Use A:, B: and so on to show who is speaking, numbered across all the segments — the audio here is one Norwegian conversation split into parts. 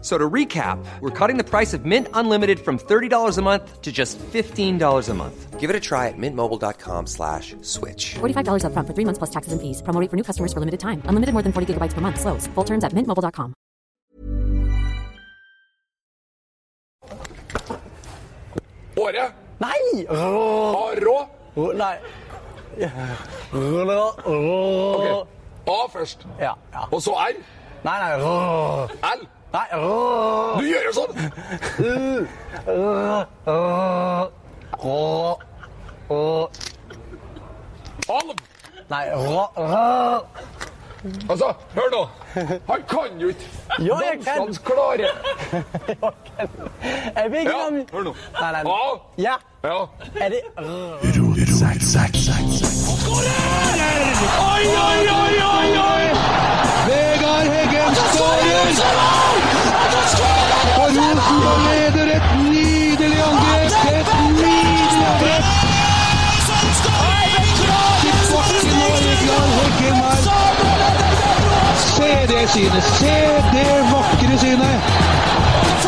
A: So to recap, we're cutting the price of Mint Unlimited from $30 a month to just $15 a month. Give it a try at mintmobile.com slash switch.
B: $45 upfront for three months plus taxes and fees. Promo rate for new customers for limited time. Unlimited more than 40 gigabytes per month. Slows. Full terms at mintmobile.com.
C: Åre?
D: Nei!
C: A. Rå.
D: Åh, Nei. Åh, åh.
C: Ok. A først.
D: Ja, ja.
C: Og så R.
D: Nei, nei. åh.
C: L.
D: Nei. åh.
C: Du gjør jo sånn!
D: Åh, åh. Åh, åh.
C: Halv!
D: Nei. åh, åh.
C: Altså, hør nå. Han kan jo ikke
D: Jo, jeg kan.
C: dansenes klare
D: Jeg vil
C: Ja,
D: ikke
C: hør nå.
D: Nei, nei.
C: A.
D: Ja.
C: Ja.
D: Er det åh.
C: Oi, oi, oi, oi, oi!
E: Vegard Heggen skårer! Og Rosenborg leder et nydelig angrep! Et nydelig angrep! Til bakken nå, Vegard Heggen her. Se det synet! Se det vakre synet!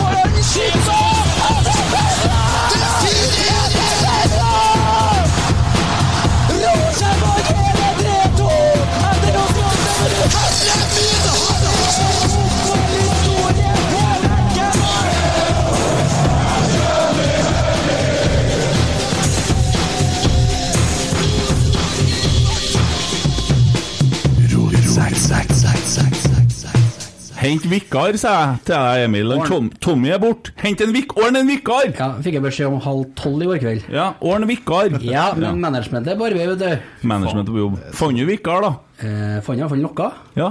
F: Hent vikar, sa jeg til deg, Emil. Han Tom, Tommy er borte. Hent en vik... Ordn en vikar!
G: Ja, fikk jeg beskjed om halv tolv i går kveld.
F: Ja, ordn vikar.
G: Ja, men managementet er på arbeid, vet du.
F: Management på jobb. Fant du vikar, da?
G: Eh, Fant jeg iallfall noe.
F: Ja.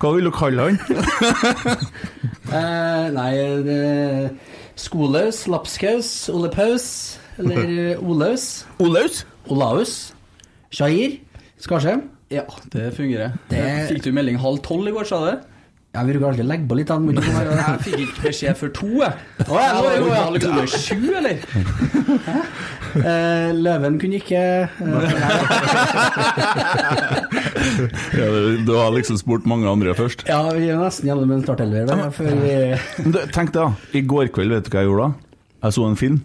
F: Hva vil du kalle han?
G: Eh, nei det- Skolaus, Lapskaus, Ole Paus Eller eh, Olaus.
F: Olaus?
G: Olaus. Shair. Skarsheim.
H: Ja, det fungerer.
G: Det-
H: Fikk du melding halv tolv i går, sa du?
G: Ja, vi bruker alltid å legge på litt. da, må ikke være-
H: Jeg fikk ikke beskjed før to, jeg.
G: ja, nå er det
H: Jeg
G: jo-
H: var jo halv sju, eller?
G: Eh, Løven kunne ikke eh,
F: Ja, du, du har liksom spurt mange andre først.
G: Ja, vi er nesten gjennom en startelver da, før vi
F: Men du, tenk deg, da. I går kveld, vet du hva jeg gjorde da? Jeg så en film.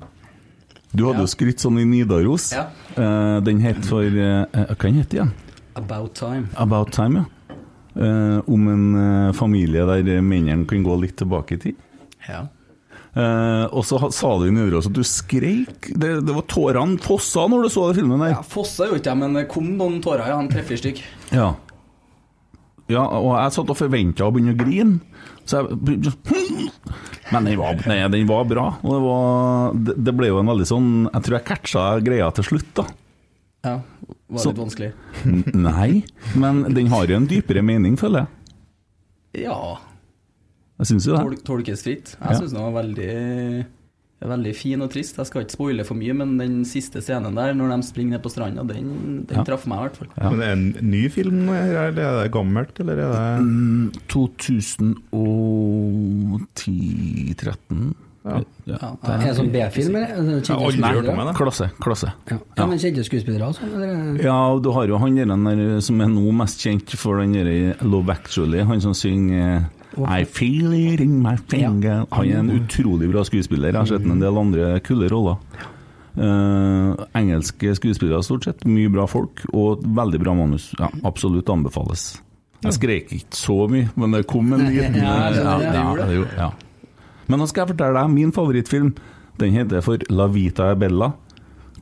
F: Du hadde jo skrytt sånn i Nidaros.
H: Ja.
F: Eh, den het for eh, Hva den het igjen?
H: About time.
F: About Time, ja. Eh, om en eh, familie der mennene kan gå litt tilbake i tid.
H: Ja.
F: Eh, og så ha- sa du i Nidaros at du skreik. Det, det var tårene fossa når du så den filmen der.
H: Jeg fossa jo ikke, jeg, men det kom noen tårer. Ja, han treffer stykk.
F: Ja. ja og jeg satt og forventa å begynne å grine. Så jeg begynte- Men den var, nei, den var bra. Og det, var, det, det ble jo en veldig sånn Jeg tror jeg catcha greia til slutt, da.
H: Ja, var
F: Så-
H: litt vanskelig.
F: N- Nei, men den har jo en dypere mening, føler jeg.
H: Ja,
F: Jeg syns jo
H: tol
F: det.
H: tolkes fritt.
F: Ja.
H: Jeg syns den var veldig Veldig fin og trist. Jeg skal ikke spoile for mye, men den siste scenen der, når de springer ned på stranda, den, den
F: Ja.
H: traff meg i hvert fall.
F: Ja.
I: Men er det en ny film, eller er det gammelt, eller er det
F: Mm, 2010-13
I: Ja.
F: Ja.
G: Er det sånn B-film, eller?
I: har aldri hørt om den.
F: Klasse. Klasse.
G: Ja. ja, men kjente skuespillere også? Eller?
F: Ja, og du eh, har jo han der, den der som er nå mest kjent for den der i Love Actually, han som synger eh, I feel it in my finger Han er en utrolig bra skuespiller. Jeg har sett ham i en del andre kule roller. Eh, engelske skuespillere, stort sett. Mye bra folk og et veldig bra manus. Ja, absolutt anbefales. Jeg skreik ikke så mye, men det kom en liten eh,
G: Ja, jeg skjønner det.
F: ja, det gjorde- ja. Men nå skal jeg fortelle deg min favorittfilm. Den heter for La Vita e Bella.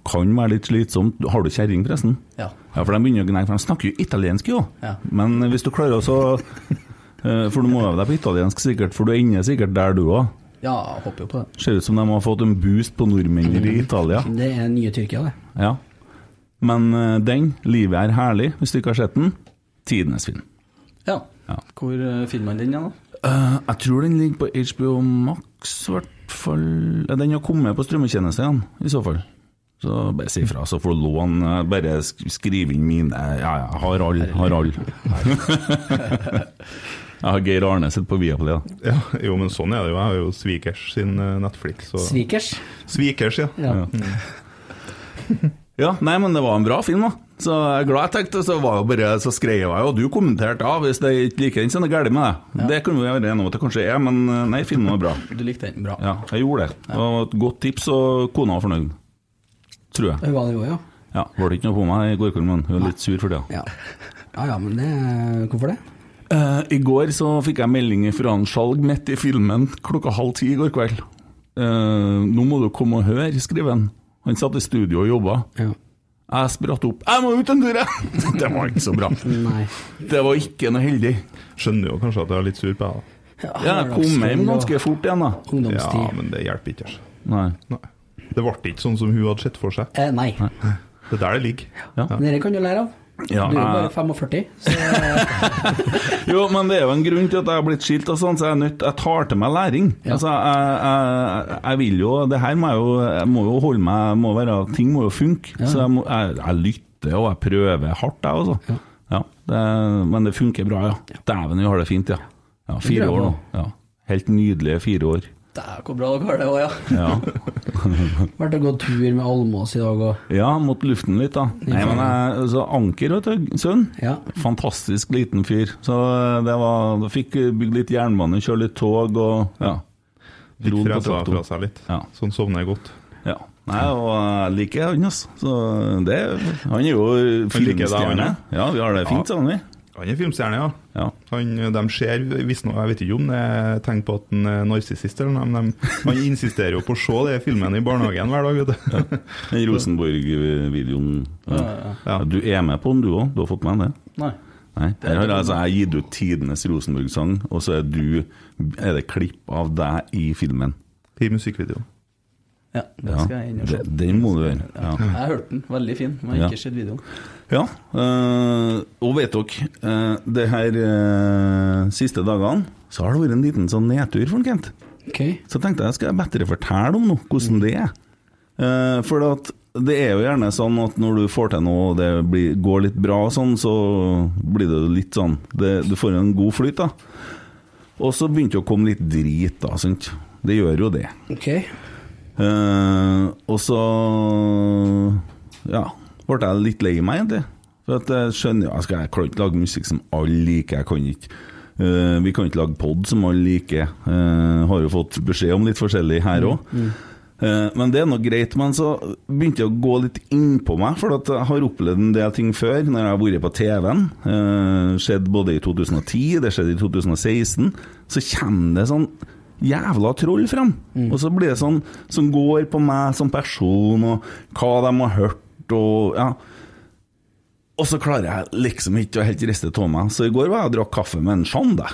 F: Kan være litt slitsomt. Har du kjerring, forresten?
H: Ja.
F: Ja, for de begynner å gnage, for de snakker jo italiensk, jo.
H: Ja.
F: Men hvis du klarer å så eh, For du må øve deg på italiensk, sikkert, for du er inne sikkert der, du òg.
G: Ja, jeg håper jo på det.
F: Ser ut som de har fått en boost på nordmennene i Italia.
G: Det er nye Tyrkia, det.
F: Ja. Men eh, den, 'Livet er herlig', hvis du ikke har sett den, tidenes film.
H: Ja. Hvor eh, finner man den igjen, da?
F: Eh, jeg tror den ligger på HBO Max, i hvert fall. Ja, Den har kommet på strømmetjeneste igjen, i så fall. Så bare si ifra, så får du lån. eh, Bare sk- skriv inn mine Ja, ja, har all, har all. Jeg har Geir Arne sett på Viaplay, da.
I: Ja, jo, men sånn er det jo. Jeg har jo Svikers sin eh, Netflix. Så.
G: Svikers?
I: Svikers, ja.
G: Ja.
I: Mm.
F: Ja, nei, men det var en bra film, da. Så jeg er glad jeg tenkte, så var jo bare så skrev jeg, og du kommenterte ja, hvis det ikke liker den, så er det galt med deg. Det kan vi jo være enige om at det kanskje er, men eh, nei, filmen var bra.
H: Du likte den bra.
F: Ja, jeg gjorde det. Det var et godt tips, og kona var fornøyd. Tror jeg.
G: Det var det jo, ja.
F: Ja, Var det ikke noe på meg i går kveld, men hun er litt sur for det.
G: Ja. Ja ja, men det Hvorfor det?
F: Eh, I går så fikk jeg melding fra en Skjalg midt i filmen klokka halv ti i går kveld. Eh, 'Nå må du komme og høre', skriver han. Han satt i studio og jobba. Jeg spratt opp 'Jeg må ut en tur, jeg!' Det var ikke så bra.
G: Nei.
F: Det var ikke noe heldig.
I: Skjønner jo kanskje at jeg er litt sur på deg. da.
F: Ja, jeg kom hjem ganske fort igjen, da.
I: Ja, men det hjelper ikke. altså.
F: Nei.
I: Det ble ikke sånn som hun hadde sett for seg.
G: Eh, nei.
I: Det er der det ligger.
G: Men Dere kan du lære av.
F: Ja,
G: du er jo
F: jeg-
G: bare 45, så
F: Jo, men det er jo en grunn til at jeg har blitt skilt, og sånn, så jeg, er nødt, jeg tar til meg læring. Altså, jeg, jeg, jeg vil jo Det her må jeg jo, jeg må jo holde meg må være, Ting må jo funke. Så jeg, må, jeg, jeg lytter og jeg prøver hardt, jeg også. Ja, det, men det funker bra, ja. Dæven, vi har det fint, ja. ja
H: Det
F: fire
H: tror jeg
F: år nå.
H: på.
F: Ja. Helt nydelige fire år.
H: Dæven, hvor bra dere har det òg, ja.
F: Ja.
G: vært og gått tur med Almås i dag og
F: ja, mot luften litt, da. Nei, men jeg, så Anker, vet du, sønn.
G: Ja.
F: Fantastisk liten fyr. Så eh, det var, da fikk bygd litt jernbane, kjøre litt tog og ja.
I: Fikk
F: Dro den på
I: fresa
F: traktor.
I: fra seg litt.
F: Ja.
I: Sånn sovner jeg godt.
F: ja. Nei, og jeg liker han, altså. Så det, han er jo
I: liker deg, han,
F: filmstjerne. Ja, vi har det fint
I: Ja.
F: sammen, vi.
I: Han er filmstjerne, ja.
F: Ja.
I: Han, de ser visstnok Jeg vet ikke om det er tegn på at han er narsissist, eller noe, men de, han insisterer jo på å se de filmene i barnehagen hver dag, vet du.
F: Den Rosenborg-videoen. Ja. Ja, Du er med på den, du òg? Du har fått med den, det?
H: Nei.
F: Nei. Her har jeg, altså, jeg har gitt ut tidenes Rosenborg-sang, og så er du Er det klipp av deg i filmen?
I: I musikkvideoen.
H: ja det
F: Ja.
H: skal jeg inn og se.
F: Det- Den må du gjøre. Ja.
H: Jeg hørte den, veldig fin, men jeg har ikke sett videoen.
F: Ja, øh, og vet dere, øh, det her øh, siste dagene så har det vært en liten sånn nedtur for en Kent.
G: Ok.
F: Så tenkte jeg, skal jeg bedre fortelle om noe, hvordan det er? Eh, for at det er jo gjerne sånn at når du får til noe og det blir, går litt bra og sånn, så blir det jo litt sånn, det, du får en god flyt da. Og så begynte det å komme litt drit da, sant? Det gjør jo det.
G: Ok.
F: Eh, og så ja, ble jeg litt lei meg, egentlig. For at jeg skjønner jo, jeg skal- jeg kan ikke lage musikk som alle liker. Jeg kan ikke Eh, Vi kan ikke lage pod som alle liker. Eh, har jo fått beskjed om litt forskjellig her
J: Mm.
F: òg. Eh, Men det er nå greit. Men så begynte jeg å gå litt innpå meg, for at jeg har opplevd en del ting før når jeg har vært på TV-en. Eh, skjedde både i 2010, det skjedde i 2016. Så kommer det sånn jævla troll fram. Og så blir det sånn som går på meg som person, og hva de har hørt, og ja. Og så klarer jeg liksom ikke å helt riste av meg. Så i går var jeg og drakk kaffe med en Jean, da.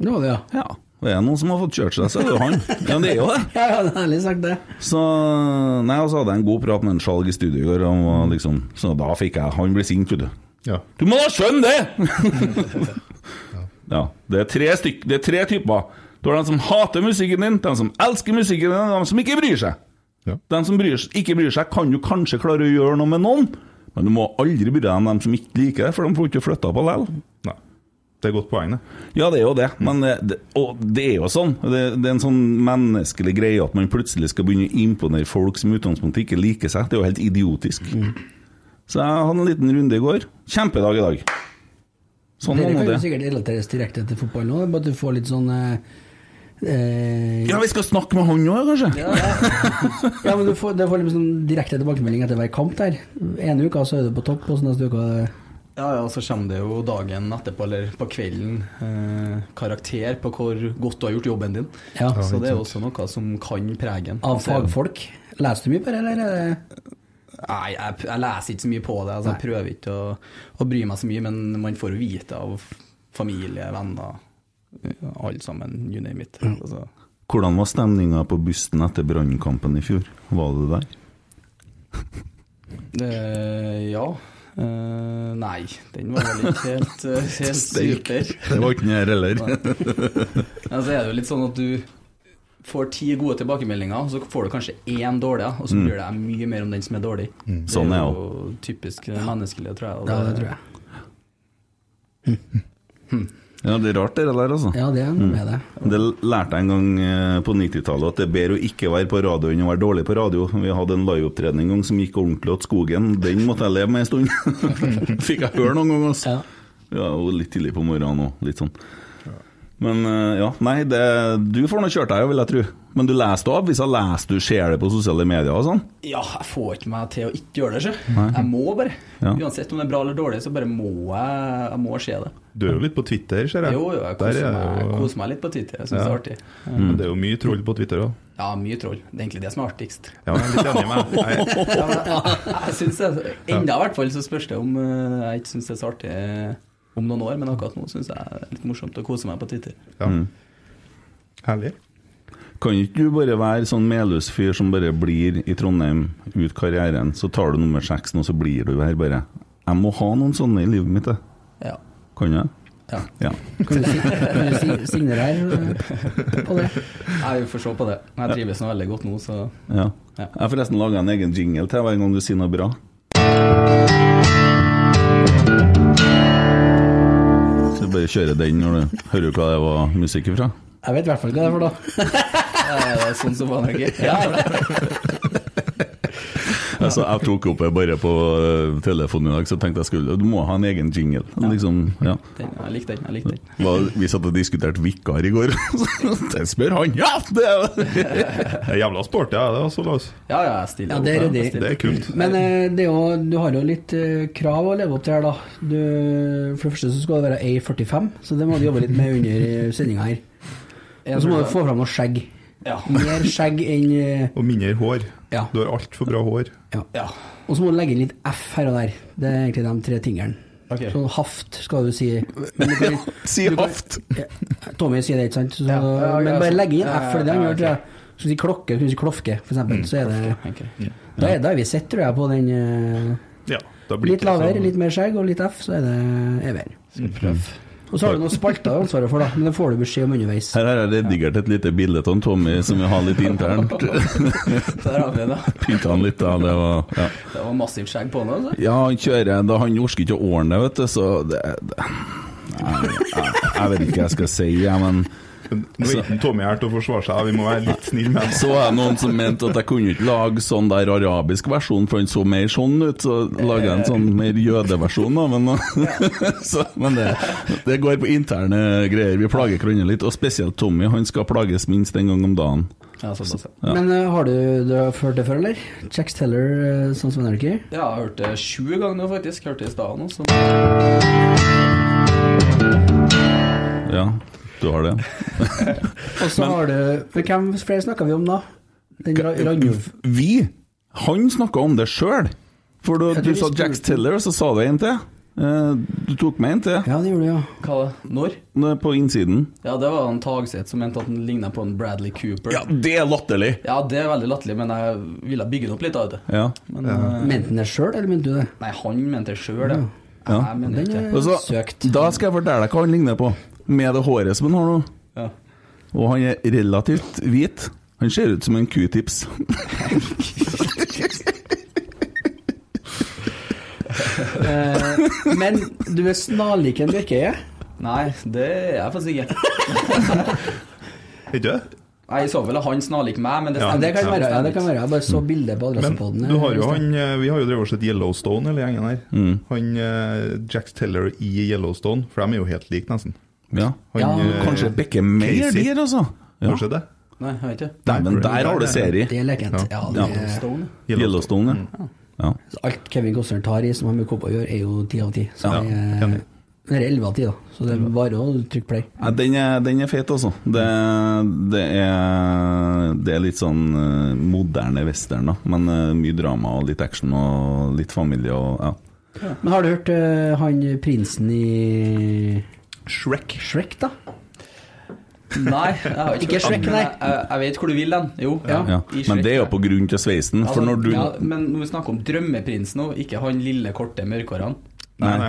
G: Det var det, ja.
F: Ja. Det er noen som har fått kjørt seg, så er det jo han. Ja, det er jo det.
G: Ja, ja, det er ærlig sagt, det.
F: Så Nei, og så hadde jeg en god prat med en skjalg i studio i går, han var liksom, så da fikk jeg Han ble sint, vet du.
I: Ja.
F: Du må da skjønne det! ja. Det er tre, stykk, det er tre typer. Du har de som hater musikken din, de som elsker musikken din, og de som ikke bryr seg.
I: Ja.
F: De som bryr, ikke bryr seg, kan jo kanskje klare å gjøre noe med noen, men du må aldri bry deg om dem som ikke liker det, for de får ikke flytta på likevel.
I: Nei. Det er et godt poeng, det.
F: Ja, det er jo det, men eh, det, og det er jo sånn. Det, det er en sånn menneskelig greie at man plutselig skal begynne å imponere folk som i utgangspunktet ikke liker seg. Det er jo Mm. helt idiotisk. Så jeg hadde en liten runde i går. Kjempedag i dag. Sånn
G: Dere
F: må nå
G: kan jo
F: det.
G: sikkert relateres direkte til fotball nå, bare at du får litt sånn eh, eh,
F: Ja, vi skal snakke med han òg, kanskje?
G: ja, men du får, du får litt sånn direkte tilbakemelding etter hver kamp der. Ene uka så er du på topp, og så neste uka
H: Ja, ja, så kommer det jo dagen etterpå, eller på kvelden, eh, karakter på hvor godt du har gjort jobben din.
G: Ja. Ja,
H: så
G: ikke
H: det er jo også noe som kan prege en. Altså, Så det
G: Av
H: er jo-
G: fagfolk. Leser du mye på det, eller? er det-
H: Nei, jeg, jeg leser ikke så mye på det. Altså, jeg prøver ikke å, å bry meg så mye, men man får jo vite av familie, venner, ja, alle sammen, you name it. Altså,
F: Hvordan var stemninga på bussen etter brannkampen i fjor? Var du der?
H: eh, ja. Eh, nei, den var vel ikke helt, eh, helt
F: Steik.
H: super.
F: Det var ikke den her heller.
H: Nei. Ja, så er det jo litt sånn at du får ti gode tilbakemeldinger, og så får du kanskje én dårlig, og så
F: Mm.
H: blir det mye mer om den som er dårlig.
F: Mm. Sånn er
H: det er jo typisk menneskelig, tror jeg. og
G: Ja, det tror jeg.
F: Ja, det er rart det der, altså. Mm.
G: Ja, det er noe med det.
F: Det lærte jeg en gang eh, på 90-tallet, at det er bedre å ikke være på radio enn å være dårlig på radio. Vi hadde en liveopptreden en gang som gikk ordentlig åt skogen. Den måtte jeg leve med en stund. Fikk jeg høre noen ganger, altså. Ja, og litt tidlig på morgenen òg, litt sånn. Men eh, ja, nei, det, du får nå kjørt deg, vil jeg tro. Men du leser av? Hvis jeg leser du ser det på sosiale medier og sånn?
H: Ja, jeg får ikke meg til å ikke gjøre det, sjø.
F: Nei.
H: Jeg må bare.
F: Ja.
H: Uansett om det er bra eller dårlig, så bare må jeg, jeg må se det.
I: Du er jo litt på Twitter, ser jeg.
H: Jo, jo, jeg
I: Der
H: koser,
I: er
H: meg,
I: det jo-
H: jeg koser meg litt på Twitter. Jeg syns det er artig.
I: Ja. Mm. Men Det er jo mye troll på Twitter òg.
H: Ja, mye troll. Det er egentlig det som er artigst.
I: Ja, jeg er litt enig med deg. Jeg-
H: Ja, men jeg, jeg synes det, Enda i hvert fall så spørs det om eh, jeg ikke syns det er så artig om noen år, men akkurat nå syns jeg det er litt morsomt å kose meg på Twitter.
F: Mm.
I: Herlig.
F: Kan ikke du bare være sånn Melhus-fyr som bare blir i Trondheim ut karrieren, så tar du nummer seks nå, så blir du her bare Jeg må ha noen sånne i livet mitt, jeg.
H: Ja.
F: Kan jeg?
H: Ja.
G: Kan du si- kan du si- signere her, eh, på det?
H: Jeg får se på det. Jeg trives nå veldig godt nå, så
F: Ja. Jeg har forresten laga en egen jingle til hver gang du sier noe bra. Så du bare kjører den når du hører hva det var musikk ifra?
G: Jeg vet i hvert fall hva det er for noe.
H: Ja, det er sånn som var Norge.
F: Altså, jeg tok opp det bare på eh, telefonen i dag, så tenkte jeg skulle Du må ha en egen jingle. Liksom, ja.
H: Den, jeg likte den. jeg likte den
F: Hva- Vi satt og diskuterte vikar i går. Det spør han! Ja! Det er
I: jævla sporty, ja, det også, Lars.
H: Ja, ja, jeg stiller
G: Ja, det er
H: opp, jeg
G: ryddig.
H: stiller
I: Det er
H: opp.
I: kult.
G: Men eh, det er jo, du har jo litt eh, krav å leve opp til her, da. Du, for det første så skal det være A45, så det må du jobbe litt med under eh, sendinga her. Og så må du få fram noe skjegg. Mer skjegg enn eh,
I: Og mindre hår. Du har altfor bra hår.
H: Ja.
G: Og så må du legge inn litt F her og der. Det er egentlig de tre tingene.
H: Ok.
G: Sånn haft skal du si. Men du kan-
F: Si
G: du kan-
F: haft!
G: Ja, Tommy sier det, ikke sant? Så,
H: ja, ja,
G: men bare
H: så-
G: legge inn
H: ja, ja,
G: F, for det er det
H: ja,
G: han
H: Mm,
G: gjør, tror jeg. Skal du si klokke, skal du si klofke, for eksempel, så er det Da er, da er vi sett, tror jeg, på den eh,
I: Ja, da blir
G: Litt
I: det sånn.
G: lavere, litt mer skjegg og litt F, så er det EVR. Og så har du noen spalter du har ansvaret for, da, men det får du beskjed om underveis.
F: Her har jeg redigert et lite bilde av en Tommy som vi har litt internt.
H: Der har vi det.
F: Pynta han litt, da. Det var ja.
H: Det var massivt skjegg på den. altså.
F: Ja, han kjører da Han orker ikke å ordne det, vet du, så det, det. Jeg, jeg, jeg vet ikke hva jeg skal si, jeg, men
I: Nå er ikke Tommy her til å forsvare seg, vi må være litt snille med ham.
F: altså- så var det noen som mente at jeg kunne ikke lage sånn der arabisk versjon, for han så mer sånn ut, så laga jeg en sånn mer jødeversjon, da. Men, så, men det, det går på interne greier. Vi plager hverandre litt, og spesielt Tommy. Han skal plages minst en gang om dagen.
H: Ja, såpass, ja.
F: Ja.
G: Men eh, har du, du har hørt det før, eller? Jax Teller, eh, sånn som Anarchy?
H: Ja, jeg har hørt det sju ganger nå, faktisk. Hørte det i stad nå. Så.
F: Ja, du har det.
G: Og så har du men Hvem flere snakka vi om da? Den Ra- Randulf?
F: Vi! Han snakka om det sjøl! For du,
G: Jeg tror
F: du
G: vi
F: sa
G: spurte-
F: Jax Teller, og så sa du en til. Eh, Du tok med en til.
G: Ja, det gjorde du, ja.
H: Hva var det? Når?
F: Nå er På innsiden.
H: Ja, det var en Tagseth som mente at den ligna på en Bradley Cooper.
F: Ja, det er latterlig!
H: Ja, det er veldig latterlig, men jeg ville bygge den opp litt av det.
F: Ja.
H: Men, eh,
G: Mente han det sjøl, eller mente du det?
H: Nei, han mente det sjøl, det.
F: Ja.
H: Jeg mener ikke det.
F: Og så- Da skal jeg fortelle deg hva han ligner på, med det håret som han har nå.
H: Ja.
F: Og han er relativt hvit. Han ser ut som en q-tips.
G: Eh, men du er snarlik en Bjørkeie.
H: Nei, det er jeg faktisk ikke.
I: Ikke det?
H: Jeg så vel at han snarlik meg, men det
I: Ja.
H: stemmer.
I: Det kan
H: ikke.
I: være, ja,
K: Det kan være. Jeg bare så bildet på Adressepoden.
I: Du har jo han, eh, vi har jo drevet og sett Yellowstone, hele gjengen her.
F: Mm.
I: Han eh, Jack Teller i Yellowstone, for de er jo helt like, nesten. eh,
F: Ja. Ja. Kanskje Bekke mer der, altså. Ja.
I: Kanskje det.
H: Nei, jeg har ikke.
F: Nei, men der har du serie.
K: Det er lekent. Ja, det er-
H: Yellowstone.
F: Yellowstone, ja. ja.
K: Så Alt Kevin Costner tar i som har med kopper å gjøre, er jo ti av ti. Så
F: Ja,
K: det er-
G: eh,
K: det er elleve av ti, da. Så det er bare å trykke play.
F: Ja, den, er, den er fet, altså. Det, det, er, det er litt sånn eh, moderne western, da. Men eh, mye drama og litt action og litt familie og ja.
K: Men har du hørt eh, han prinsen i
I: Shrek?
K: Shrek, da?
H: Nei, jeg har ikke
K: Ikke
H: hørt om
K: Shrek,
H: den,
K: nei.
H: men eh, Jeg, jeg vet hvor du vil den. Jo,
F: Ja.
H: i
F: Men
H: Shrek.
F: det er jo på grunn til sveisen, for når du
H: ja, Men når vi snakker om drømmeprinsen nå, ikke han lille, korte mørkhåra.
F: Nei,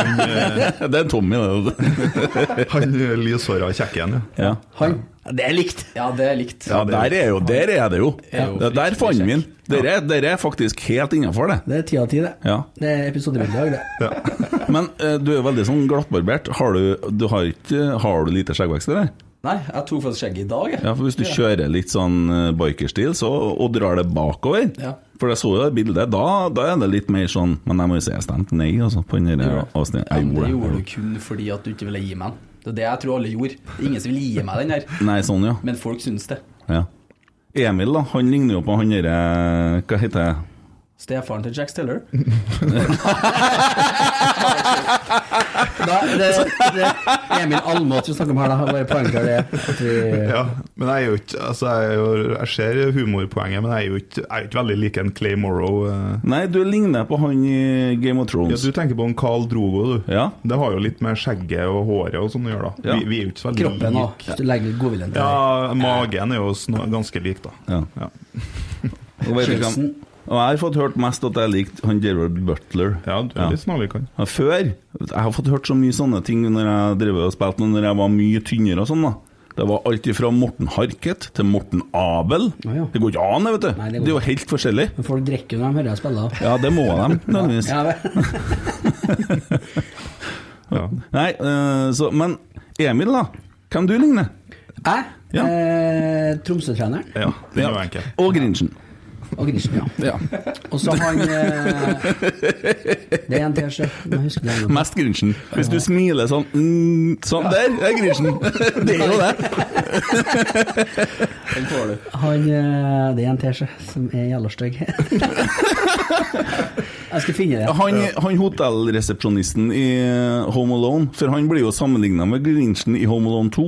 F: Det er Tommy, det.
I: eh, han eh, lyshåra kjekken,
F: ja.
K: Han?
H: Det er likt. Ja, det er likt.
F: Ja, der er, jo, der er det jo.
H: Ja. Er jo
F: Ja, der fant vi den. Dere er- dere er faktisk helt innafor, det.
K: Det er ti av ti, det.
F: Ja.
K: Det er episodebidrag, det.
F: Men eh, du er veldig sånn glattbarbert. Har du, du, har ikke, har du lite skjeggvekst, eller?
H: Nei, jeg tok faktisk skjegg i dag. jeg.
F: Ja, for hvis du kjører litt sånn eh, bikerstil så, og drar det bakover
H: Ja.
F: For jeg så jo det bildet, da, da er det litt mer sånn Men jeg må jo si jeg stemte nei altså, på den der avsnittet.
H: Ja,
F: Jeg
H: men det
F: gjorde
H: gjorde
F: det.
H: du kun fordi at du ikke ville gi meg den. Det er det jeg tror alle gjorde. Det er ingen som vil gi meg den der.
F: Nei, sånn, ja.
H: Men folk syns det.
F: ja. Emil, da, han ligner jo på han derre Hva heter jeg?
H: Stefaren til Jack Steller.
K: Da, det, det Emil Almås vi snakker om her, da. Bare poengter det. At vi,
I: Ja, men jeg er jo ikke Altså, jeg, er jo, jeg ser humorpoenget, men jeg er jo ikke, jeg er jo ikke veldig lik en Clay Morrow. eh.
F: Nei, du ligner på han i Game of
I: Ja,
F: Thrones.
I: du tenker på en Carl Drogo, du.
F: Ja.
I: Det har jo litt med skjegget og håret og sånn å gjøre, da.
F: Ja.
I: Vi, vi er jo ikke så veldig
K: Kroppen
I: like.
K: òg. Hvis du legger litt godviljen til
I: Ja, magen er jo sn- ganske lik, da.
F: Ja.
I: Ja.
F: Og, vet du hvem,
K: Skjelsen.
F: og jeg har fått hørt mest at jeg likte han Gerard Butler.
I: Ja, du er litt snarlik han.
F: Ja, Før Jeg har fått hørt så mye sånne ting når jeg drev og spilte, men når jeg var mye tynnere og sånn, da. Det var alt ifra Morten Harket til Morten Abel. Det går ikke an, det, vet du.
K: Nei, det
F: det,
K: går
F: er jo helt forskjellig.
K: Men folk drikker jo når de hører jeg spille. da.
F: Ja, det må de, nødvendigvis.
K: Ja, vel.
F: Nei, eh, så Men Emil, da. Hvem du ligner?
K: Jeg?
F: Ja.
K: Eh, Tromsø-treneren.
I: Ja, det er jo
F: Ja.
I: enkelt.
F: Og Grinchen.
K: Og Grisen, ja. Og så han eh, Det er en til, sjef. Jeg husker det. ennå.
F: Mest Grinchen. Hvis du smiler sånn mm, Sånn, der er Grinchen! Det er jo det.
H: Den får du.
K: Han, eh, det er en til, sjef, som er jævla stygg. Jeg skal finne det.
F: Han, han hotellresepsjonisten i eh, Home Alone, for han blir jo sammenligna med Grinchen i Home Alone 2.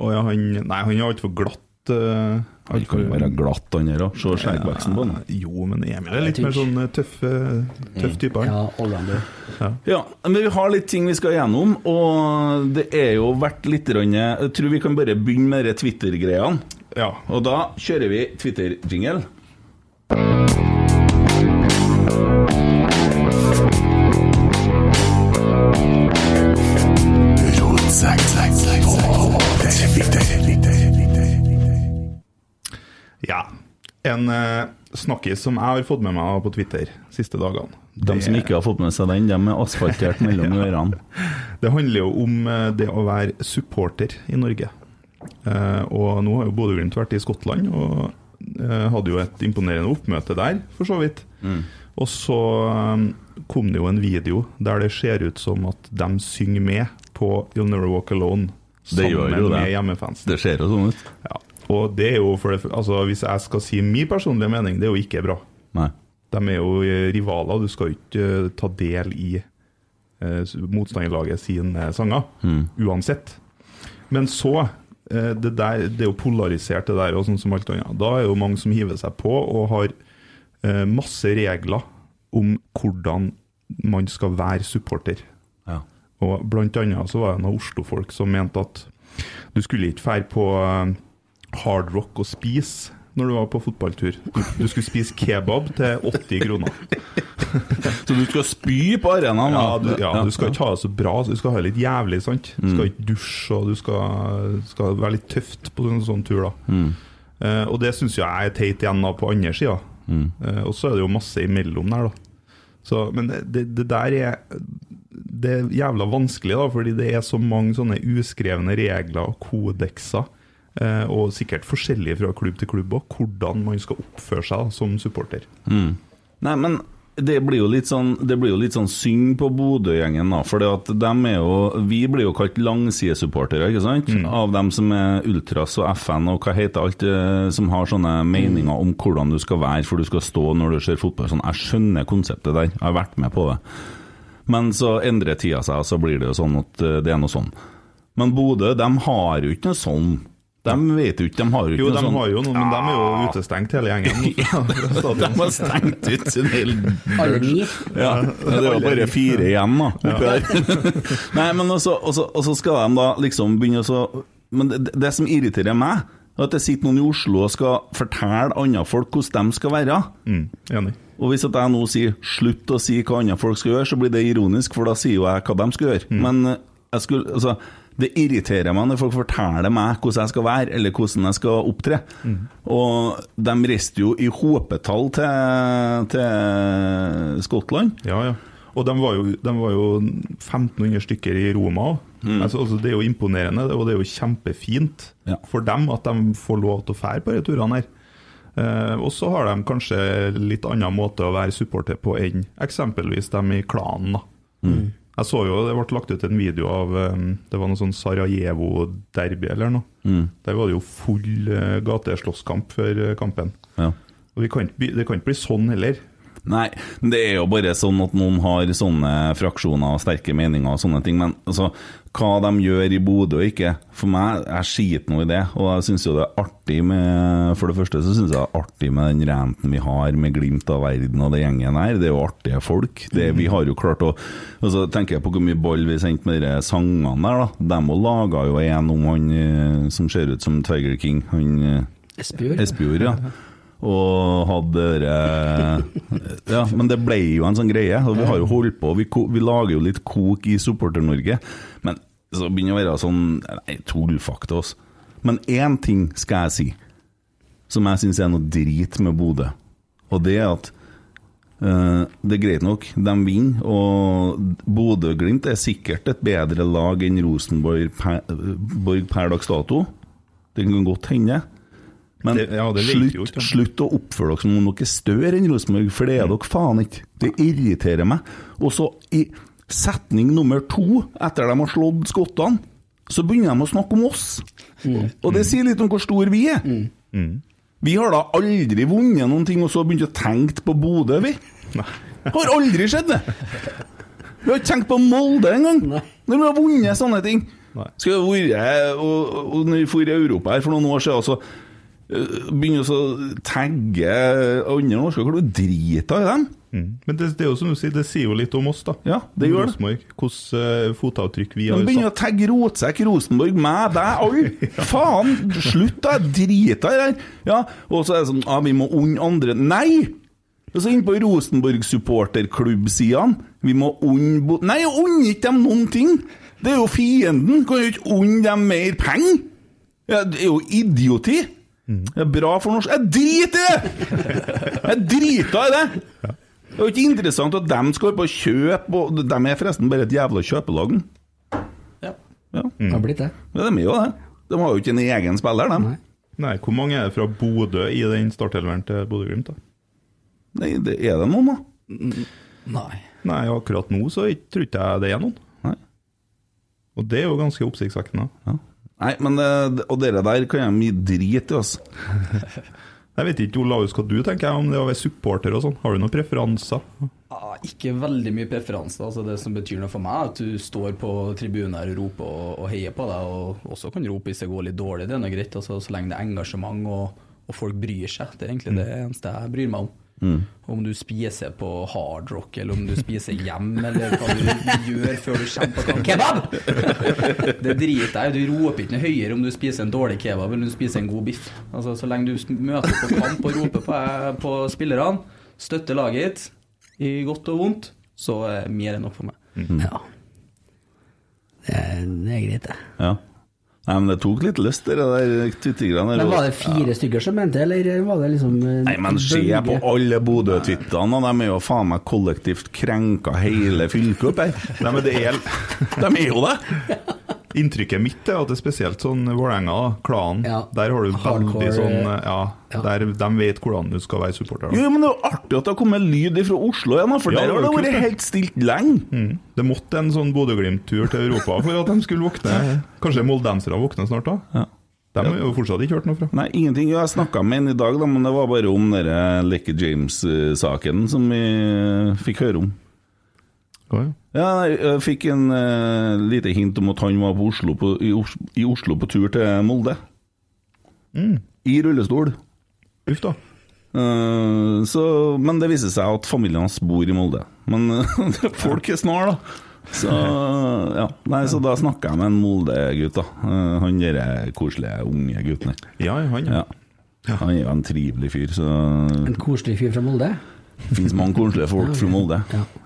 I: Og ja, han Nei, han er altfor glatt. eh,
F: Han kan jo være glatt, han her òg. Se skjeggveksten på han.
I: Jo, men Emil er litt
K: Jeg
I: mer
K: tror
I: sånn eh, tøff, eh, tøff type. han.
K: Mm. Ja, allrounder.
F: Ja, men vi har litt ting vi skal gjennom, og det er jo vært litt grann- Jeg tror vi kan bare begynne med de Twitter-greiene.
I: Ja.
F: Og da kjører vi Twitter-jingle.
I: ja. En eh, snakkis som jeg har fått med meg på Twitter siste dagene.
F: De som ikke har fått med seg den, de er asfaltert mellom ørene.
I: Det handler jo om eh, det å være supporter i Norge. Eh, og nå har jo Bodø-Glimt vært i Skottland og eh, hadde jo et imponerende oppmøte der, for så vidt.
F: Mm.
I: Og så eh, kom det jo en video der det ser ut som at de synger med på You'll Never Walk Alone.
F: Det gjør jo
I: med
F: det.
I: hjemmefansen.
F: Det ser jo sånn ut.
I: Ja. Og det er jo for det, altså, Hvis jeg skal si min personlige mening, det er jo ikke bra.
F: Nei.
I: De er jo eh, rivaler, du skal jo ikke eh, ta del i eh, s- motstanderlaget sine sanger,
F: Mm.
I: uansett. Men så eh, det, der, det er jo polarisert, det der, og sånn som alt annet. Da er det jo mange som hiver seg på og har eh, masse regler om hvordan man skal være supporter.
F: Ja.
I: Og blant annet så var det noen Oslo-folk som mente at du skulle ikke fære på eh, hard rock og spise når du var på fotballtur. Du, du skulle spise kebab til 80 kroner.
F: Så du skal spy på arenaen?
I: Ja,
F: da?
I: du, ja, du skal ikke ha det så bra, så du skal ha det litt jævlig, sant? Du
F: Mm.
I: skal ikke dusje, og du skal, skal være litt tøft på en sånn tur, da. Eh, og det syns jeg er teit igjen da på andre sida.
F: Mm.
I: Eh, og så er det jo masse imellom der, da. Så, men det, det, det der er Det er jævla vanskelig, da, fordi det er så mange sånne uskrevne regler og kodekser eh, og sikkert forskjellig fra klubb til klubb òg, hvordan man skal oppføre seg som supporter.
F: Mm. Nei, men det blir jo litt sånn, det blir jo litt sånn synd på Bodø-gjengen, da. For er jo Vi blir jo kalt langsidesupportere, ikke sant?
I: Mm.
F: Av dem som er ultras og FN og hva heter alt eh, som har sånne meninger om hvordan du skal være for du skal stå når du ser fotball. Sånn, jeg skjønner konseptet der, jeg har vært med på det. Men så endrer tida seg, og så blir det jo sånn at eh, det er noe sånn. Men Bodø, de har jo ikke noe sånn. De vet jo ikke, de har jo
I: Jo,
F: ikke noe
I: de
F: sånn.
I: har jo noe, men de er jo
F: Ah.
I: utestengt hele gjengen.
F: Ja, de har stengt ut sin hel Ja, det var bare fire igjen, da. Oppi
I: Ja.
F: der. Nei, men også, også, også skal de da liksom begynne å så- Men det, det som irriterer meg, er at det sitter noen i Oslo og skal fortelle andre folk hvordan de skal være. Og hvis at jeg nå sier 'slutt å si hva andre folk skal gjøre', så blir det ironisk, for da sier jo jeg hva de skal gjøre. Men eh, jeg skulle, altså, det irriterer meg når folk forteller meg hvordan jeg skal være, eller hvordan jeg skal opptre. Og de reiste jo i håpetall til, til eh, Skottland.
I: Ja, ja. Og de var jo, de var jo 1500 stykker i Roma òg.
F: Mm.
I: Altså, altså, det er jo imponerende, og det er jo kjempefint for dem at de får lov til å fære på de turene her. Eh, og så har de kanskje litt annen måte å være supporter på enn eksempelvis dem i klanen. da.
F: Mm.
I: Jeg så jo det ble lagt ut en video av eh, Det var noe sånn Sarajevo-derby eller noe.
F: Mm.
I: Der var det jo full eh, gateslåsskamp før eh, kampen.
F: Ja.
I: Og vi kan ikke, bli- det kan ikke bli sånn heller.
F: Nei, men det er jo bare sånn at noen har sånne fraksjoner og sterke meninger og sånne ting. Men altså, hva de gjør i Bodø og ikke For meg, jeg skiter nå i det. Og jeg syns jo det er artig med For det første så syns jeg det er artig med den ranten vi har med glimt av verden og det gjengen her. Det er jo artige folk. Det, vi har jo klart å Og så tenker jeg på hvor mye ball vi sendte med de sangene der, da. De òg laga jo en om han eh, som ser ut som Tiger King. Han eh,
K: Espejord.
F: Espejord, ja. Og hadde dere Ja, men det ble jo en sånn greie. Og vi har jo holdt på, vi, ko- vi lager jo litt kok i Supporter-Norge. Men så begynner det å være sånn Nei, tullfakta, oss. Men én ting skal jeg si, som jeg syns er noe drit med Bodø. Og det er at eh, det er greit nok, de vinner, og Bodø-Glimt er sikkert et bedre lag enn Rosenborg per, Borg per dags dato. Det kan godt hende. Men
I: Det- ja, det vet vi jo ikke,
F: slutt,
I: Mm. men-
F: slutt å oppføre dere som om dere er større enn Rosenborg, for det er dere faen ikke. Det irriterer meg. Og så, i setning nummer to, etter de har slått skottene, så begynner de å snakke om oss.
I: Mm.
F: Og det sier litt om hvor stor vi er. Vi har da aldri vunnet noen ting, og så begynt å tenke på Bodø, vi. Har aldri skjedd, det. Vi har ikke tenkt på Molde engang, når vi har vunnet sånne ting. Skal vi være, eh, og, og når vi for i Europa her for noen år siden, så øh, begynner vi å tagge andre norske klubber. Drit av dem.
I: Mm. Men det, det er jo som du sier, det sier jo litt om oss, da. Ja,
F: det gjør det.
I: Rosenborg, hvordan eh, fotavtrykk vi
F: De
I: har
F: begynner å tagge Rotsekk, Rosenborg, meg, deg, alle. Faen, slutt da, drit deg der. Ja, og så er det sånn, ja, vi må unne andre. Nei! Og så inn på Rosenborg-supporterklubb-sidene. Vi må unne bo... Nei, unne ikke dem noen ting! Det er jo fienden. Kan jo ikke unne dem mer penger! Ja, det er jo idioti!
I: Mm.
F: Det er bra for norsk Jeg driter i det! Jeg driter i det! Det er jo ikke interessant at de skal på kjøp, og de er forresten bare et jævla kjøpelag. den. Ja.
I: Det har
K: blitt det.
F: Ja, de er jo det. De har jo ikke en egen spiller, de.
I: Nei, hvor mange er det fra Bodø i den startelveren til Bodø-Glimt, da?
F: Nei, det er det noen,
I: da?
H: Nei.
I: Nei, akkurat nå så ikke- tror ikke jeg det er noen.
F: Nei.
I: Og det er jo ganske oppsiktsvekkende.
F: Nei, men det, Og dere der kan jeg mye drit i, altså.
I: Jeg vet ikke, Olaus, hva du tenker om det å være supporter og sånn? Har du noen preferanser?
H: Ah, ikke veldig mye preferanser. Altså det som betyr noe for meg, er at du står på tribunen her og roper og, og heier på deg, og også kan rope hvis det går litt dårlig. Det er noe greit, altså, så lenge det er engasjement og, og folk bryr seg. Det er egentlig det eneste jeg bryr meg om.
F: Mm.
H: Om du spiser på hardrock, eller om du spiser hjem, eller hva du gjør før du kommer på kamp. Kebab! Det driter jeg i. Du roper ikke noe høyere om du spiser en dårlig kebab eller om du spiser en god biff. Altså, så lenge du møter opp på kamp og roper på, eh, på spillerne, støtter laget ditt i godt og vondt, så er mer enn nok for meg.
K: Ja. Det er, det er greit, det.
F: Ja. Nei, men det tok litt lyst, det der twittergreiene der.
K: Men var det fire stykker som mente, eller var det liksom
F: Nei, men se på alle Bodø-twitterne, og de er jo faen meg kollektivt krenka hele fylket opp her.
I: Nei, men det er
F: De er jo det!
I: Inntrykket mitt er at det er spesielt sånn Vålerenga, da, klanen. Der har du
F: hardcore,
I: veldig sånn Ja, der de vet hvordan du skal være supporter. da.
F: Jo, men det er jo artig at det har kommet lyd fra Oslo igjen, da, for
I: Ja,
F: der
I: det
F: har det
I: var kult,
F: vært
I: det.
F: helt stilt lenge.
I: Mm. Det måtte en sånn Bodø-Glimt-tur til Europa for at de skulle våkne. Kanskje moldensere våkner snart, da? De har jo fortsatt ikke hørt noe fra.
F: Nei, ingenting. Jo, Jeg snakka med en i dag, da, men det var bare om den Lekke James-saken som vi eh, fikk høre om. Ja, nei, jeg fikk en eh, lite hint om at han var på Oslo på, i, Os i Oslo på tur til Molde. I rullestol.
I: Mm.
F: Eh,
I: Uff da.
F: så, men det viser seg at familien hans bor i Molde. Men folk er snar, da. Så, ja. Nei, så da snakka jeg med en Molde-gutt, da. Eh, han derre koselige unge gutten der.
I: Ja, han,
F: ja. Han er jo en trivelig fyr, så
K: En koselig fyr fra Molde?
F: det finnes mange koselige folk fra Molde.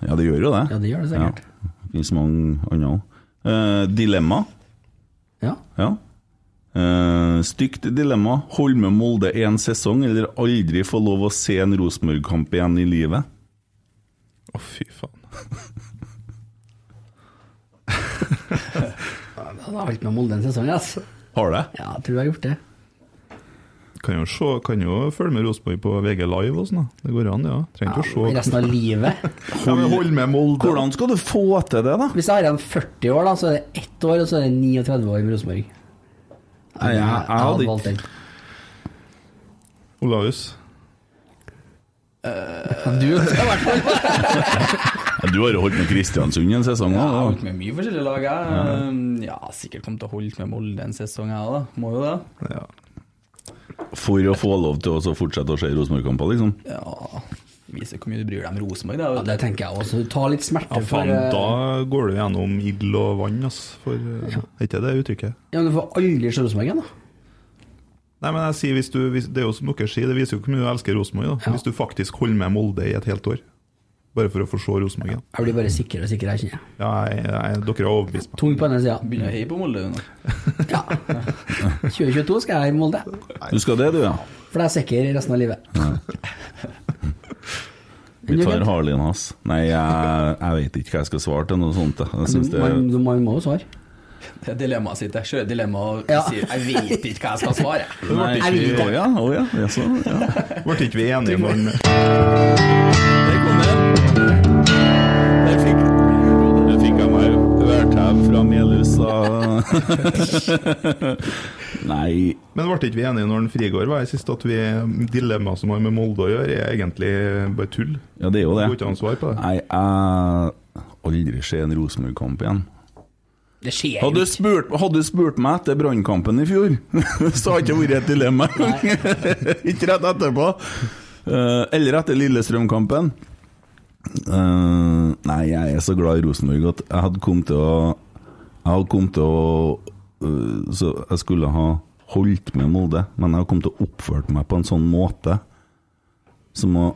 F: Ja, det gjør jo det.
K: Ja, det gjør det sikkert.
F: Ja. Det finnes mange andre òg. dilemma.
K: Ja.
F: Eh, stygt dilemma. Holme Molde én sesong, eller aldri få lov å se en Rosenborg-kamp igjen i livet?
I: Å, fy faen.
K: Jeg har ikke med Molde en sesong, ass.
F: Har det?
K: Ja, jeg tror jeg har gjort det.
I: Kan jo, se, kan jo følge med Rosenborg på VG Live og sånn, da. Det går an, ja. Trenger ikke å se.
K: Resten av livet.
I: Ja, men hold med Molde.
F: Hvordan skal du få til det, da?
K: Hvis jeg har igjen 40 år, da, så er det ett år, og så er det 39 år med Rosenborg.
F: Nei, jeg, jeg hadde ikke
K: den.
I: Olaus?
K: Du
H: Eh,
K: skal være
F: Ja, Du har jo holdt med Kristiansund en sesong
H: Jeg har
F: òg.
H: holdt med mye forskjellige lag, jeg. Um, Ja, sikkert kom til å holde med Molde en sesong, jeg da. Må jo det.
F: For å få lov til å så fortsette å se Rosenborg-kamper, liksom.
H: Ja, Viser hvor mye du bryr deg om Rosenborg, da.
K: det tenker jeg også. Ta litt smerte
I: Ja,
K: for
I: faen,
K: eh,
I: da går du gjennom ild og vann, ass. For, eh, Er ikke det uttrykket?
K: Ja, men Du får aldri se Rosenborg igjen, da.
I: Nei, men jeg sier hvis du, hvis, Det er jo som dere sier, det viser jo hvor mye du elsker Rosenborg. da. Hvis du faktisk holder med Molde i et helt år. Bare for å få se Rosenborg igjen.
K: Jeg blir bare sikrere og sikrere, jeg kjenner jeg.
I: Ja, jeg, jeg, dere har overbevist meg.
K: Tung på denne sida.
H: Begynner å heie på Molde nå.
K: 2022 skal jeg i Molde,
F: Du skal det, du, ja?
K: for det er sikker resten av livet.
F: Vi tar Harlien hans. Nei, jeg, jeg vet ikke hva jeg skal svare til noe sånt. jeg. Jeg synes det
K: Man, man må jo svare.
H: Det er dilemmaet sitt. Jeg kjører dilemma og sier 'jeg vet ikke hva jeg skal svare'.
F: Nei,
H: Jeg vet
F: ikke-
H: ikke.
F: ja, å ja, ja, sånn, ja.
I: Ble ikke vi enige om den?
F: Der fikk, der fikk jeg meg værtau fra Melhusa. Nei
I: Men ble ikke vi enige når den Frigård var her sist, at vi dilemmaet som har med Molde å gjøre, er egentlig bare tull?
F: Ja, det er jo det.
I: Går ikke an å svare på det.
F: Nei, jeg aldri se en Rosenborg-kamp igjen.
K: Det skjer
F: Hadde du spurt, hadde du spurt meg etter Brannkampen i fjor, så hadde det ikke vært et dilemma. ikke rett etterpå. Eh, eller etter Lillestrøm-kampen. Eh, nei, jeg er så glad i Rosenborg at jeg hadde kommet til å Jeg hadde kommet til å eh, Så jeg skulle ha holdt med Molde, men jeg hadde kommet til å oppført meg på en sånn måte som har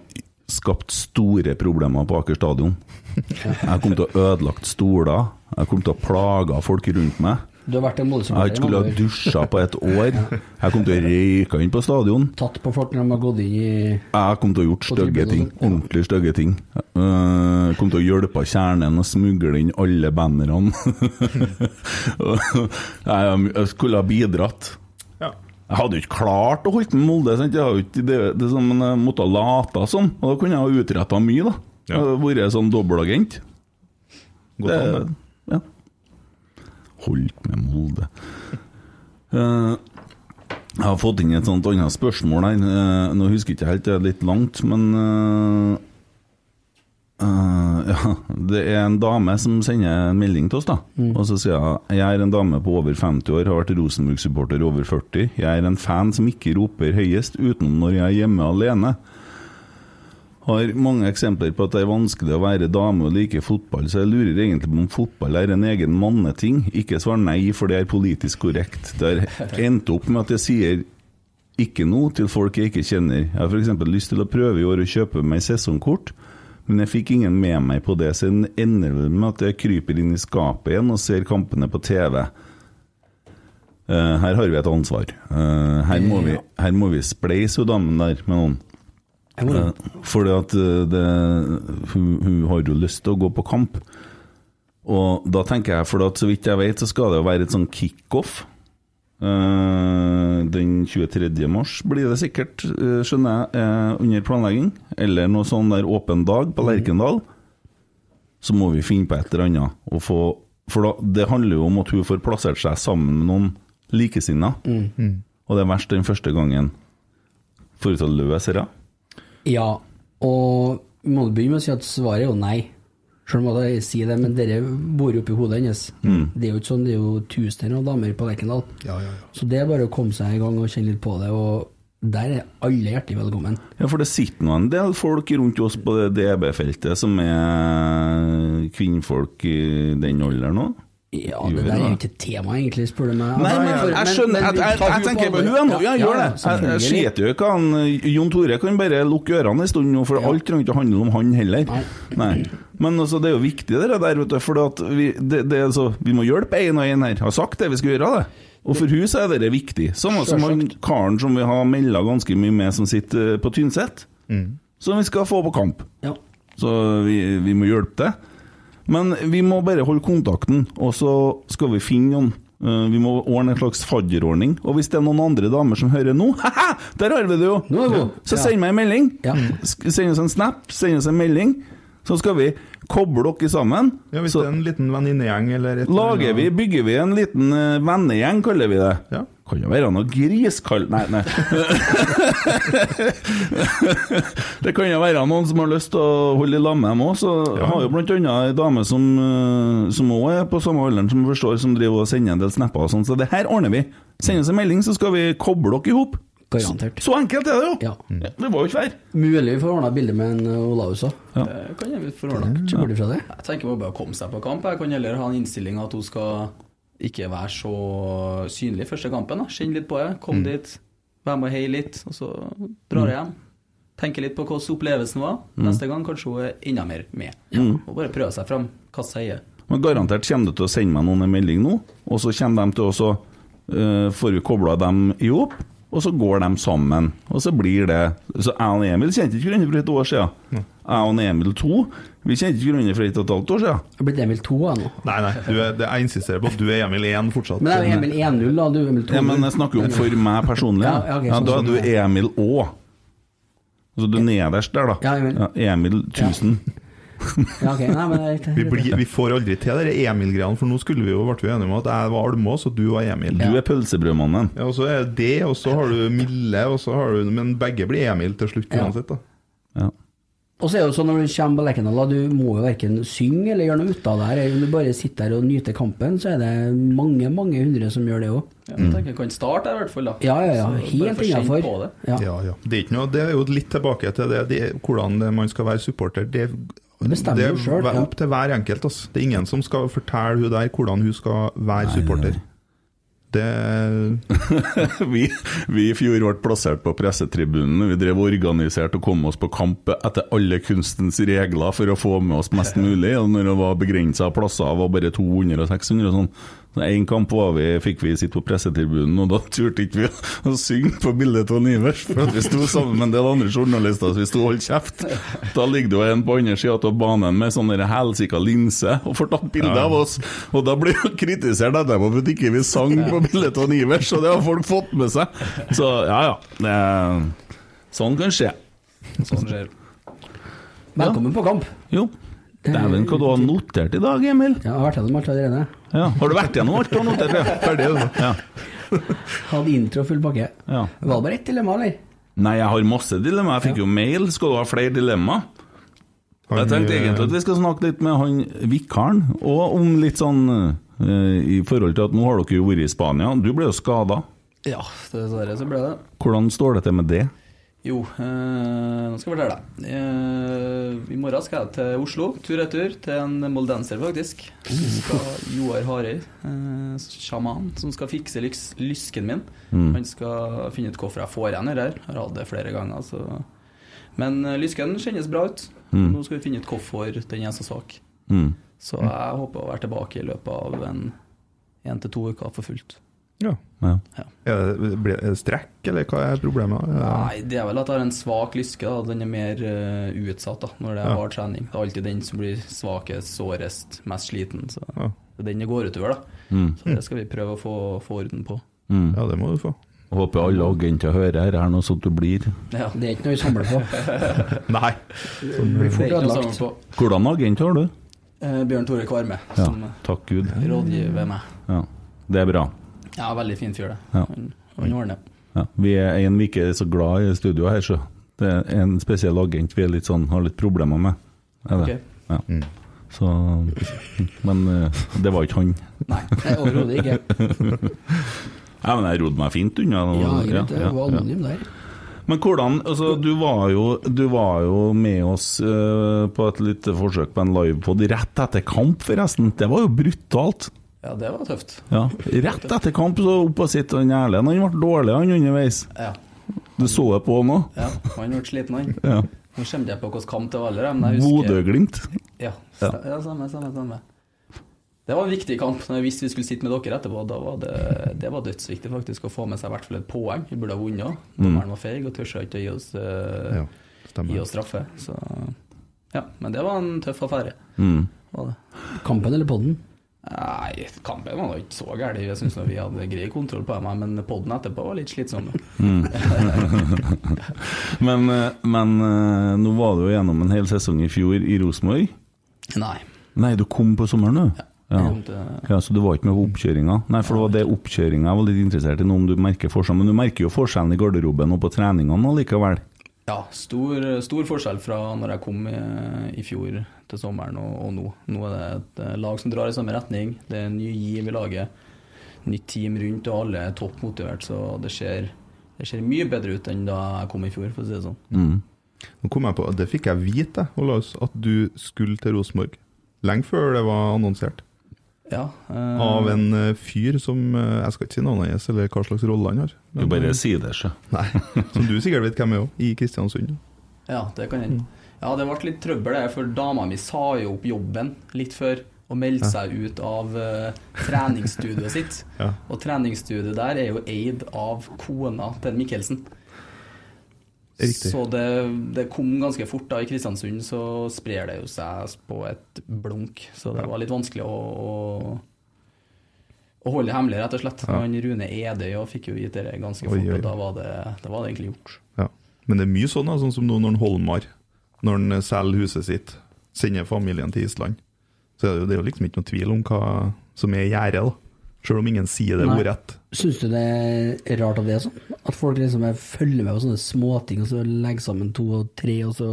F: skapt store problemer på Aker stadion. Jeg kom til å ha ødelagt stoler, jeg kom til å ha plaga folk rundt meg.
K: Du har vært en
F: Jeg har
K: Molde-supporter.
F: ikke skulle ha dusja på et år. Jeg kom til å røyke inn på stadion.
K: Tatt på folk når de har gått inn i
F: Jeg kom til å ha gjort stygge ting. Ordentlig stygge ting. Jeg kom til å hjelpe kjernen og smugle inn alle bannerne. Jeg jeg skulle ha bidratt.
I: Ja.
F: Jeg hadde jo ikke klart å holde med Molde, sant? Jeg, hadde jo ikke, det, det, er sånn, men jeg måtte ha lata som. Og da kunne jeg ha utretta mye, da. Jeg hadde Vært sånn dobbeltagent.
I: Godt
F: Det-
I: an, det.
F: Ja. Holdt med Molde. Eh, jeg har fått inn et sånt annet spørsmål her. Eh, nå husker jeg ikke helt, det er litt langt, men eh, eh, ja, Det er en dame som sender en melding til oss, da. Og så sier hun Jeg er en dame på over 50 år, har vært Rosenborg-supporter over 40. Jeg er en fan som ikke roper høyest utenom når jeg er hjemme alene. Har mange eksempler på at det er vanskelig å være dame og like fotball, så jeg lurer egentlig på om fotball er en egen manneting. Ikke svar nei, for det er politisk korrekt. Det har endt opp med at jeg sier ikke noe til folk jeg ikke kjenner. Jeg har f.eks. lyst til å prøve i år å kjøpe meg sesongkort, men jeg fikk ingen med meg på det, så det ender vel med at jeg kryper inn i skapet igjen og ser kampene på TV. Eh, her har vi et ansvar. Eh, her, må vi, her må vi spleise hun damen der med noen. Eh, Fordi at eh, det, hun, hun har jo lyst til å gå på kamp. Og da tenker jeg, for at så vidt jeg vet, så skal det jo være et sånn kickoff. Eh, den 23. mars blir det sikkert, eh, skjønner jeg, eh, under planlegging. Eller noe sånn der åpen dag på Lerkendal. Så må vi finne på et eller annet. Og få, for da, det handler jo om at hun får plassert seg sammen med noen likesinnede.
K: Mm.
F: Og det er verst den første gangen. Får hun til å løse det?
K: Ja, og vi må begynne med å si at svaret er jo nei. Selv om jeg sier det, men dere bor jo oppi hodet hennes.
F: Mm.
K: Det er jo ikke sånn, det er jo tusener av damer på Lerkendal. Så det er bare å komme seg i gang og kjenne litt på det, og der er alle hjertelig velkommen.
F: Ja, for det sitter nå en del folk rundt oss på det DB-feltet som er kvinnfolk i den alderen òg.
K: Ja, Det der er jo ikke et tema, egentlig, spør du meg.
F: Nei,
K: Altså,
F: men
K: for-
F: jeg skjønner Jeg,
K: vi tar
F: jeg, jeg
K: hun på
F: tenker på
K: alvor.
F: hun nå. Ja, gjør det. Jeg, jeg
K: selvfølgelig.
F: skiter jo ikke han Jon Tore kan bare lukke ørene en stund nå, for alt trenger ikke å handle om han heller. Nei. Men altså, det er jo viktig, det der, vet du. For at vi, det, det er så, vi må hjelpe en og en her. Har sagt det, vi skal gjøre det. Og for hun så er dette viktig. Samme som han karen som vi har melda ganske mye med, som sitter eh, på Tynset.
K: Mm.
F: Som vi skal få på kamp.
K: Ja.
F: Så vi, vi må hjelpe til. Men vi må bare holde kontakten, og så skal vi finne noen. Eh, Vi må ordne en slags fadderordning. Og hvis det er noen andre damer som hører nå, haha, der har vi det jo! Så
K: Ja.
F: send meg Mm. en melding. Sk- Send oss en snap, send oss en melding. Så skal vi koble dere sammen.
I: Ja, hvis det er en liten venninnegjeng eller et
F: Lager vi, bygger vi en liten eh, vennegjeng, kaller vi det.
I: Ja.
F: Kan jo være noe griskall... Nei, nei. det kan jo være noen som har lyst til å holde i lag med dem òg. Så jeg har jo blant annet ei dame som, eh, som òg er på samme alderen som forstår, som driver og sender en del snapper og sånn. Så det her ordner vi. Send oss en melding, så skal vi koble dere i hop.
K: Garantert.
F: Så enkelt er det jo!
K: Ja.
F: Det var jo ikke verre.
K: Mulig vi får ordna bilde med en uh, Olaus òg.
F: Ja.
H: Det kan jeg vel forordne.
K: Ikke bort ifra det.
H: Jeg tenker bare å komme seg på kamp. Jeg kan heller ha en innstilling at hun skal ikke være så synlig første kampen. da. Kjenne litt på det. Kom dit, være med og heie litt, og så drar jeg hjem. Tenke litt på hvordan opplevelsen var.
F: Mm.
H: Neste gang kanskje hun er enda mer med.
F: Mm.
H: Og bare prøve seg fram. Kaste seg i det.
F: Men garantert kommer du til å sende meg noen en melding nå, og så kommer de til å så eh, får vi kobla dem i hop, og så går de sammen. Og så blir det Så jeg og Emil kjente ikke hverandre for et år
I: Mm.
F: siden. Jeg og Emil 2 vi kjente ikke hverandre for et og et halvt år siden.
K: Jeg er blitt Emil 2 jeg nå.
I: Nei, nei, du er, det, jeg insisterer på at du er Emil 1 fortsatt.
K: Men det er jo Emil 1-0, da. Du er Emil 2
F: Ja, men jeg snakker jo om for meg personlig.
K: Ja,
F: Ja,
K: ja, ok, sånn,
F: da er du
K: sånn, ja.
F: Emil Å. Altså du er nederst der, da. Ja, Emil 1000.
K: Ja, ok, nei, men det er riktig.
I: Vi, blir, vi får aldri til de Emil-greiene, for nå skulle vi jo ble vi enige om at jeg var Almås og du var Emil.
F: Du er pølsebrødmannen.
I: Ja, og så er det, og så har du Mille, og så har du Men begge blir Emil til slutt uansett, da.
K: Og så er det jo sånn når du kommer på Lerkendal, da, du må jo verken synge eller gjøre noe ut av det her. Om du bare sitter her og nyter kampen, så er det mange, mange hundre som gjør det òg.
H: Ja, Jeg tenker jeg kan starte her i hvert fall, da.
K: Ja, ja, ja.
H: Så bare
K: Helt
H: få kjenne
K: innenfor.
H: på det.
I: Ja, ja. Det, er ikke noe, det er jo litt tilbake til det, det hvordan det- man skal være supporter. Det,
K: bestemmer
I: det
K: du selv,
I: er
K: ja.
I: opp til hver enkelt. Altså. Det er ingen som skal fortelle hun der hvordan hun skal være supporter. Det
F: vi, vi i fjor ble plassert på pressetribunene. Vi drev organisert og kom oss på kamp etter alle kunstens regler for å få med oss mest mulig. Og når det var begrensa plasser, var bare 200 og 600 og sånn. Så en kamp var vi, fikk vi sitte på pressetribunen, og da turte ikke vi å- å synge på bildet av Nivers. For at vi sto sammen med en del andre journalister, så vi sto og holdt kjeft. Da ligger det jo en på andre sida av banen med sånn der helsika linse og får tatt bilde
I: Ja.
F: av oss. Og da blir jo kritisert etterpå for at ikke vi sang på bildet av Nivers, og det har folk fått med seg. Så ja, ja. Det, er- sånn kan skje.
H: Sånn skjer.
K: Velkommen på kamp.
F: Jo. Dæven, hva du har notert i dag, Emil?
K: Ja, jeg har vært gjennom alt allerede.
F: Ja. Har du vært gjennom alt du har notert? Ja. Ferdig, du. Ja.
K: Hadde intro full pakke.
F: Ja.
K: Var det bare ett dilemma, eller?
F: Nei, jeg har masse dilemma. Jeg fikk jo mail. Skal du ha flere dilemma? Jeg tenkte egentlig at vi skal snakke litt med han vikaren, og om litt sånn eh, i forhold til at nå har dere jo vært i Spania. Du ble jo skada.
H: Ja, dessverre så ble det.
F: Hvordan står det til med det?
H: Jo, eh, nå skal jeg fortelle deg. Eh, I morgen skal jeg til Oslo, tur-retur, til en moldenser, faktisk. Skal Joar Harøy, eh, sjaman, som skal fikse lyks, lysken min.
D: Mm.
H: Han skal finne ut hvorfor jeg får igjen det her. Jeg har hatt det flere ganger. Så. Men eh, lysken kjennes bra ut.
D: Mm.
H: Nå skal vi finne ut hvorfor den er så svak.
F: Mm.
H: Så jeg håper å være tilbake i løpet av en én til to uker for fullt.
I: Ja. Er det, ble, er det strekk, eller hva er problemet?
H: Nei, det er vel at jeg har en svak lyske. da, Den er mer eh, utsatt da, når det er
I: Ja.
H: hard trening. Det er alltid den som blir svakest, sårest, mest sliten. Så
I: Ja.
H: det er den det går utover, da.
F: Mm.
H: Så det skal vi prøve å få, få orden på.
I: eh, Ja, det må du få.
F: Håper alle agenter hører her, her nå, sånn at du blir
H: Ja.
K: Det er ikke noe vi samler på.
I: Nei.
K: blir fort
H: Det er ikke noe å
K: ødelagt.
H: samle på.
F: Hvordan agent har du?
H: Eh, Bjørn Tore Kvarme,
F: Ja,
H: som eh,
F: takk Gud.
H: rådgiver meg.
F: Ja, det er bra.
H: Ja, veldig fin fyr, det.
F: Ja.
H: Han, han ordner.
F: Ja, vi er en vi ikke er så glad i studio her, så det er en spesiell agent vi er litt sånn, har litt problemer med. Er det?
H: Ok.
F: Ja. Så, men eh, det var ikke han.
H: Nei,
K: nei, overhodet ikke.
F: ja, men jeg rodde meg fint unna. nå.
K: Ja, greit, det
F: ja,
K: var
F: ja.
K: anonym der.
F: Men hvordan altså, du, var jo, du var jo med oss eh, på et lite forsøk på en livepod rett etter kamp, forresten. Det var jo brutalt.
H: Ja, det var tøft.
F: Ja. Rett etter kamp så opp og sitte han Erlend. Han ble dårlig han underveis.
H: Ja.
F: Du så det på han òg?
H: Ja, han ble sliten, han.
F: Ja.
H: Nå skjønte jeg på hvilken kamp det var, eller, men jeg husker
F: Bodø-Glimt.
H: Ja,
F: Ja.
H: sta- ja samme, samme, samme. Det var en viktig kamp. Når jeg visste vi skulle sitte med dere etterpå, da var det, det var dødsviktig faktisk å få med seg i hvert fall et poeng. Vi burde ha vunnet. også.
F: Mm.
H: Dommeren var feig og tørsa ikke å gi oss, eh,
I: Ja, stemmer.
H: gi oss straffe. Så ja, men det var en tøff affære.
F: Mm.
H: Var det.
K: Kampen eller podden?
H: Nei, kampen var nå ikke så gæren. Jeg syns vi hadde grei kontroll på dem, men podden etterpå var litt slitsom.
F: Mm. men, eh, men eh, nå var du jo gjennom en hel sesong i fjor i Rosenborg.
H: Nei.
F: Nei, du kom på sommeren, du? Ja.
H: kom til-
F: ja, Så du var ikke med på oppkjøringa? Nei, for det var det oppkjøringa jeg var litt interessert i, nå om du merker forskjellen. Men du merker jo forskjellen i garderoben og på treningene allikevel.
H: Ja, stor, stor forskjell fra når jeg kom i, i fjor til sommeren og, og nå. Nå er det et eh, lag som drar i samme retning. Det er en ny giv i laget. Nytt team rundt, og alle er topp motivert. Så det ser, det ser mye bedre ut enn da jeg kom i fjor, for å si det sånn.
F: Mm.
I: Nå kom jeg på, Det fikk jeg vite, jeg, Olaus, at du skulle til Rosenborg. Lenge før det var annonsert.
H: Ja, eh,
I: Av en eh, fyr som eh, Jeg skal ikke si navnet hans, eller hva slags rolle han har. eh,
F: Du bare sier det, sjø.
I: Nei, Som du sikkert vet hvem er òg, i Kristiansund.
H: Ja, det kan hende.
I: Mm.
H: Ja, det ble litt trøbbel der, for dama mi sa jo opp jobben litt før og meldte
I: Ja.
H: seg ut av eh, treningsstudioet sitt.
I: Ja.
H: Og treningsstudioet der er jo eid av kona til Mikkelsen.
I: Riktig.
H: Så det, det kom ganske fort. da I Kristiansund så sprer det jo seg på et blunk. Så det var litt vanskelig å, å, å holde det hemmelig, rett og slett.
I: Ja.
H: Men Rune Edøy og fikk jo gitt det ganske
I: Oi,
H: fort,
I: oi.
H: og da var, det, da var det egentlig gjort.
I: Ja. Men det er mye sånn, da, sånn som nå når en Holmar Når han eh, selger huset sitt, sender familien til Island, så er det jo, det er jo liksom ikke noe tvil om hva som er gjerdet, da. Selv om ingen sier det
K: Nei.
I: ordrett.
K: Syns du det er rart at det er sånn? At folk liksom er- følger med på sånne småting, og så legger sammen to og tre, og så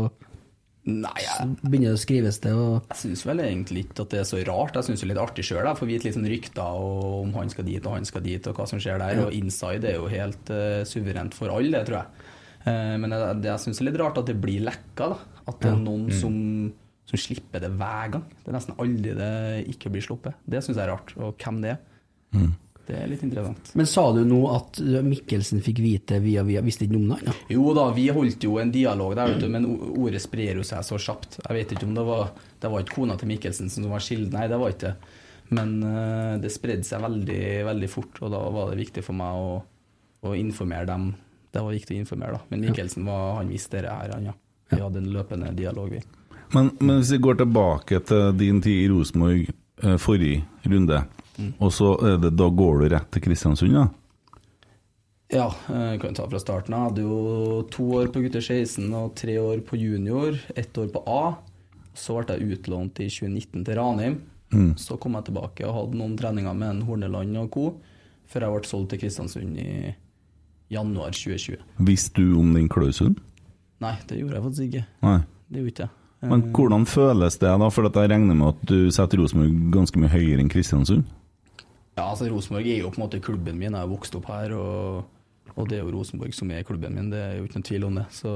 H: Nei,
K: så begynner det å skrives det, og
H: Jeg syns vel egentlig ikke at det er så rart. Jeg syns det er litt artig sjøl. Får vite litt sånn rykter og om han skal dit og han skal dit, og hva som skjer der.
K: Ja.
H: Og inside er jo helt eh, suverent for alle, det tror jeg. Eh, men jeg, det jeg syns er litt rart at det blir lekka. da. At det er
K: Ja. Mm.
H: noen som, som slipper det hver gang. Det er nesten aldri det ikke blir sluppet. Det syns jeg er rart. Og hvem det er.
K: Mm.
H: Det er litt interessant.
K: Men sa du nå at Mikkelsen fikk vite via via, visste ikke noe om det? Ja.
H: Jo da, vi holdt jo en dialog der, vet du, men o- ordet sprer jo seg så kjapt. Jeg vet ikke om det var Det var ikke kona til Mikkelsen som var kilden, nei, det var ikke det. Men eh, det spredde seg veldig, veldig fort, og da var det viktig for meg å, å informere dem. Det var viktig å informere, da. Men Mikkelsen var, han visste det her, han, ja. Vi hadde en løpende dialog, vi.
F: Men, men hvis vi går tilbake til din tid i Rosenborg eh, forrige runde,
H: Mm.
F: og så er det, da går du rett til Kristiansund, da?
H: Ja, eh, kan jo ta fra starten av. Jeg hadde jo to år på gutter 16 og tre år på junior. Ett år på A. Så ble jeg utlånt i 2019 til Ranheim.
F: Mm.
H: Så kom jeg tilbake og hadde noen treninger med en Horneland og co. Før jeg ble solgt til Kristiansund i januar 2020.
F: Visste du om den klausulen?
H: Nei, det gjorde jeg faktisk ikke.
F: Nei.
H: Det gjorde ikke jeg. Eh,
F: Men hvordan føles det, da? For at jeg regner med at du setter Rosenborg ganske mye høyere enn Kristiansund?
H: Ja, altså Rosenborg er jo på en måte klubben min. Jeg har vokst opp her, og, og det er jo Rosenborg som er klubben min. Det er jo ikke noen tvil om det. Så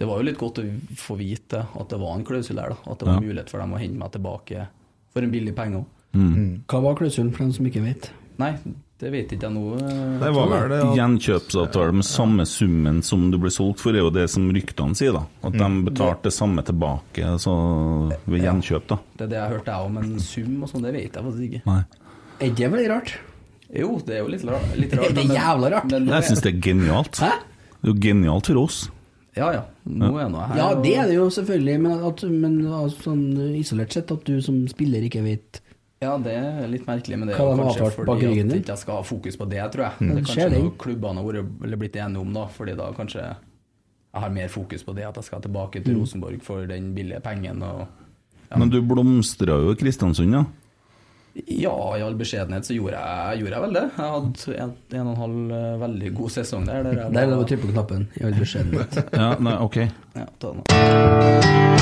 H: det var jo litt godt å få vite at det var en klausul der, da. At det var
F: Ja.
H: mulighet for dem å hente meg tilbake for en billig penge òg.
F: Mm.
H: Mm.
K: Hva var klausulen for dem som ikke vet?
H: Nei, det vet ikke jeg nå.
I: Det var vel det at-
F: Gjenkjøpsavtale med samme summen som du ble solgt for, er jo det som ryktene sier, da. At de betalte det samme tilbake så ved gjenkjøp, da.
H: Det er det jeg hørte jeg òg, men sum og sånn, det vet jeg faktisk ikke.
F: Nei.
K: Er det veldig rart?
H: Jo, det er jo litt rart. Litt
G: Det
H: rart
G: er
H: men-
G: jævla rart.
H: men-
F: Jeg syns det er genialt. Det er jo genialt for oss.
H: Ja, ja. Nå er nå her.
K: Ja,
H: og-
K: det er det jo selvfølgelig, men, at, men altså, sånn isolert sett at du som spiller ikke vet
H: Ja, det er litt merkelig, men det er
K: Hva
H: jo
K: de har
H: kanskje
K: avtalt bak
H: fordi
K: ryggen
H: at
K: din?
H: ikke jeg skal ha fokus på det, tror jeg.
K: Mm.
H: Det er
K: Skjer
H: kanskje
K: det.
H: noe klubbene har vært- eller blitt enige om, da, fordi da kanskje jeg har mer fokus på det, at jeg skal tilbake til
F: Mm.
H: Rosenborg for den billige pengen. Og
F: Men du blomstra jo i Kristiansund, ja.
H: ja, i all beskjedenhet så gjorde jeg, gjorde jeg vel det. Jeg hadde en, en og en halv eh, veldig god sesong der. der
K: Der er det å trykke på knappen. I all beskjedenhet.
F: ja nei, ok.
H: Ja, ta den.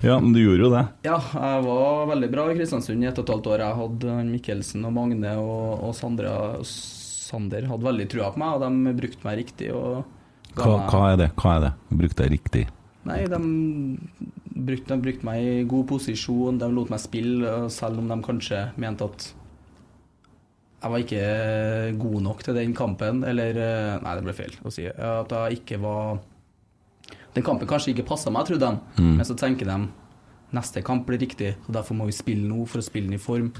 F: Ja, men du gjorde jo det.
H: Ja, jeg var veldig bra i Kristiansund i ett og et halvt år. Jeg hadde han Mikkelsen og Magne og, og Sandra, Sander hadde veldig trua på meg, og de brukte meg riktig. Og ga
F: Hva,
H: meg-
F: hva er det? Hva er det? Brukte jeg riktig?
H: Nei, de brukte, de brukte meg i god posisjon, de lot meg spille, og selv om de kanskje mente at jeg var ikke god nok til den kampen, eller eh, Nei, det ble feil å si. At jeg ikke var Den kampen kanskje ikke passa meg, trodde de,
D: Mm.
H: men så tenker de neste kamp blir riktig, og derfor må vi spille nå for å spille den i form.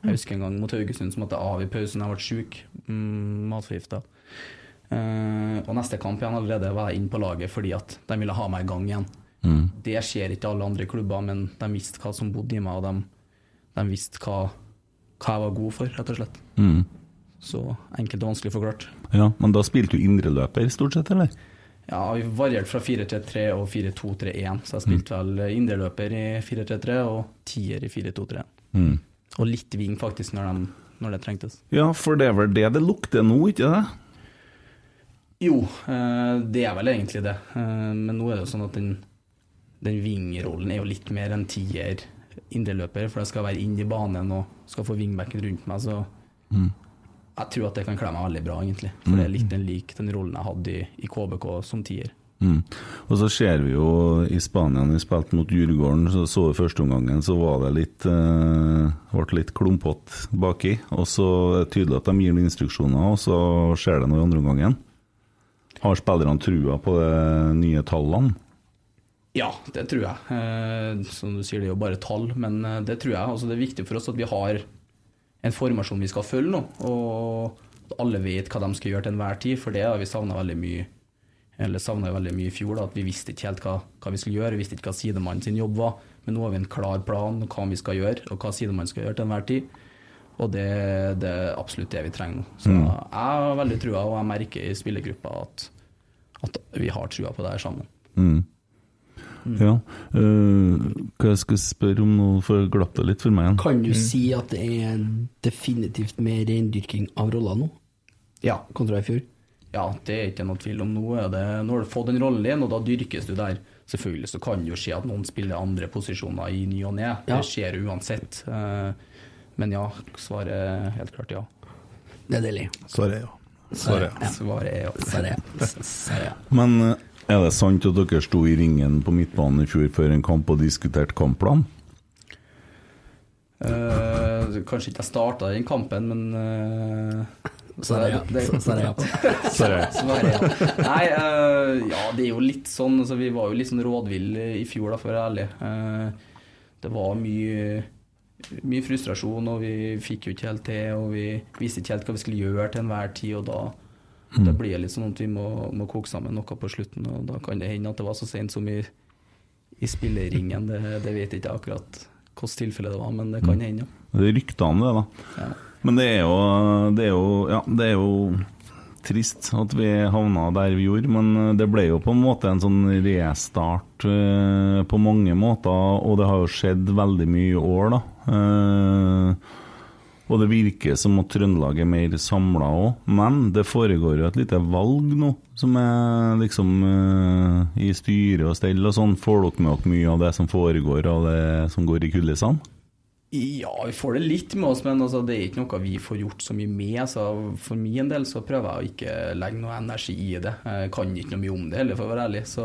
H: Jeg husker en gang mot Haugesund som måtte jeg av i pausen, jeg ble sjuk, mm, matforgifta. Eh, og neste kamp igjen allerede var jeg inne på laget fordi at de ville ha meg i gang igjen.
F: Mm.
H: Det skjer ikke i alle andre klubber, men de visste hva som bodde i meg, og de, de visste hva, hva jeg var god for, rett og slett.
F: Mm.
H: Så enkelt og vanskelig forklart.
F: Ja, men da spilte du indreløper stort sett, eller?
H: Ja, vi varierte fra 4-3-3 og 4-2-3-1, så jeg spilte vel indreløper i 4-3-3 og tier i 4-2-3-1.
F: Mm.
H: Og litt ving faktisk når, de, når det trengtes.
F: Ja, for det er vel det det lukter nå, ikke det?
H: Jo, eh, det er vel egentlig det. Eh, Men nå er det jo sånn at den, den vingrollen er jo litt mer enn tier indreløper, for jeg skal være inn i banen og skal få vingbacken rundt meg. Så
F: Mm.
H: jeg tror at det kan kle meg veldig bra, egentlig. For det er litt den lik den rollen jeg hadde i, i KBK som tier.
F: Mm. Og så ser vi jo i Spania, når vi spilte mot Djurgården, så så vi første omgangen, så var det litt eh, ble litt klumpete baki. Og så er det tydelig at de gir noen instruksjoner, og så skjer det noe i andre omgangen. Har spillerne trua på de nye tallene?
H: Ja, det tror jeg. Eh, Som du sier, det er jo bare tall, men eh, det tror jeg. Altså, det er viktig for oss at vi har en formasjon vi skal følge nå, og at alle vet hva de skal gjøre til enhver tid, for det har vi savna veldig mye. Eller savna veldig mye i fjor, da, at vi visste ikke helt hva, hva vi skulle gjøre. Vi visste ikke hva sidemannen sin jobb var, men nå har vi en klar plan om hva vi skal gjøre, og hva sidemannen skal gjøre til enhver tid. Og det, det er absolutt det vi trenger nå. Så
F: Mm.
H: jeg har veldig trua, og jeg merker i spillergruppa at, at vi har trua på det her sammen.
F: Mm. Ja. eh, hva jeg skal spørre om nå, for jeg glapp det litt for meg igjen.
K: Kan du
F: Mm.
K: si at det er definitivt mer reindyrking av roller nå?
H: Ja.
K: Kontra i fjor?
H: Ja, det er ikke noe tvil om. Nå, er det, nå har du fått den rollen din, og da dyrkes du der. Selvfølgelig så kan det jo skje at noen spiller andre posisjoner i ny og ne.
K: Ja.
H: Det skjer uansett. Eh, Men ja, svaret er helt klart ja.
K: Det er deilig.
I: Svaret er ja.
H: Svaret er ja. Svaret er ja. Svaret er ja.
F: Men eh, er det sant at dere sto i ringen på midtbanen i fjor før en kamp og diskuterte kampplan?
H: Eh, kanskje ikke jeg starta den kampen, men eh,
K: Så er det ja. Så er det ja.
H: Så er det- så er det ja. Nei, eh, ja, det er jo litt sånn altså, Vi var jo litt sånn rådville i fjor, da, for å være ærlig. Eh, det var mye mye frustrasjon, og vi fikk jo ikke helt til. Og vi visste ikke helt hva vi skulle gjøre til enhver tid, og da, da blir det litt sånn at vi må, må koke sammen noe på slutten. Og da kan det hende at det var så sent som i, i spilleringen, det, det vet jeg ikke akkurat hvilket tilfelle det var, men det kan hende. ja.
F: Det er rykter om det, da. Men det er jo, det er jo Ja, det er jo trist at vi havna der vi gjorde, men eh, det ble jo på en måte en sånn restart eh, på mange måter, og det har jo skjedd veldig mye i år, da. Eh, og det virker som at Trøndelag er mer samla òg, men det foregår jo et lite valg nå, som er liksom eh, i styre og stell og sånn. Får dere med dere mye av det som foregår, og det som går i kulissene?
H: Ja, vi får det litt med oss, men altså, det er ikke noe vi får gjort så mye med. Så for min del så prøver jeg å ikke legge noe energi i det. Jeg kan ikke noe mye om det heller, for å være ærlig. Så,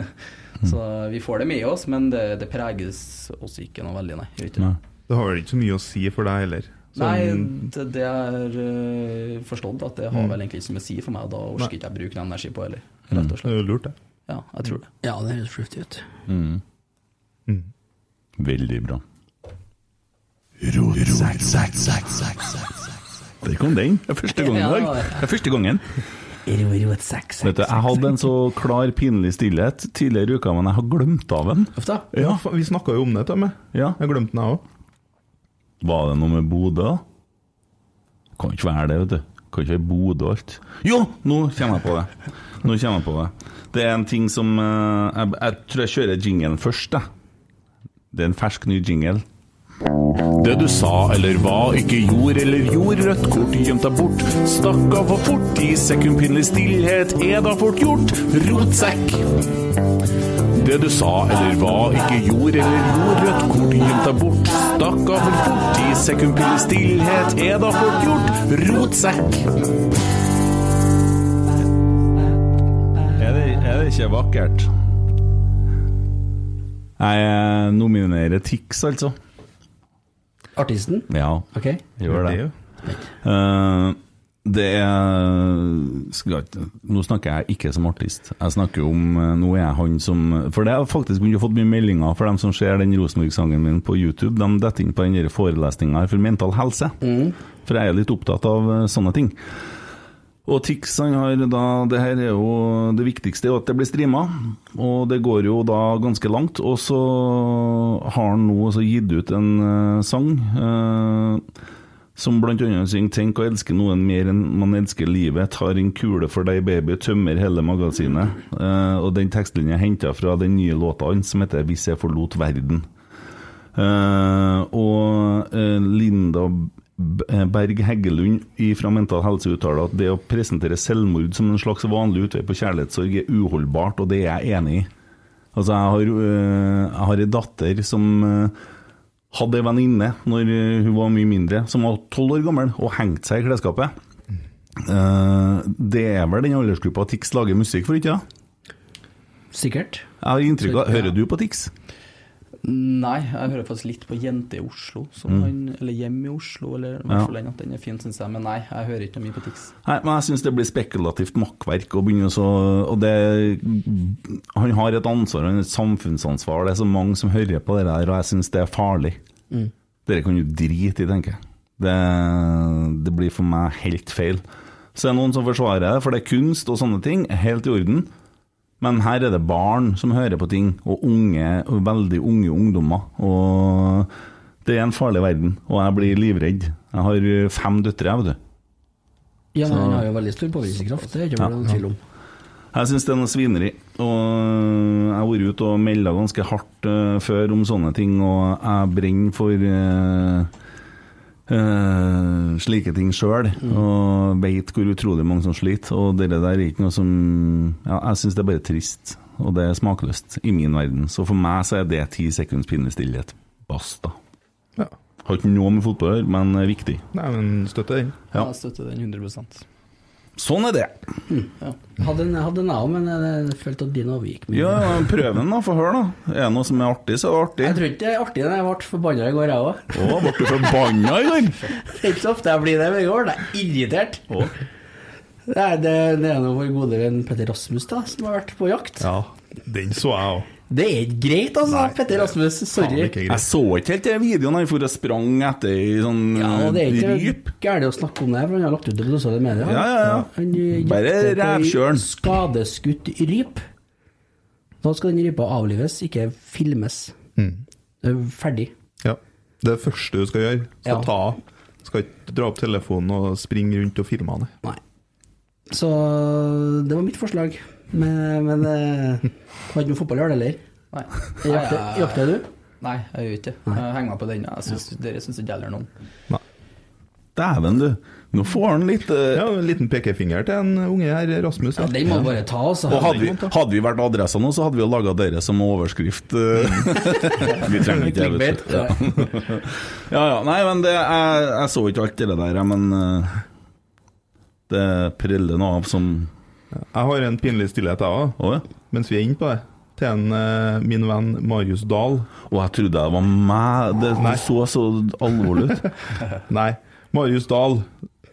H: så vi får det med oss, men det, det preges oss ikke noe veldig, nei. Gjør ikke det.
I: Det har vel ikke så mye å si for deg heller? Sånn,
H: Nei, det, det er øh, forstått at det har
I: Mm.
H: vel egentlig ikke så mye å si for meg, og da orker ikke jeg bruke noe energi på heller.
I: rett og slett. Det er jo lurt, det.
H: Ja, jeg tror det.
K: Ja, det høres fornuftig ut.
F: Veldig bra. Rotsekk, sekk, sekk, sekk, Der kom den. Det er første gangen i dag. Det er første gangen. Vet du, jeg hadde en så klar, pinlig stillhet tidligere i uka, men jeg har glemt av den.
I: Ja, fa- vi snakka jo om det, Tømme.
F: Ja.
I: Jeg glemte den, jeg òg.
F: Var det noe med Bodø, da? Kan ikke være det, vet du. Kan ikke være Bodø og alt. Jo, nå kommer jeg på det. Nå kommer jeg på det. Det er en ting som eh, jeg, jeg tror jeg kjører jinglen først, jeg. Det er en fersk ny jingle.
L: Det du sa eller hva, ikke gjorde eller gjorde, rødt kort gjemt deg bort. Stakk av for fort, i sekundpinlig stillhet er da fort gjort. Rotsekk. Det du sa eller hva, ikke gjorde eller gjorde, rødt kort gjemt deg bort. Stakk av for fort, i sekundpinlig stillhet er da fort gjort. Rotsekk.
F: Er det, er det ikke vakkert? Jeg nominerer Tix, altså.
K: Artisten?
F: Ja,
K: Ok.
F: gjør det. Eh, det er skal ikke, Nå snakker jeg ikke som artist. Jeg snakker om eh, Nå er jeg han som For det har jeg faktisk begynt å fått mye meldinger for dem som ser den Rosenborg-sangen min på YouTube. De detter inn på den forelesninga for mental helse. For jeg er litt opptatt av eh, sånne ting. Og Tix han har da Det her er jo det viktigste er jo at det blir streama, og det går jo da ganske langt. Og så har han nå også gitt ut en eh, sang eh, som blant annet synger 'Tenk å elske noen mer enn man elsker livet', 'Tar en kule for deg, baby', tømmer hele magasinet. Eh, og den tekstlinja er henta fra den nye låta hans som heter 'Hvis jeg forlot verden'. Eh, og eh, Linda B- eh, Berg Heggelund fra Mental Helse uttaler at det å presentere selvmord som en slags vanlig utvei på kjærlighetssorg er uholdbart, og det er jeg enig i. Altså, jeg har, eh, jeg har en datter som eh, hadde en venninne når eh, hun var mye mindre, som var tolv år gammel og hengte seg i klesskapet. Eh, det er vel den aldersgruppa Tix lager musikk for, ikke da?
K: Sikkert.
F: Jeg har inntrykk av Hører du på Tix?
H: Nei, jeg hører faktisk litt på Jente i Oslo, som
F: Mm.
H: han, eller Hjem i Oslo, eller i
F: Ja.
H: hvert fall den at den er fin, syns jeg. Men nei, jeg hører ikke noe mye på Tix.
F: Nei, men jeg syns det blir spekulativt makkverk. Og, begynner så- og det, han har et ansvar, han har et samfunnsansvar. Det er så mange som hører på det der, og jeg syns det er farlig.
K: Mm.
F: Dere kan jo drite i, tenker jeg. Det, det blir for meg helt feil. Så er det noen som forsvarer det, for det er kunst og sånne ting. Helt i orden. Men her er det barn som hører på ting, og unge, og veldig unge ungdommer. Og det er en farlig verden, og jeg blir livredd. Jeg har fem døtre, jeg, vet du.
K: Ja, men
F: Så-
K: han har jo veldig stor påvirkningskraft, det er ikke noe
F: Ja.
K: tvil om.
F: Jeg syns det er noe svineri. Og jeg har vært ute og melda ganske hardt eh, før om sånne ting, og jeg brenner for eh, eh, slike ting sjøl, og veit hvor utrolig mange som sliter. Og det der er ikke noe som ja, Jeg syns det er bare trist, og det er smakløst i min verden. Så for meg så er det ti sekunds pinnestillhet. Basta.
I: Ja.
F: Har ikke noe med fotball å gjøre, men er viktig.
I: Nei, men støtter den.
F: Ja.
H: Jeg støtter den 100
F: Sånn er det.
K: Hm. Hadde en, hadde en jeg òg, men jeg følte at din overgikk.
F: Ja, ja, prøv den, da. Få høre, da. Er det noe som er artig, så er det artig.
K: Jeg tror ikke det er artig, men jeg ble forbanna i går, jeg òg.
F: Å, ble du forbanna i går?
K: Det er ikke så ofte jeg blir det, men i går ble jeg irritert. Det er, det, det er noe vår gode venn Petter Rasmus da, som har vært på jakt.
I: Ja, den så jeg òg.
K: Det er ikke greit, altså, Petter Rasmus. Sorry.
F: Jeg så ikke helt den videoen han for og sprang etter i sånn
K: Ja, og det er
F: ryp.
K: ikke gærent å snakke om det, for han har lagt ut det på sosiale medier.
F: Ja, ja, ja.
K: Han eh, jakter
F: Bare
K: på ei
F: rævkjøren.
K: Skadeskutt ryp. Da skal den rypa avlives, ikke filmes. Det er ferdig.
I: Ja. Det er det første du skal gjøre. Skal
K: Ja.
I: ta av. Skal ikke dra opp telefonen og springe rundt og filme han.
K: Nei. Så det var mitt forslag. Men, men eh, har ikke noe fotball å gjøre, det,
H: Nei.
K: eller? Jakter,
H: Nei, jeg-
K: jakter du?
H: Nei, jeg gjør ikke det. Jeg henger meg på den. Jeg synes, Dere syns ikke jeg gjelder noen.
F: Dæven, du. Nå får han litt eh,
I: Ja, En liten pekefinger til en unge her, Rasmus. Ja,
K: den må bare ta, altså.
F: Og hadde vi, hadde vi vært adressa nå, så hadde vi jo laga dere som overskrift.
K: Mm.
F: vi trenger ikke det. vet du. Ja. ja ja. Nei, men det, jeg, jeg så ikke alt det der, jeg, men eh, det preller noe av som
I: Jeg har en pinlig stillhet, jeg
F: òg,
I: mens vi er inne på det. Til en, eh, min venn Marius Dahl.
F: Og jeg trodde det var meg. Det så så alvorlig ut.
I: Nei. Marius Dahl,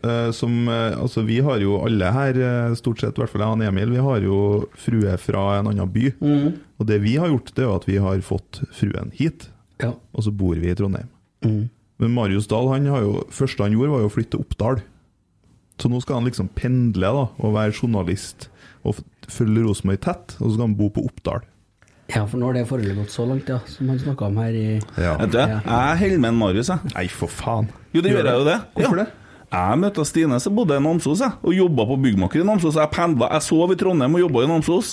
I: eh, som eh, Altså, vi har jo alle her, eh, stort sett, i hvert fall jeg og han Emil, vi har jo frue fra en annen by. Og det vi har gjort, det er jo at vi har fått fruen hit,
K: Ja. Mm.
I: og så bor vi i Trondheim. Men Marius Dahl, han har jo, første han gjorde, var jo å flytte til Oppdal. Så nå skal han liksom pendle da, og være journalist og f- følge Rosenborg tett, og så skal han bo på Oppdal.
K: Ja, for nå har det forholdet gått så langt, ja, som han snakka om her i
F: Vet du, jeg holder med en Marius, jeg.
I: Nei, for faen.
F: Jo, det
K: Gjør
F: gjør jeg jo
K: det?
F: det. Hvorfor det? Jeg møtte Stine, som bodde i Namsos, jeg, og jobba på byggmaker i Namsos. Jeg pendla, jeg sov i Trondheim og jobba i Namsos.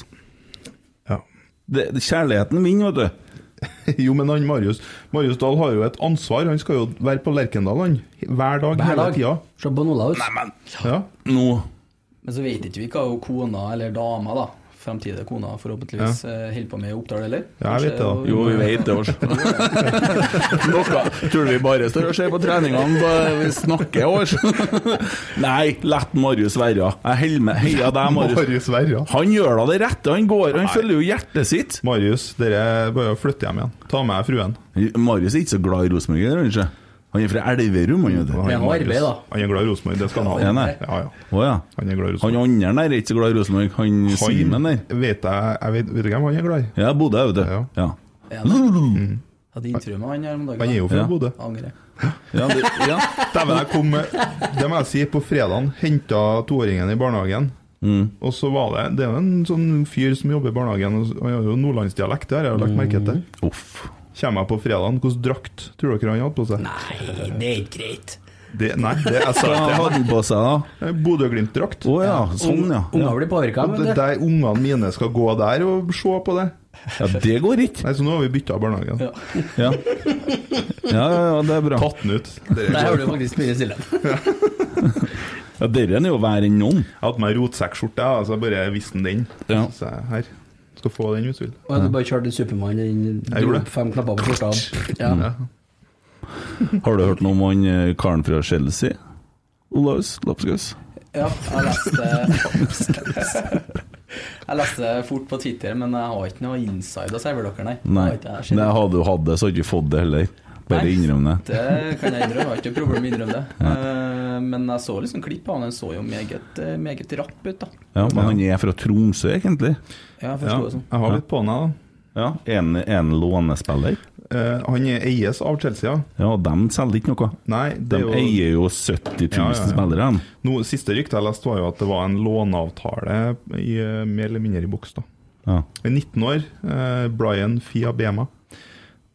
F: Det, det- kjærligheten vinner, vet du.
I: jo, men han Marius Marius Dahl har jo et ansvar. Han skal jo være på Lerkendal, han. Hver dag,
H: Hver
I: hele
H: dag.
I: tida.
K: Se på Nolaus.
F: Neimen,
I: ja.
F: nå
H: Men så vet ikke vi hva jo kona eller dama, da, fremtidige kona forhåpentligvis, eh, holder på med i Oppdal, eller?
I: Ja, jeg vet det, da.
F: Jo, vi vet det, altså. Noe tror du vi bare står og ser på treningene og vi snakker, altså? Nei, la Marius være. Jeg holder med. Heia deg, Marius.
I: Marius Verra.
F: Han gjør da det rette. Han går, han følger jo hjertet sitt.
I: Marius, dere bare flytter hjem igjen. Ta med fruen.
F: Marius er ikke så glad i Rosenborg, er han ikke? Han er fra Elverum, han, vet du.
I: Han er Marius. Han er glad i Rosenborg, det skal han
F: Ja,
I: ha.
F: nei.
I: Ja, ja.
F: Å ja.
I: Han er glad i
F: Han andre der er ikke så glad i Rosenborg. Han, Simen der.
I: Vet jeg, jeg vet, vet du hvem han er glad i?
F: Ja, Bodø, vet du. Ja.
H: Ja,
F: Mm.
H: Hadde intervju med han her om dagen.
I: Han er jo fra
H: Ja.
I: Bodø.
H: Angrer.
F: Ja, det, ja.
I: Dæven, jeg kom med Det må jeg si, på fredagen henta toåringen i barnehagen.
F: Mm.
I: Og så var det Det er jo en sånn fyr som jobber i barnehagen, og han har jo nordlandsdialekt, det har jeg jo lagt merke til.
F: Mm. Uff.
I: Kommer jeg på fredagen, hvilken drakt tror dere han hadde på seg?
K: Nei, det er ikke greit.
I: Det, nei, det jeg sa
F: Hva
I: ikke
F: hadde han på seg, da?
I: Eh, Bodø-Glimt-drakt.
F: Å ja, sånn, ja. Ja.
I: Og det- Der ungene mine skal gå der og se på det.
F: Ja, det går ikke.
I: Nei, Så nå har vi bytta barnehagen.
F: Ja. Ja, ja, ja, det er bra.
I: Tatt den ut.
G: Der har du faktisk mye stille.
F: Ja, Dere er jo verre enn noen.
I: Jeg hadde meg rotsekkskjorte, ja, så jeg bare visste den.
F: Ja.
I: Så jeg, her, skal få den hvis du vil.
K: Og jeg hadde bare kjørt en Supermann inn,
I: Jeg gjorde
K: dro opp
I: det.
K: fem knapper på skjorta. Ja.
F: Mm. Har du hørt noe om han eh, karen fra Chelsea? Olaus Lapskaus?
H: Ja, jeg leste Jeg leste fort på Twitter, men jeg har ikke noe inside å servere dere, nei.
F: Nei.
H: Jeg har ikke- jeg
F: Nei,
H: har ikke-
F: hadde du hatt det, så hadde du ikke fått det heller. Bare
H: Nei,
F: innrøm det.
H: Det kan jeg innrømme, jeg har ikke noe problem med å innrømme det. Eh, Men jeg så liksom klipp av han, han så jo meget, eh, meget rapp ut, da.
F: Ja, Men han er fra Tromsø, egentlig?
H: Ja, jeg forstår det sånn.
I: Jeg har litt på den, jeg,
F: da. Ja, En, en lånespiller?
I: Eh, han er eies av Chelsea, ja.
F: Ja, og de selger ikke noe.
I: Nei,
F: De
I: det er jo-
F: eier jo 70 000
I: Ja, ja, ja.
F: spillere. de.
I: Nå, siste rykte jeg leste, var jo at det var en låneavtale i, eh, mer eller mindre i boks. da.
F: Ja.
I: I 19 år, eh, Brian Fiabema.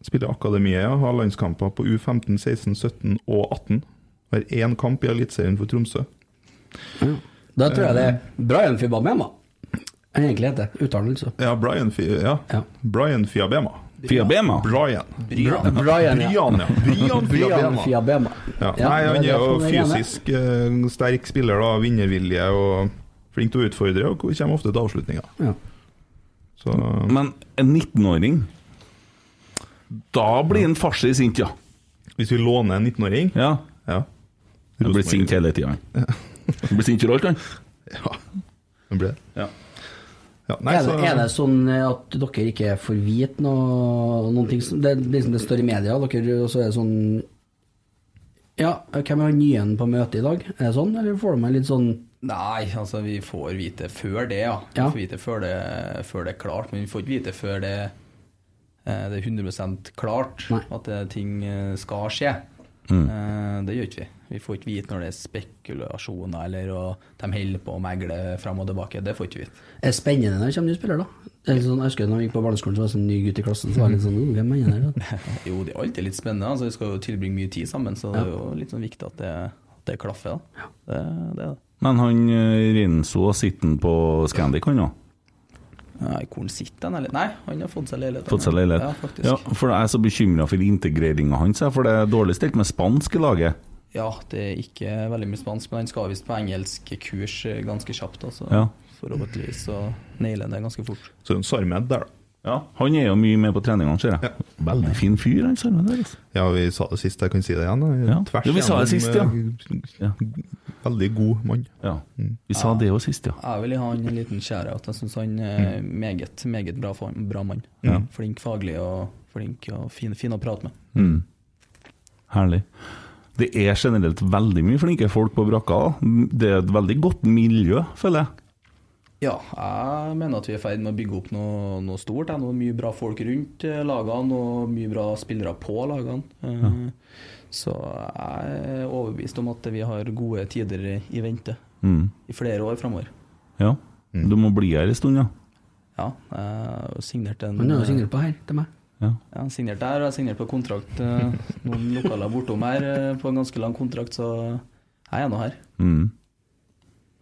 I: Spiller i akademiet, ja, har landskamper på U15, 16, 17 og 18. Har én kamp i Eliteserien for Tromsø.
K: Da tror jeg det
F: Eh,
K: er Brian Fibamema. Han egentlig heter uttalen, altså.
I: Ja, Brian, Fi ja. Brian Fiabema.
F: Fiabema?
I: Brian.
K: Brian. Brian, ja.
I: Brian, ja. Brian
K: Brian
I: Fiabema.
K: Fiabema.
I: Ja.
K: Ja,
I: Nei, han
K: det
I: er
K: er
I: jo
K: derfor han er
I: fysisk eh, sterk spiller, da, vinnervilje og flink til å utfordre, og kommer ofte til avslutninger.
K: Ja.
I: Så
F: Men en 19-åring Da blir en farsi sint, ja.
I: Hvis vi låner en 19-åring
F: Ja.
I: ja.
F: Han blir sint hele tida. Han blir sint for alt, han.
I: det blir det.
F: Ja.
I: Ja, nei,
K: er, det,
I: så-
K: er det sånn at dere ikke får vite noe, noen ting som det, er liksom det står i media, dere, og så er det sånn Ja, hvem er han nye på møtet i dag? Er det sånn, eller får du meg litt sånn
H: Nei, altså vi får vite før det, ja. Vi
K: Ja.
H: får vite før det, før det er klart, men vi får ikke vite før det, eh, det er 100 klart at det, ting eh, skal skje.
F: Mm.
H: Eh, Det gjør ikke vi. Vi får ikke vite når det er spekulasjoner eller og de holder på å megle frem og tilbake. Det får ikke vi vite.
K: Er det spennende når det kommer nye spillere, da? Det er litt sånn, jeg husker da jeg gikk på barneskolen, så var det en ny gutt i klassen, så var det litt sånn «Åh, Hvem er han der, da?
H: Jo, det er alltid litt spennende. Altså, vi skal jo tilbringe mye tid sammen, så det er
K: Ja.
H: jo litt sånn viktig at det, at det klaffer. Da. Det, det er det.
F: Men han eh, Rinso sitter han på Scandic, han òg?
H: Nei, hvor han sitter han? eller- Nei, han har fått seg leilighet.
F: Fått seg
H: Ja,
F: leilighet?
H: faktisk.
F: Ja, for jeg er så bekymra for integreringa hans, jeg, for det er dårlig stelt med spansk i laget.
H: Ja, det er ikke veldig mye spansk, men han skal visst på engelsk kurs eh, ganske kjapt. da, så
F: Ja.
H: Forhåpentligvis så nailer han det ganske fort.
I: Så er det en Sarmed der, da.
F: Ja, Han er jo mye med på treningene, ser jeg. Veldig fin fyr, han Sarmed der. altså.
I: Ja, vi sa det sist, jeg kan si det igjen. da.
F: Ja.
I: Tvers
F: Ja, vi sa det sist, ja.
I: eh, Veldig god mann. Mm.
F: Ja. Vi sa det jo sist, ja.
H: Jeg vil gi han en liten share-out. Jeg syns han er meget, meget bra, form- bra mann.
F: Mm. Ja.
H: Flink faglig og flink og fin, fin å prate med.
F: Mm. Herlig. Det er generelt veldig mye flinke folk på brakka. da. Det er et veldig godt miljø, føler jeg.
H: Ja, jeg mener at vi er i ferd med å bygge opp noe, noe stort. Det er noe mye bra folk rundt eh, lagene og mye bra spillere på lagene. Eh, Så jeg er overbevist om at vi har gode tider i vente
F: Mm.
H: i flere år framover.
F: Ja. Du må bli her en stund, ja.
H: Ja, jeg har jo signert en eh,
K: Han har jo signert på her til meg.
H: Jeg har signert der, og jeg har signert på kontrakt eh, noen lokaler bortom her eh, på en ganske lang kontrakt, så jeg er nå her.
F: Mm.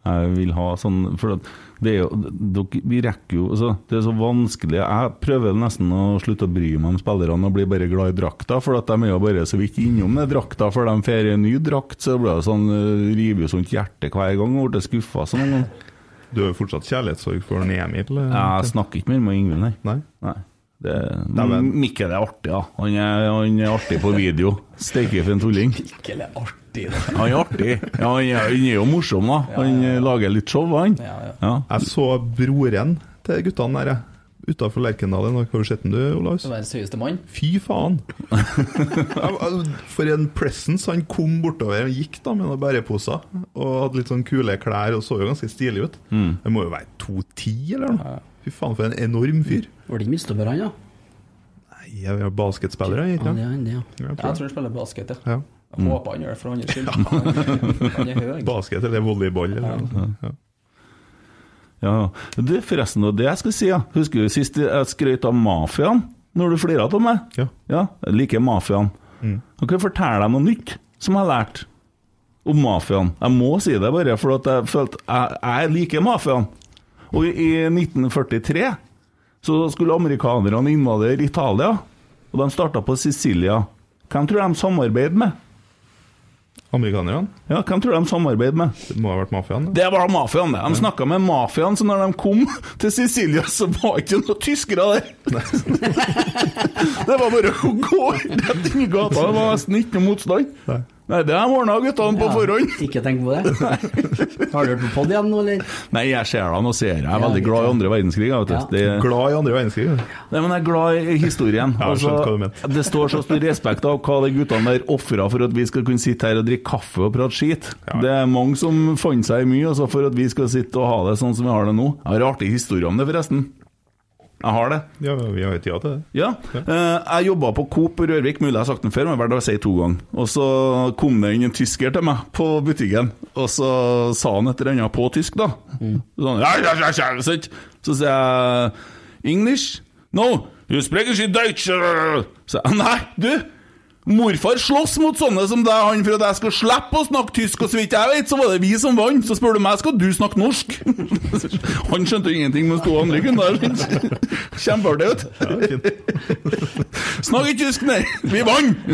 F: Jeg vil ha sånn For at det er jo dere, Vi rekker jo altså, Det er så vanskelig. Jeg prøver nesten å slutte å bry meg om spillerne og blir bare glad i drakta, for at de er jo bare så vidt innom den drakta før de får en ny drakt. Så blir det sånn eh, river jo sånt hjerte hver gang og blir skuffa sånn en gang.
I: Du har jo fortsatt kjærlighetssorg for den Emil?
F: Jeg snakker ikke mer med Ingvild, nei.
I: nei.
F: Det, men Mikkel er artig, ja. Han er, han er artig på video. Steike for en tulling.
H: Mikkel er artig,
F: Han er artig. Ja, han, er, han er jo morsom, da. Han eh, lager litt show, han. Ja.
I: Jeg så broren til guttene der, jeg. Utafor Lerkendal. en dag. Har du sett den, du, Olaus?
H: Verdens høyeste mann.
I: Fy faen! For en presence. Han kom bortover og gikk da med noen bæreposer. Og hadde litt sånn kule klær og så jo ganske stilig ut.
F: Mm.
I: Det må jo være 2,10 eller noe? Fy faen, for en enorm fyr.
K: Var det ikke midtstopper han, da?
I: Nei, jeg er basketspiller, jeg.
K: Ja, det er han, det, ja.
H: Jeg tror han spiller basket, ja.
I: Ja.
H: Jeg håper han gjør det for hans skyld. Han er høy.
I: Basket eller volleyball eller noe. Ja.
F: Ja, det er forresten det var det jeg skulle si. Ja. Husker du sist jeg skrøt av mafiaen? Når du flira av meg?
I: Ja.
F: jeg liker mafiaen.
I: Mm.
F: Nå kan jeg fortelle deg noe nytt som jeg har lært om mafiaen. Jeg må si det bare, for at jeg følte jeg, jeg liker mafiaen. Og i 1943 så skulle amerikanerne invadere Italia, og de starta på Sicilia. Hvem tror du de samarbeider med?
I: Amerikanerne?
F: Ja, hvem tror du de samarbeider med?
I: Det må ha vært mafiaen?
F: Det var mafiaen, det. De snakka med mafiaen, så når de kom til Sicilia, så var ikke noen tyskere der. det var bare å gå rett inn i gata, det var nesten ikke noe motstand. Nei, det har de ordna guttene på
K: Ja,
F: forhånd.
K: Ikke tenk på det. Har du hørt på pod igjen nå, eller?
F: Nei, jeg ser dem og ser. Jeg er veldig glad i andre verdenskrig. Jeg, vet du.
K: Ja.
F: Det,
I: Glad i andre verdenskrig. du.
F: nei, men jeg er glad i historien. Altså,
I: Ja, jeg skjønte hva du mente.
F: det står så stor respekt av hva de guttene der ofra for at vi skal kunne sitte her og drikke kaffe og prate skit. Det er mange som fant seg i mye altså, for at vi skal sitte og ha det sånn som vi har det nå. Jeg har artig historie om det, forresten. Jeg har det.
I: Ja, men vi har jo tida til det.
F: Ja. eh, jeg jobba på Coop på Rørvik, mulig jeg har sagt den før, men verdt å si to ganger. Og så kom det inn en tysker til meg på butikken, og så sa han et eller annet på tysk, da. Sånn, ja, ja, ja, ja, sant? Så sier jeg English? No, du spreker ikke Deutsch! Så jeg, nei, du! Morfar slåss mot sånne som deg, han, for at jeg skal slippe å snakke tysk, og så vidt jeg vet, så var det vi som vant. Så spør du meg, skal du snakke norsk? Han skjønte jo ingenting, mens to andre kunne det. Kjempeartig, vet du. Snakk ikke tysk, nei! Vi vant!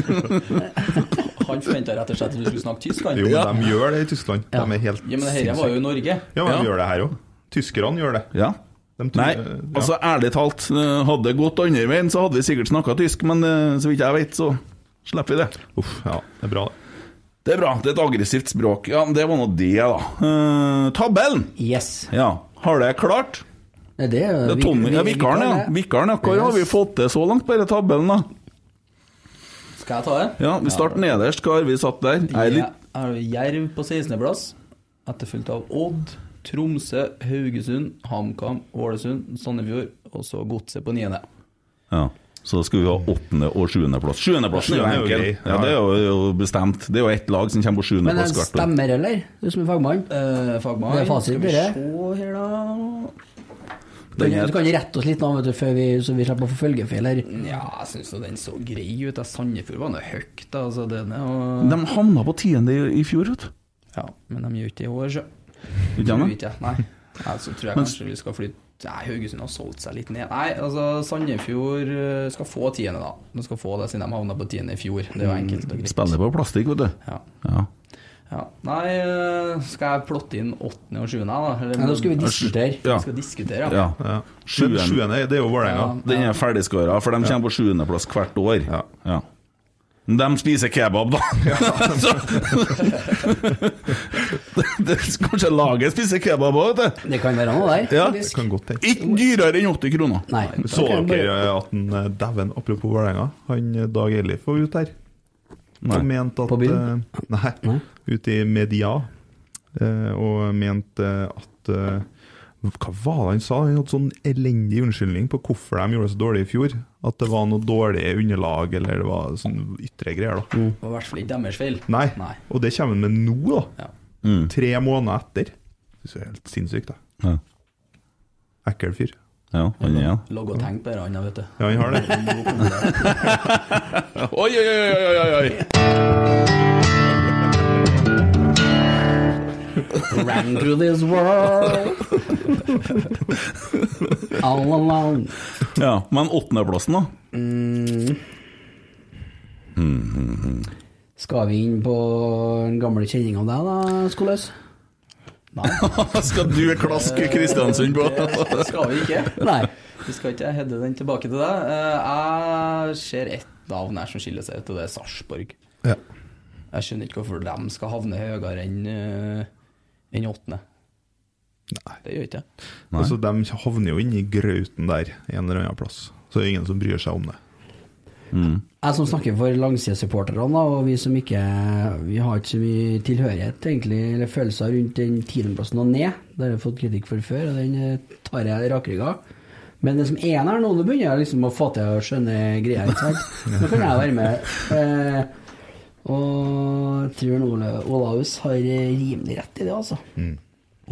H: Han forventa rett og slett at du skulle snakke tysk, han.
I: Jo, men de gjør det i Tyskland. De er helt
H: Ja, men det her var jo i Norge.
I: Ja, men
H: Ja.
I: de gjør det her òg. Tyskerne gjør det.
F: Ja.
I: De tror-
F: Nei,
I: ja.
F: altså ærlig talt, eh, hadde det gått andre veien, så hadde vi sikkert snakka tysk, men eh, så vidt jeg vet, så slipper vi det.
I: Uff, ja, det er bra, det.
F: Det er bra. Det er et aggressivt språk. Ja, men det var nå det, da. Eh, tabellen!
K: Yes.
F: Ja. Har det klart?
K: Nei, det
I: Eh,
K: er
F: Det er Tommy, ja, Vikaren, ja. Vikaren, ja. Hva har vi fått til så langt på denne tabellen, da?
H: Skal jeg ta det?
F: Ja, Vi starter nederst. Hva har vi satt der? Jeg er
H: Jeg
F: litt
H: har Jerv på 16.-plass, etterfulgt av Odd, Tromsø, Haugesund, HamKam, Ålesund, Sandefjord, og så Godset på niende.
F: Ja. Så skulle vi ha åttende- og sjuendeplass. Sjuendeplassen er jo
I: Sjuende er jo
F: enkel.
I: grei.
F: Ja, det er jo- jo bestemt. Det er jo ett lag som kommer på
K: Men det
F: sjuendeplass hvert år.
K: stemmer, eller? Du som er fagmann?
H: Eh, fagmann.
K: Det er fasit,
H: Skal vi
K: dere.
H: se her, da.
K: Du kan- du kan rette oss litt nå, vet du, før vi, så vi slipper å få følgefeil her.
H: Ja, jeg syns den så grei ut. da. Sandefjord var noe høyt, da. Altså, den er,
F: De havna på tiende i, i fjor, vet du.
H: Ja, men de gjør ikke det i år, så.
F: Gjør ikke
H: Tror
F: de det?
H: ikke jeg, Nei. Ja, så tror jeg
F: Men-
H: kanskje vi skal flytte Nei, Haugesund har solgt seg litt ned. Nei, altså Sandefjord eh, skal få tiende, da. De skal få det siden de havna på tiende i fjor. Det er
F: Mm,
H: jo enkelt og greit.
F: Spiller på plastikk, vet du.
H: Ja.
F: Ja.
H: Ja. Nei, eh, skal jeg plotte inn åttende og sjuende, da? Eller-
K: Nei, nå skal vi diskutere.
F: Ja.
H: Vi skal diskutere, ja.
F: Ja. Sjuende.
I: Men sjuende, det er jo Vålerenga.
F: Den er ferdigskåra, for de kommer på sjuendeplass hvert år. Ja. Men De spiser kebab, da! Så- det, det, kanskje laget spiser kebab òg, vet du.
K: Det kan være noe der.
F: Ja.
K: faktisk.
I: Kan godt tenke.
F: Ikke dyrere enn 80 kroner.
K: Nei.
I: Så
K: Da kan vi
I: dere
K: bare-
I: eh, at en, eh, Dæven, apropos Vålerenga, han eh, Dag Ellif var ute her.
F: Nei.
I: Og mente at
K: På byen?
I: eh, Nei, ute i media. eh, Og mente eh, at eh, Hva var det han sa? Han hadde sånn elendig unnskyldning på hvorfor de gjorde det så dårlig i fjor. At det var noe dårlig underlag, eller det var sånn ytre greier, da.
F: Mm.
H: Det var i hvert fall ikke deres feil.
I: Nei. Og det kommer han med nå, da. Tre måneder etter. Det er helt sinnssykt, da.
F: Mm. Ja.
I: Ekkel fyr.
F: Ja, han er han.
H: Logg og tenk på det, han da, vet du.
I: Ja, han har
H: det.
L: Oi, oi, oi, oi, oi, oi.
G: Ran through this world all alone.
F: Ja, men åttendeplassen, da?
G: Mm. Skal vi inn på den gamle kjenninga di, da, Skoløs?
F: Skal du klaske Kristiansund på?
H: Det skal vi ikke.
G: Nei.
H: Vi skal ikke hedde den tilbake til deg. Eh, Jeg ser ett navn her som skiller seg ut, og det er Sarpsborg.
I: Ja.
H: Jeg skjønner ikke hvorfor de skal havne høyere enn eh, enn åttende.
I: Nei.
H: Det gjør ikke jeg.
I: Altså, de havner jo inni grauten der, en eller annen plass. Så det er ingen som bryr seg om det.
F: Mm.
G: Jeg som snakker for langsidesupporterne, da, og vi som ikke Vi har ikke så mye tilhørighet, egentlig, eller følelser rundt den tiendeplassen og ned. Det har jeg fått kritikk for før, og den eh, tar jeg rakrygga. Men det som er her nå, nå begynner jeg liksom å fatte og skjønne greia, ikke sant. Nå kan jeg være med. Eh, og jeg tror Ole Olaus har eh, rimelig rett i det, altså.
I: Mm.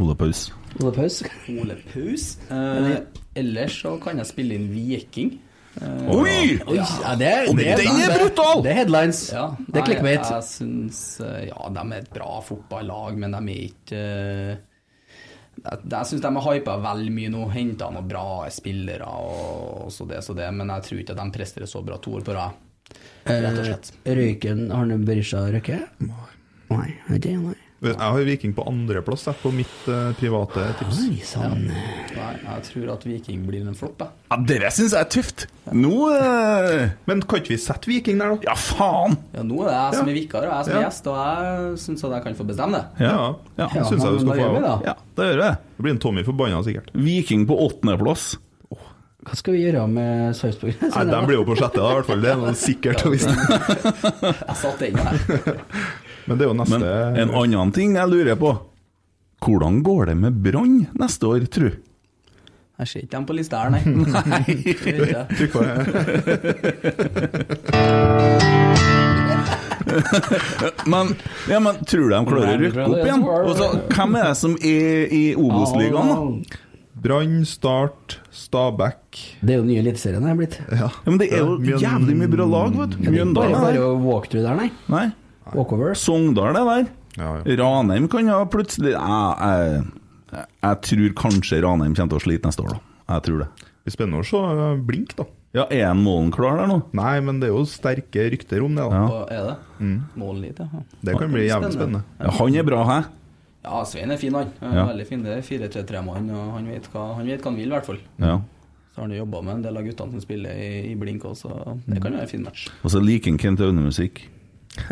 F: Ole Paus.
G: Ole Paus.
H: Ole Paus. Eh, ellers så kan jeg spille inn Viking. Eh,
G: Oi! Oi, ja, det- Og det- den er brutal! det er headlines.
H: Ja,
G: Det er
H: Jeg,
G: clickbait.
H: jeg syns eh, Ja, de er et bra fotballag, men de er ikke eh, Jeg, jeg syns de er hypa vel mye nå. Henta noen bra spillere og, og så det, så det, men jeg tror ikke at de presterer så bra to år på rad. Rett og slett.
G: Eh, Røyken Arne Berisha Røkke? Nei, er det nei.
I: Jeg har Viking på andreplass på mitt eh, private tips.
H: Ja. Nei, jeg tror at Viking blir en flopp, jeg.
F: Ja, Dere syns jeg er tøft. Nå eh,
I: Men kan ikke vi sette Viking der, da?
F: Ja, faen!
H: Ja, nå er det jeg som er vikar og jeg som er
I: Ja.
H: gjest, og jeg syns at jeg kan få bestemme det.
I: Ja, ja.
H: Ja,
I: det syns jeg
H: men
I: du skal
H: da
I: få.
H: gjør vi
I: av.
H: det.
F: Ja, det gjør vi.
I: Det blir en Tommy forbanna, sikkert.
F: Viking på åttendeplass.
G: Hva skal vi gjøre med Sarpsborg?
I: Nei, de blir jo på sjette, da, i hvert fall. Det er noe sikkert og visst.
H: Jeg satt den der.
I: Men det er jo neste
F: Men en annen ting jeg lurer på. Hvordan går det med Brann neste år, tru?
H: Jeg ser ikke dem på lista her, nei.
F: Nei.
I: Trykk på
F: men, ja, men tror du de klarer å rykke opp igjen? Og så, hvem er det som er i Obos-ligaen, da?
I: Brann, Start, Stabæk
G: Det er jo den nye eliteserien jeg er blitt.
I: Ja.
F: men det er jo jævlig mye bra lag, vet du. Mjøndalen
G: Bare
F: er
G: bare
F: der.
G: å walkthrough der, nei.
F: Nei.
G: Walkover.
F: Sogndal er der.
I: Ja,
F: Ranheim kan ja plutselig jeg, jeg, jeg tror kanskje Ranheim kommer til å slite neste år, da. Jeg tror det.
I: Det blir spennende å se eh, Blink, da.
F: Ja, Er en målen klar der nå?
I: Nei, men det er jo sterke rykter om det, da.
H: Og er det?
I: Mm.
H: Målen dit, ja.
I: Det kan bli jævlig spennende.
F: Ja, han er bra, hæ?
H: Ja, Svein er fin, han. Han er
F: Ja.
H: Veldig fin. Det er 4-3-3-mann, og han vet, hva, han vet hva han vil, i hvert fall.
F: Ja.
H: Så har han jo jobba med en del av guttene som spiller i, i blink òg, så
F: Mm.
H: det kan være en fin match.
F: Og så liker han Kent Aune-musikk.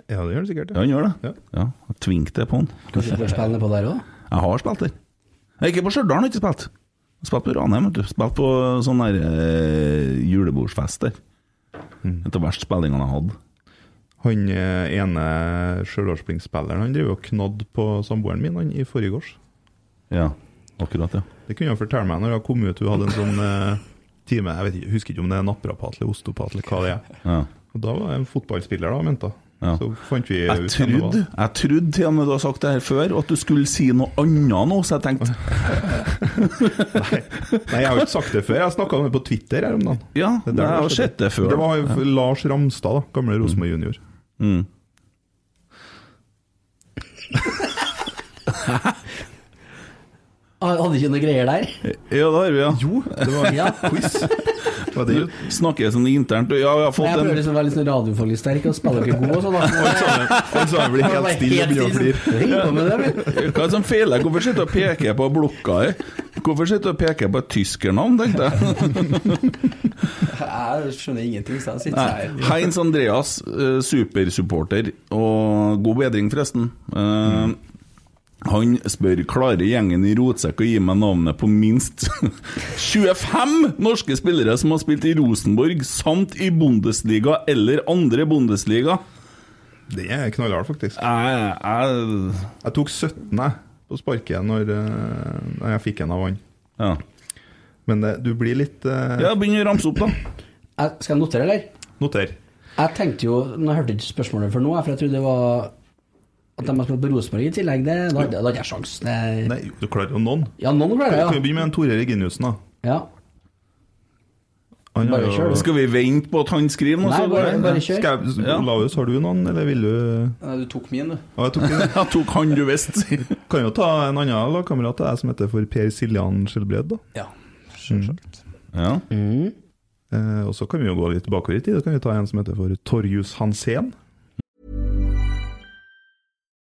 I: Ja, det gjør det sikkert.
F: Ja, han gjør det. Ja, jeg Tvingte det på han.
G: Kanskje du får spille på der òg?
F: Jeg har spilt der. Nei, ikke på Stjørdal, har jeg ikke spilt. Jeg har Spilt på Ranheim, vet du. Spilt på sånn der eh, julebordsfest der. Et av de verste spillingene jeg hadde.
I: Han eh, ene Stjørdalsblink-spilleren Han driver og knadd på samboeren min han, i forrige års.
F: Ja, akkurat, ja.
I: Det kunne han fortelle meg når jeg kom ut. Hun hadde en sånn eh, time Jeg vet ikke, husker ikke om det er naprapat eller osteopat eller hva det er.
F: ja.
I: Og Da var jeg en fotballspiller, da, mente jeg.
F: Ja.
I: Så fant vi
F: Jeg
I: ut hvem det var.
F: trodde, jeg trodde til og med du har sagt det her før, at du skulle si noe annet nå, så jeg tenkte
I: Nei, jeg har jo ikke sagt det før. Jeg snakka om det på Twitter her om dagen.
F: Ja,
I: Det er der
F: jeg har
I: skjedde.
F: sett det før.
I: Det var jo Lars Ramstad, da, gamle Rosenborg junior.
F: Mm.
G: Ah, Hadde ikke noe greier der?
F: Ja, det har vi, ja.
I: Jo, det var
G: Ja.
I: quiz. Var det jo-
F: Snakker sånn internt Ja, jeg har
G: Nei, jeg
F: fått en
G: prøver liksom å være litt sånn radiofaglig sterk og spille dere gode og sånn.
I: Han
G: da.
I: sa- Han sa han ble helt stille og begynner å flire.
G: Heng på med det, men.
F: Hva er det som feiler? Hvorfor sitter du og peker på blokka her? Hvorfor sitter du og peker på et tyskernavn, tenkte jeg.
H: Jeg skjønner ingenting, så jeg sitter
F: Nei.
H: her.
F: Heinz Andreas, eh, supersupporter, og god bedring, forresten. Eh, Han spør klarer gjengen i Rotsekk å gi meg navnet på minst 25 norske spillere som har spilt i Rosenborg samt i Bundesliga eller andre Bundesliga.
I: Det er knallhardt, faktisk.
F: Jeg, jeg
I: Jeg tok 17 jeg, på sparket når eh, når jeg fikk en av han. Men eh, du blir litt eh,
F: Ja, begynn å ramse opp, da.
G: Jeg, skal jeg notere, eller?
I: Noter.
G: Jeg tenkte jo Nå hørte jeg ikke spørsmålet før nå, for jeg trodde det var at de har spilt på Rosenborg i tillegg. Det, da hadde da hadde jeg sjans. Det,
I: Nei, du klarer jo noen.
G: Ja, noen klarer jeg,
I: Kan vi begynne med en Tore Reginiussen, da?
G: ja.
I: Han har
G: Bare
I: jo-
G: kjør, du.
F: Skal vi vente på at han skriver noe?
G: Nei,
F: så
G: bare- bare kjør.
I: Skal jeg,
F: Ja.
I: Laus, har du noen, eller vil du
H: Nei, Du tok min, du.
I: Ja, jeg tok,
F: jeg tok han du visste.
I: kan jo ta en annen lagkamerat av deg som heter for Per Siljan Skjelbred, da.
H: Ja,
I: sjølsagt.
F: Ja.
I: Eh, og så kan vi jo gå litt bakover i tid. Da kan vi ta en som heter for Torjus Hansen.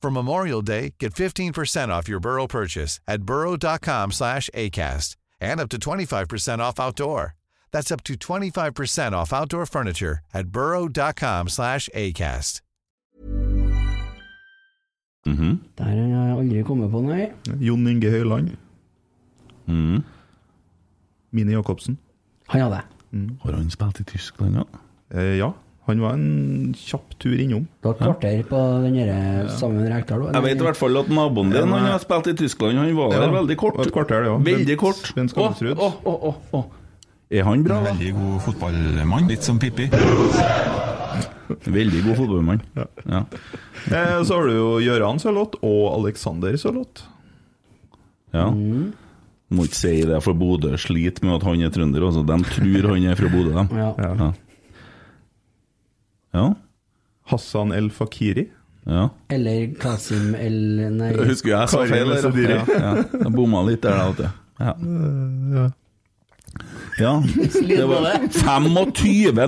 M: For Memorial Day, get 15% off your Burrow purchase at burrow.com/acast and up to 25% off outdoor. That's up to 25% off outdoor furniture at burrow.com/acast.
F: Mhm.
G: Der har jeg aldri kommet på, nei.
I: Jon Inge Høyland.
F: Mhm.
I: Mini Jacobsen. Mm.
G: Han hadde jeg.
F: Har han spilt i Tyskland, ja?
I: Eh, ja. Han var en kjapp tur innom.
G: Du har kvarter på den der sammen med Rekdal
F: Jeg vet i hvert fall at naboen din han har spilt i Tyskland, han var der veldig kort.
I: Et kvarter, ja.
F: Veldig kort.
I: Sven Skamsrud.
F: Å, å, å, å, å. Er han bra, da?
L: Veldig god fotballmann, litt som Pippi.
F: Veldig god fotballmann. Ja.
I: Eh, så har du jo Gøran Sørloth og Alexander Sørloth.
F: Ja. Må ikke si det, for Bodø sliter med at han er trønder. Altså. De tror han er fra Bodø, dem.
G: Ja.
F: Ja. ja.
I: Hassan El Fakiri.
F: Ja.
G: Eller Kasim El... Nei.
F: Jeg husker jeg sa feil der.
I: Karim
F: Ja.
I: El-Sadiri.
F: Ja. Jeg bomma litt der, da. vet du. Ja.
I: ja.
F: ja. Det var 25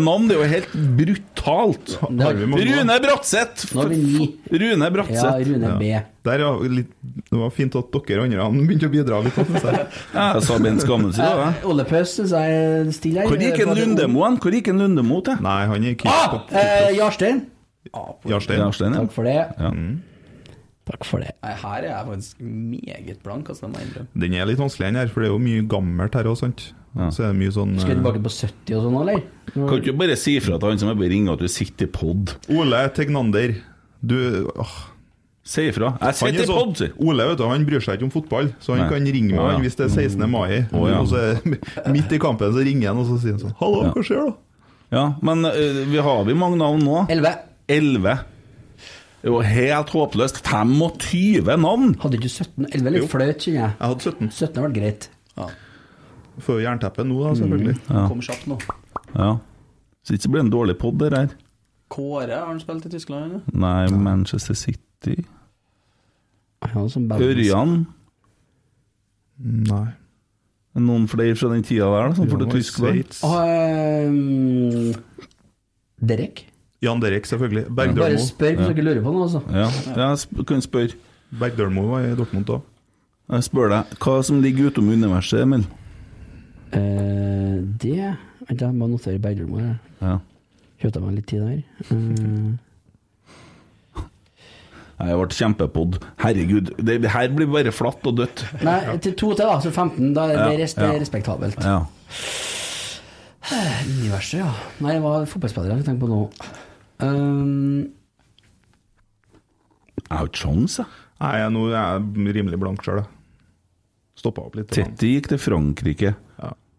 F: navn, det er jo helt brutalt!
I: Harvey Moldvold.
F: Rune Bratseth!
G: Nå er vi ni.
F: Rune Bratseth.
G: Ja, Rune B.
I: Der, ja, litt, det var fint at dere andre han begynte å bidra litt. synes jeg.
F: Ja, jeg sa Bent Skammelsrud, da.
G: Eh, Ole Paus syns jeg er stille her.
F: Hvor gikk en Lundemo hen? Hvor gikk en Lundemo til?
I: Nei, han gikk
G: Ah! Eh, Jarstein.
I: Jarstein. Mm.
F: Jarstein, ja.
G: Takk for det.
F: Ja.
G: Takk for det.
H: Nei, her er jeg faktisk meget blank, altså. Det må jeg innrømme.
I: Den er litt vanskelig, den her, for det er jo mye gammelt her òg, sant? Så er det mye sånn
G: Skal vi
I: eh,
G: tilbake på 70 og sånn, eller?
F: Kan ikke du bare si fra til han som er på ringe at du sitter i pod?
I: Ole Tegnander. Du åh.
F: Si ifra. Jeg
I: Han er
F: sitter i
I: sånn-
F: pod, sier
I: Ole vet du, han bryr seg ikke om fotball, så han
F: Nei.
I: kan ringe meg
F: Å, ja. Mm.
I: han hvis det er 16. mai.
F: Å, ja.
I: Og så er- Midt i kampen så ringer han og så sier han sånn Hallo,
F: Ja.
I: hva skjer, da?
F: Ja, men eh, vi har vi mange navn nå?
G: Elleve.
F: Elleve. Det er jo helt håpløst. 25 navn!
G: Hadde ikke 17? 11 er
I: Jo.
G: litt flaut, kjenner jeg.
I: Jeg hadde 17.
G: 17 har vært greit.
I: Får jo jernteppe nå, da, selvfølgelig.
H: Kom kjapt nå.
F: Ja. Så ikke blir det en dårlig pod, det der.
H: Kåre, har han spilt i Tyskland? eller?
F: Nei, Manchester City
G: Han som band-
F: Ørjan.
I: Nei.
F: Noen flere fra den tida der, da, som for
I: Jan var
F: til
I: i
F: Tyskland?
I: Sveits.
G: Og, ehm, Derek?
I: Jan Derek, selvfølgelig.
G: Bare
I: Bergdølmo.
G: spør hvis dere lurer på noe, altså.
F: Ja, jeg sp kan spørre.
I: Bergdølmo var i Dortmund da.
F: Jeg spør deg, hva som ligger utom universet, Emil?
G: Eh, det Vent, jeg må notere Bergljot her.
F: Ja.
G: Kjøpte meg litt tid der. Eh,
F: Jeg ble kjempepod. Herregud, det, det her blir bare flatt og dødt.
G: nei, til to til, da. Så 15. Da er det
F: Ja,
G: rest, det er
F: ja.
G: respektabelt.
F: Ja.
G: Universet, ja. Nei, det var fotballspillere jeg tenkte på nå. Um,
F: Jeg har ikke sjans, jeg.
I: Nei, jeg- nå er jeg rimelig blank sjøl, jeg. Stoppa opp litt.
F: Tetty gikk til Frankrike.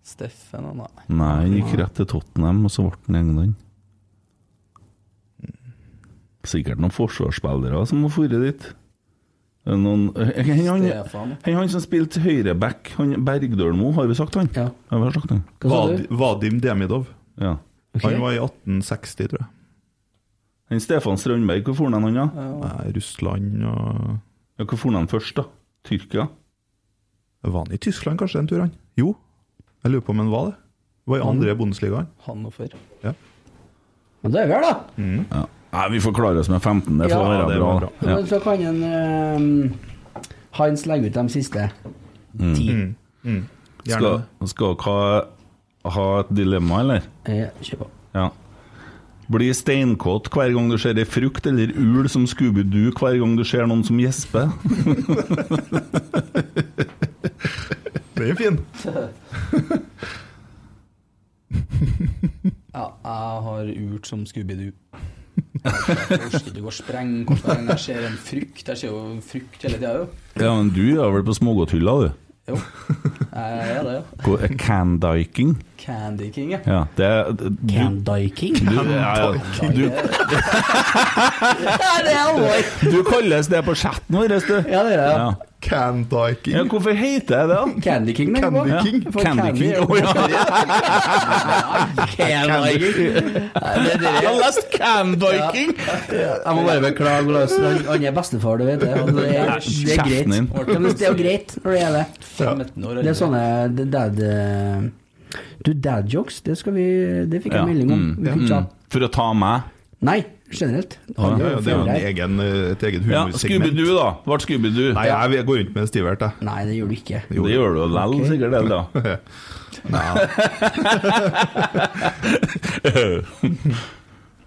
H: Steffen og nei.
F: Nei, han gikk rett til Tottenham, og så ble han i England. Sikkert noen forsvarsspillere som har dratt dit. Er det Noen, Eh, han, han, han,
H: Stefan.
F: han som spilte høyreback, han Bergdølmo, har vi sagt han? Ja. vi har sagt han.
I: Hva sa Vad- du? Vadim Demidov.
F: Ja.
I: Han var i 1860, tror jeg.
F: Han Stefan Strandberg, hvor for han han da?
I: Nei, Russland og
F: Ja, Hvor for han først, da? Tyrkia?
I: Var han i Tyskland kanskje en tur, han? Jo. Jeg lurer på om han var det. Var i
F: Mm.
I: andre Bundesligaen.
H: Hannover.
I: Ja.
G: Men det er vi her, da.
F: Ja. Nei, vi får klare oss med 15, det får
G: Ja,
F: være
I: det
F: bra.
I: var
F: da. Ja.
G: Men Så kan en ehm, Hans legge ut de siste.
F: Mm.
G: Ti. Gjerne
F: Skal, skal dere ha et dilemma, eller?
G: Ja, kjør på.
F: Ja. Bli steinkåt hver gang du ser ei frukt eller ul som Scooby-Doo hver gang du ser noen som gjesper.
I: Det er fin.
H: Ja, jeg har urt som Scooby-Doo. Jeg orker ikke å gå og sprenge hver gang jeg ser en frukt. Jeg ser jo frukt hele tida, jo.
F: Ja, men du er vel på smågodthylla, du?
H: Jo. Jeg er det, jo.
F: Hvor- eh, Candyking?
H: Candy King, ja.
F: Ja, det er du-
G: Candyking?
F: Du, ja, ja. du,
H: det er alvor!
F: du kalles det på chatten vår, du.
G: Ja, det gjør jeg.
F: Ja.
I: Candyking.
F: Ja, hvorfor heter jeg det, da?
G: Candy King, tenker
F: Candy
G: jeg på.
F: King.
G: Ja, for
F: Candy
G: Candy
F: King.
G: er jo-
F: Å, ja.
G: Candy King.
F: Jeg har lest Candyking!
G: Jeg må bare beklage, Lars. Han- Han er bestefar, du vet det. Og Det er,
F: Nei,
G: det er
F: kjeften din.
G: greit. Ja, men det er jo greit når det er det.
H: 15 år,
G: Det er sånne det- dad eh, Du, dad jokes, det skal vi Det fikk jeg
F: Ja,
G: melding om.
F: mm,
G: Vi kunne ikke ha-
F: mm. For å ta meg?
I: Mm.
G: Nei, generelt.
I: Ja, ja, det er jo en
G: Foreldre.
I: egen, eh, et eget
F: Ja,
I: humorsegment.
F: Scooby-Doo, da. Ble Scooby-Doo.
I: Nei, jeg, jeg går rundt med en stivert, jeg.
G: Nei, det gjør du ikke.
F: Det gjør du vel,
I: Ok.
F: sikkert det, da.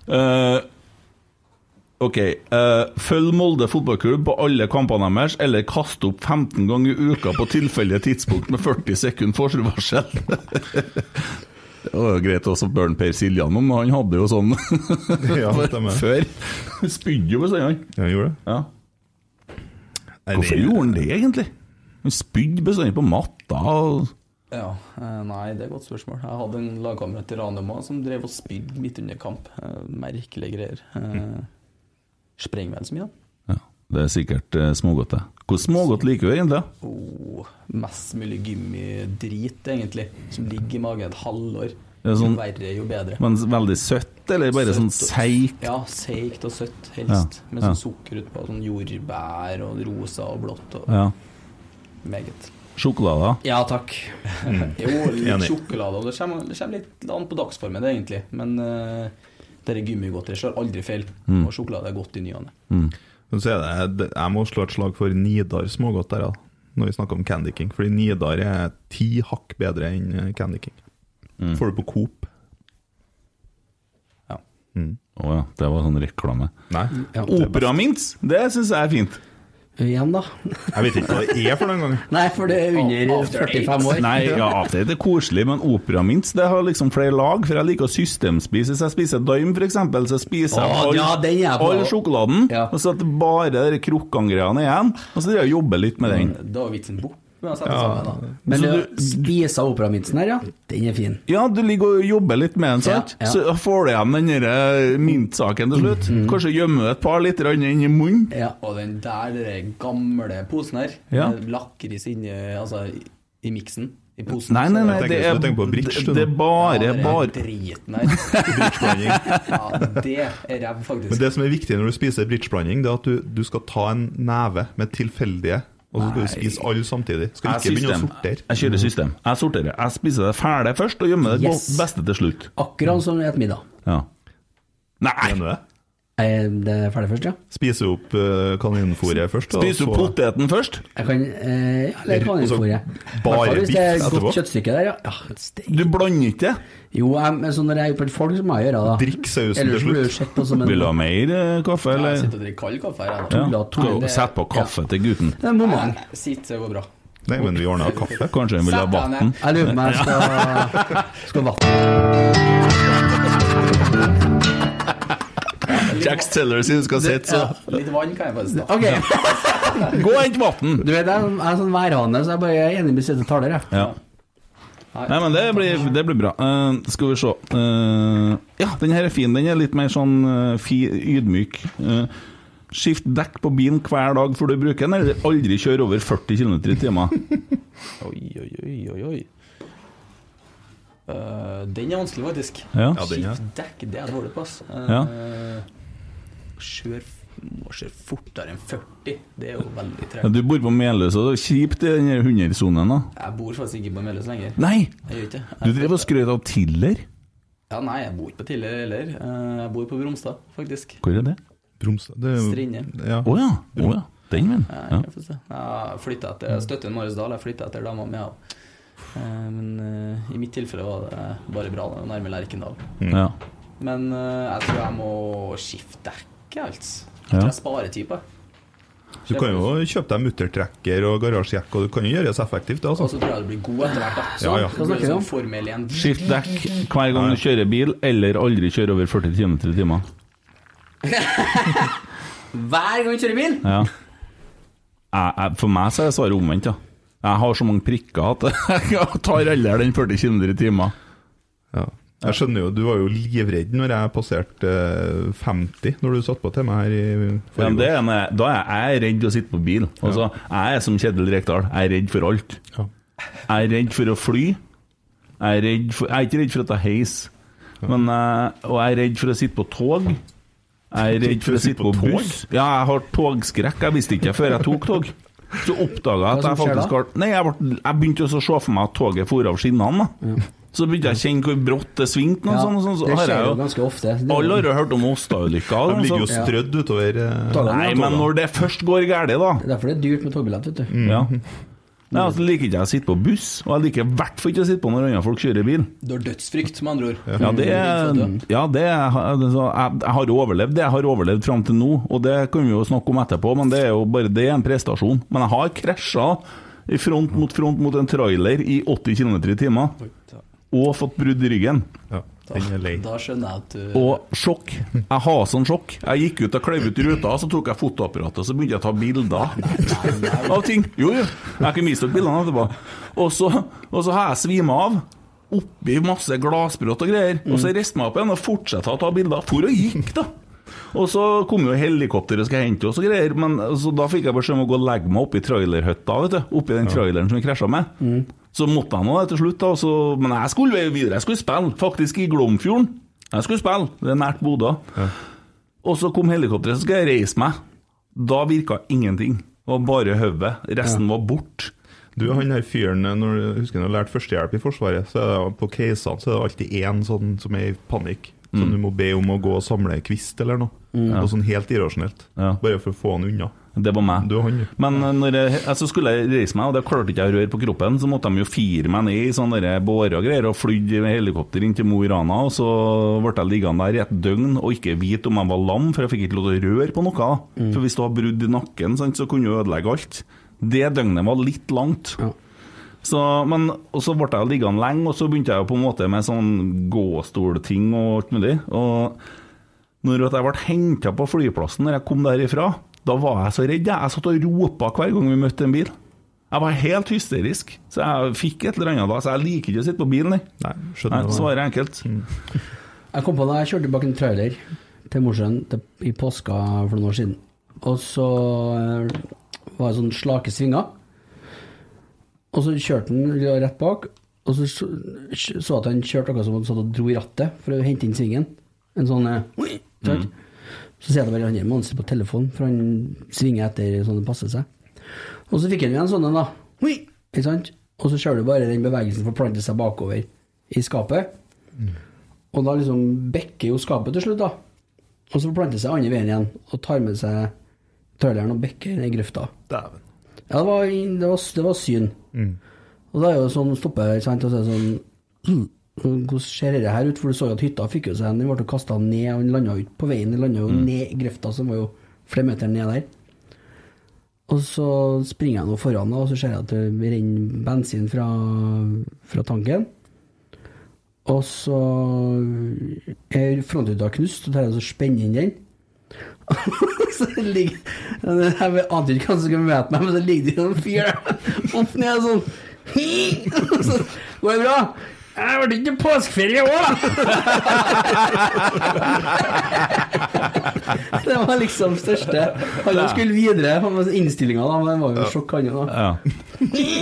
F: Eh, ok. eh, følg Molde fotballklubb på alle kampene deres, eller kast opp 15 ganger i uka på tilfeldige tidspunkt med 40 sekunder forvarsel. Det var jo greit også å burn Per Siljan om, han hadde jo sånn
I: Ja, stemmer.
F: før. Spydde jo bestandig, han.
I: Ja, han gjorde det.
F: Ja.
I: Nei,
F: Hvorfor
I: det-
F: gjorde han det, egentlig? Han spydde bestandig på matta. og...
H: Ja, eh, Nei, det er et godt spørsmål. Jeg hadde en lagkamerat i Ranema som drev og spydde midt under kamp. Eh, Merkelige greier. Eh, Sprenger vel så mye, da.
F: Det er sikkert eh, smågodt, det. Hvor smågodt liker du egentlig? da?
H: Oh, mest mulig gummi-drit, egentlig, som ligger i magen et halvår.
F: Det er sånn-
H: jo verre, jo bedre.
F: Men veldig søtt, eller bare
H: Søtt
F: sånn
H: og-
F: seig?
H: Ja, seigt og søtt, helst.
F: Ja,
H: Med sånn
F: ja.
H: sukker utpå, sånn jordbær og rosa og blått og
F: Ja.
H: meget.
F: Sjokolade?
H: Ja, takk.
F: Mm.
H: jo, litt
F: Enig.
H: sjokolade, og det kommer, det kommer litt an på dagsformen, det, egentlig. Men uh, dette gummigodteriet slår aldri feil,
I: Mm.
H: og sjokolade er godt i ny og ne.
F: Mm.
I: Men så er det, jeg må slå et slag for Nidar smågodt der, da. Når vi snakker om Candy King. Fordi Nidar er ti hakk bedre enn eh, Candy King.
F: Mm.
I: Får du på Coop.
F: Å ja, det var sånn reklame.
I: Mm. Nei.
G: Ja.
F: Operamint, det syns jeg er fint.
G: Igjen, da.
I: Jeg vet ikke hva det er for noen gang.
G: Nei, for det er under 45 år.
F: Nei, ja, det er koselig, men operamint det har liksom flere lag. For jeg liker å systemspise. Hvis jeg spiser Daim, for eksempel, så spiser jeg
G: Å,
F: all,
G: ja, den er jeg på.
F: all sjokoladen. Og så at det bare er de krukkangreiene igjen. Og så driver jeg og jobber litt med den.
H: Da er vitsen bort. Men, altså,
F: Ja.
H: sammen, da.
G: Men
F: Så
G: du spiser operamintsen her, ja? Den er fin.
F: Ja, du ligger og jobber litt med den, sant?
G: Ja, ja.
F: Så får du igjen den der eh, mintsaken til slutt.
G: Mm.
F: Kanskje gjemmer du et par litt grann inn i munnen.
H: Og den der den gamle posen her,
F: Ja.
H: med lakris inni altså, i- i miksen. I posen.
F: Nei, nei, nei,
H: Så-
F: det er, det, det er bare,
H: Ja, det er
F: bare
H: driten her. ja, det er ræv, faktisk.
I: Men det som er viktig når du spiser bridgeblanding, det er at du, du skal ta en neve med tilfeldige, og så skal du
F: Nei.
I: spise alle samtidig. Skal
F: Jeg
I: ikke begynne å
F: system.
I: sortere. Mm.
F: Jeg kjører system. Jeg sorterer. Jeg spiser det fæle først, og gjemmer det
G: Yes.
F: godt beste til slutt.
H: Ah.
G: Akkurat som et middag.
F: Ja. Nei!
G: Eh, Det er ferdig først, ja?
I: Spiser opp eh, kaninfôret først. da,
F: Spiser du
I: så-
F: poteten først?
G: Jeg kan eh, Ja, eller
I: Og så
G: kaninfòret.
I: bare
G: Hvis det er
I: biff etterpå?
G: godt kjøttstykke der, ja. ja
F: du blander ikke det?
G: Jo, jeg, men så når jeg er ute på en folk, så må jeg gjøre det. da.
I: Drikk sausen til
G: Ellers blir
I: slutt.
G: du sett på som en
F: Vil du ha mer eh, kaffe,
H: Ja, jeg
F: eller?
H: sitter og drikker kald kaffe her.
F: Ja.
H: jeg, da.
F: Skal du Sett på kaffe til gutten.
G: Det er moment.
H: Nei, Sitt, det går bra.
I: Nei, men vi ordna kaffe.
F: Kanskje han vil ha
H: Sett deg ned.
F: vann?
G: Jeg lurer på om jeg skal, skal vattne.
F: Jack Steller sier du skal
H: Det-
F: sitte, så
H: ja, Litt vann kan jeg bare snakke
G: Ok.
F: Gå og hent vann!
G: Du vet, jeg jeg er sånn værhane, så jeg bare er enig med siste taler, jeg.
F: Ja. Nei, men det blir, det blir bra. Eh, skal vi se Eh, Ja, den her er fin. Den er litt mer sånn eh, fi, ydmyk. Eh, skift dekk på bilen hver dag før du bruker den, eller aldri kjør over 40 km i timen.
H: Oi, oi, oi, oi, oi. Eh, den er vanskelig, faktisk.
F: Ja. Ja, den er.
H: Skift dekk, det er dårlig plass. Uh,
F: Ja.
H: Kjør må kjøre fortere enn 40. Det er jo veldig
F: Ja,
H: tregt.
F: du bor på Meløy, så det er kjipt i den her 100-sonen, da.
H: Jeg bor faktisk ikke på Meløs lenger.
F: Nei!
H: Jeg gjør ikke det.
F: Du drev og skrøt av Tiller.
H: Ja, nei, jeg bor ikke på Tiller heller. Eh, Jeg bor på Bromstad, faktisk.
F: Hvor er det?
I: Bromstad
H: Strinde.
I: Ja.
F: Å ja. Å ja. Den, men. Ja.
H: Jeg får se. Jeg flytta etter jeg støtter Marius Dahl, jeg flytta etter dama mi. også. Eh, Men eh, i mitt tilfelle var det bare bra, det var nærme Lerkendal.
F: Ja.
H: Men eh, jeg tror jeg må skifte dekk, altså. Jeg
I: Ja.
H: tror jeg sparer type.
I: Du kan jo kjøpe deg muttertrekker og garasjejakke, og du kan jo gjøre det så effektivt. det,
H: Og så
I: Altså.
H: tror jeg det blir god etter hvert, da. Så
I: Ja, ja.
H: det blir sånn Formel 1.
F: Skift dekk hver gang du kjører bil, eller aldri kjør over 40 km i timen.
H: Hver gang du kjører bil!
F: Ja. Jeg, jeg, for meg så er svaret omvendt, ja. Jeg har så mange prikker at jeg tar heller den 40 km i timen.
I: Ja. Jeg skjønner jo, du var jo livredd når jeg passerte eh, 50, når du satt på til meg her i
F: Ja, men
I: forrige
F: det er en- da er jeg redd å sitte på bil. Altså, Jeg er som Kjetil Rekdal, jeg er redd for alt. Jeg er redd for å fly. Jeg er, redd for, jeg er ikke redd for å ta heis, men, eh, og jeg er redd for å sitte på tog. Jeg er redd for å sitte på buss. Ja, jeg har togskrekk. Jeg visste ikke før jeg tok tog. Så oppdaga jeg at
L: Hva
F: jeg
L: som skjer
F: faktisk
L: da?
F: har Nei, jeg, ble, jeg begynte også å se for meg at toget for av skinnene. da. Så begynte jeg å kjenne hvor brått det svingte. noe
G: Ja,
F: sånt, og sånn, så
G: det
F: har jeg
G: skjer jo
F: jo-
G: ganske ofte. Det-
F: Alle har jo hørt om Åsta-ulykka.
I: De ligger jo
F: altså.
I: strødd utover eh,
F: Togene, Nei, ja, men togene. når det først går galt, da
G: Det er derfor det er dyrt med togbillett, vet du.
F: Ja. Nei, altså, liker ikke jeg å sitte på buss, og jeg liker i hvert fall ikke å sitte på når andre folk kjører bil.
H: Du har dødsfrykt, med andre ord.
F: Ja, det,
H: Mm.
I: Mm.
F: er- ja, det er, altså, jeg, jeg har overlevd det jeg har overlevd fram til nå, og det kan vi jo snakke om etterpå, men det er jo bare det er en prestasjon. Men jeg har krasja i front mot front mot en trailer i 80 km i timen, og fått brudd i ryggen.
I: Den er lei.
H: Da skjønner jeg at eh, du
F: Og sjokk. Jeg har sånn sjokk. Jeg gikk ut og kløyv ut ruta, så tok jeg fotoapparatet og så begynte jeg å ta bilder av ting. Jo, jo. Jeg kan vise dere bildene etterpå. Og så, og så har jeg svima av. Oppi masse glassbrudd og greier. Og så reiste jeg meg opp igjen og fortsatte å ta bilder. For og gikk, da. Og så kom jo helikopteret og skulle hente oss og greier. Men så da fikk jeg beskjed om å gå og legge meg oppi trailerhytta, vet du. Oppi den traileren som vi krasja med.
I: Mm.
F: Så måtte jeg nå det til slutt, da. Så, men jeg skulle jo videre. Jeg skulle spille, faktisk, i Glomfjorden. Jeg skulle spille, det er nært Bodø. Og så kom helikopteret, så skal jeg reise meg. Da virka ingenting. Det var bare hodet. Resten var borte.
I: Du, han der fyren eh, når, jeg Husker du har lært førstehjelp i Forsvaret? Så er det, på casene så er det alltid én sånn som er i panikk. Som
F: Mm.
I: du må be om å gå og samle kvist eller noe.
F: Mm.
I: Noe sånn helt irrasjonelt. Bare for å få han unna.
F: Det var meg.
I: Du er han, du.
F: Men eh, når jeg, altså skulle jeg reise meg, og det klarte ikke jeg å røre på kroppen, så måtte de jo fire meg ned i sånne der båre og greier, og flydde med helikopter inn til Mo i Rana, og så ble jeg liggende der i et døgn og ikke vite om jeg var lam, for jeg fikk ikke lov til å røre på noe. da.
I: Mm.
F: For hvis du har brudd i nakken, sant, så kunne du ødelegge alt. Det døgnet var litt langt. Så, men, og så ble jeg liggende lenge, og så begynte jeg jo på en måte med sånn gåstolting og alt mulig. Og når at jeg ble henta på flyplassen når jeg kom derifra, da var jeg så redd. jeg. Jeg satt og ropa hver gang vi møtte en bil. Jeg var helt hysterisk. Så jeg fikk et eller annet da, så jeg liker ikke å sitte på bilen, jeg.
I: Nei,
G: hva-
F: Svaret er enkelt.
G: Jeg kom på da jeg kjørte bak en trailer til Mosjøen til- i påska for noen år siden. Og så eh, var det sånn slake svinger. Og så kjørte han ja, rett bak, og så så så at han kjørte akkurat som han satt og dro i rattet for å hente inn svingen. En sånn eh, oi, sant? Så sier jeg til hverandre han sitter på telefonen, for han svinger etter sånn det passer seg. Og så fikk han jo en sånn en, da. Oi, ikke sant? Og så ser du bare den bevegelsen forplante seg bakover i skapet. Og da liksom bekker jo skapet til slutt, da. Og så forplanter seg andre veien igjen og tar med seg traileren og bekker ned i grøfta.
I: Dæven.
G: Ja, det var, det var, det var syn. Og da er jo sånn stopper jeg, ikke sant, og så er det sånn «Hm, Hvordan ser det her ut? For du så jo at hytta fikk jo seg en, den ble kasta ned, og den landa jo ikke på veien, den landa jo ned i grøfta, som var jo flere meter ned der. Og så springer jeg nå foran, og så ser jeg at det renner bensin fra, fra tanken. Og så er frontruta knust, og tar jeg og så spenner inn den. Så det ligger- Jeg ante ikke hva som skulle møte meg, men så ligger det jo en fyr der opp ned sånn Hi! Og Så går det bra. Jeg ble ikke påskeferie i år, da! Det var liksom største. Han skulle videre, han var innstillinga, da, men det var jo sjokk, han jo, da.
F: Ja.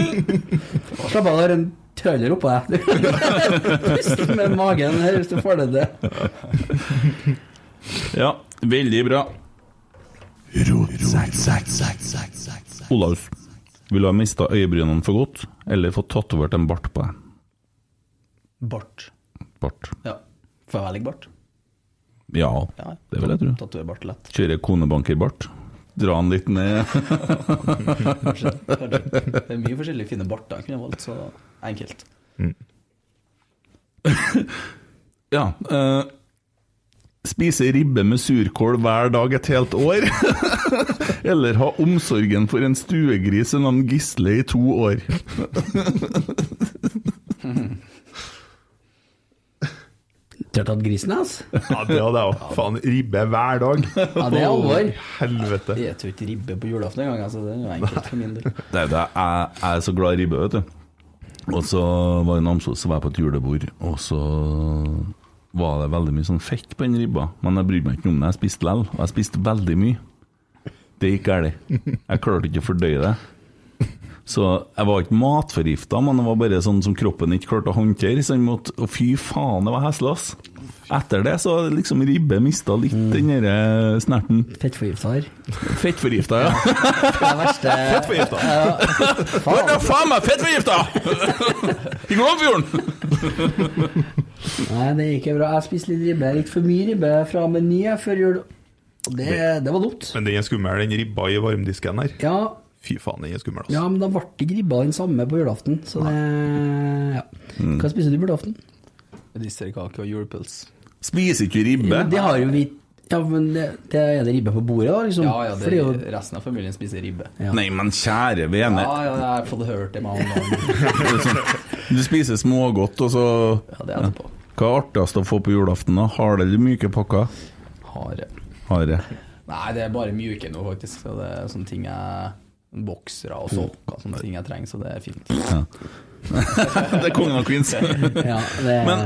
G: Slapp av, det er en tøler oppå deg. Pust med magen her hvis du får det til.
F: ja, veldig bra. Olaus, vil du ha mista øyebrynene for godt, eller fått tatovert en bart på deg?
H: Bart.
F: Bart.
H: Ja. Får jeg velge bart?
F: Ja, det vil jeg tro.
H: Tatover bart lett.
F: Kjøre konebankerbart. Dra den litt ned.
H: Kanskje, kanskje. Det er mye forskjellige fine barter jeg kunne valgt, så enkelt.
F: Ja. eh, spise ribbe med surkål hver dag et helt år. Eller ha omsorgen for en stuegris ved navn Gisle i to år.
G: Tør tatt grisen hans?
I: Ja, det hadde jeg òg. Faen, ribbe hver dag.
G: Ja, det er alvor.
I: Helvete.
H: Jeg tror ikke ribbe på julaften engang, altså. Det er jo enkelt for min del.
F: Det er, det er, jeg er så glad i ribbe, vet du. Og så var jeg i Namsos, så var jeg på et julebord, og så var det veldig mye sånn fett på den ribba. Men jeg brydde meg ikke om det, jeg spiste lell, og jeg spiste veldig mye. Det gikk galt. Jeg klarte ikke å fordøye det. Så jeg var ikke matforgifta, men det var bare sånn som kroppen ikke klarte å håndtere. Så jeg måtte, og fy faen, det var heslig, ass. Etter det så har liksom ribbe mista litt den derre snerten.
G: Fettforgifta her.
F: Fettforgifta, ja.
G: Det er verste
F: Fettforgifta. Hvor er Eh, faen altså. meg fettforgifta?! I Glomfjorden!
G: Nei, det gikk jo bra. Jeg spiste litt ribbe. Litt for mye ribbe fra Meny jeg, før jul. Og Det, det var dumt.
I: Men den er skummel, den ribba i varmdisken her.
G: Ja,
I: Fy faen, den er skummel, altså.
G: ja men da ble ikke ribba den samme på julaften, så det ja. Hva spiser du på julaften?
H: Medisterkake og julepøls.
F: Spiser ikke ribbe?
G: Men det har jo vi Ja, men det, det er det ribbe på bordet, da? Liksom.
H: Ja, ja,
G: For
H: det,
G: det er jo
H: resten av familien spiser ribbe.
F: Nei, men kjære
H: Ja,
F: vene.
H: ja, jeg har fått hørt det mange ganger.
F: Du spiser smågodt, og så ja. Hva er artigst å få på julaften? da? Harde eller myke pakker?
H: Hare.
F: Harde.
H: Nei, det er bare mjuke nå, faktisk. Så det er sånne ting jeg Boksere og sokker, sånne ting jeg trenger, så det er fint.
F: Mm. Ja. det er kongen og queens.
H: Ja, det-
F: Men,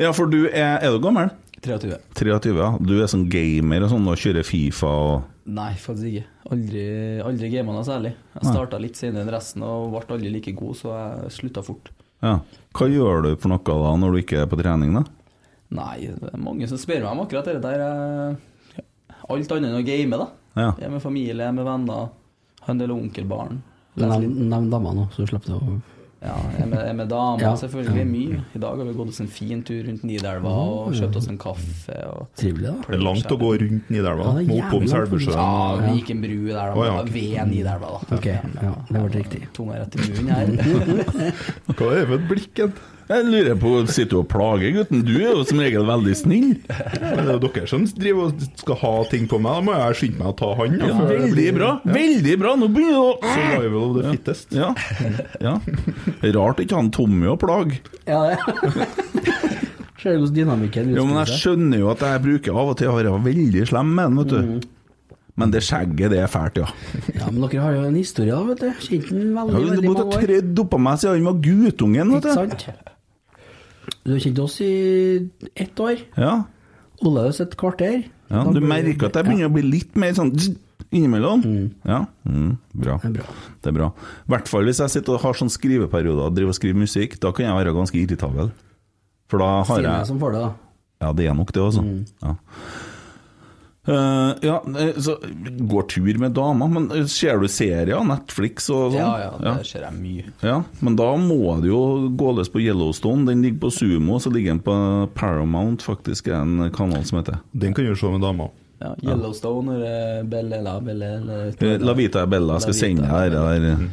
F: ja, for du er Er du gammel?
H: 23.
F: 23, ja. Du er sånn gamer og sånn, og kjører Fifa og
H: Nei, faktisk ikke. Aldri, aldri gama noe særlig. Jeg
F: Nei.
H: starta litt senere enn resten og ble aldri like god, så jeg slutta fort.
F: Ja. Hva gjør du for noe da, når du ikke er på trening, da?
H: Nei, det er mange som spør meg om akkurat det der. eh, Alt annet enn å game, da.
F: Ja.
H: Jeg er med familie, jeg er med venner. Har en del onkelbarn.
G: Nevn nevn dama nå, så du slapp det å
H: Ja, jeg er med, jeg er med damer,
G: Ja.
H: selvfølgelig.
G: Ja.
H: Mye. I dag har vi gått oss en fin tur rundt Nidelva og kjøpt oss en kaffe. Og
G: Trivelig, da.
I: Det er langt å gå rundt Nidelva.
H: Ja, det er
I: Må opp om
H: jævlig langt,
I: Selbusjøen.
H: Ja, vi gikk en bru der, da.
I: Å, ja, ok.
H: Ved Nidelva, da.
G: Ok, ja, det ble riktig.
H: eh, Tunga rett i munnen her.
F: Hva er det med blikken? Jeg lurer på, Sitter du og plager gutten? Du er jo som regel veldig snill.
I: Men det er jo dere som driver og skal ha ting på meg. Da må jeg skynde meg å ta han. da,
F: Ja,
I: før det
F: veldig
I: blir-
F: bra!
I: Ja.
F: Veldig bra! Nå begynner du å
I: Survival of the fittest.
F: Ja. ja. Rart ikke han Tommy å plage.
G: Ja, det Ser du hvordan dynamikken
F: Jo, men jeg skjønner jo at jeg bruker av og til å være veldig slem med han,
I: Mm.
F: vet du. Men det skjegget, det er fælt, ja.
G: Ja, men dere har jo en historie, da, vet du. Kjent den
F: Ja,
G: veldig,
F: men Du
G: veldig
F: måtte
G: mange
F: ha
G: år.
F: tredd oppå meg siden han var guttungen, vet du.
G: Ikke sant? Du har kjent oss i ett år.
F: Ja.
G: Olaus et kvarter.
F: Ja,
G: Da
F: du
G: blir-
F: merker at jeg begynner å bli litt mer sånn zzz innimellom. Ja, mm, bra. Det er bra. I hvert fall hvis jeg sitter og har sånn skriveperioder og driver og skriver musikk, da kan jeg være ganske irritabel. For da har
G: Siden jeg sånn? Mm.
F: jeg
G: som får det, da.
F: Ja, det er nok det, altså. Ja. Eh, ja, eh, så går tur med dama, men eh, ser du serier, Netflix og sånn?
H: Ja, ja, det ser jeg mye.
F: Ja, men da må det jo gå løs på Yellowstone. Den ligger på Sumo, så ligger den på Paramount, faktisk, er en kanal som heter.
I: Den kan du se med dama.
H: Ja, Yellowstone eller Bellella Bellella
F: Eh, La Vita e Bella, jeg skal sende deg det der
I: Mhm.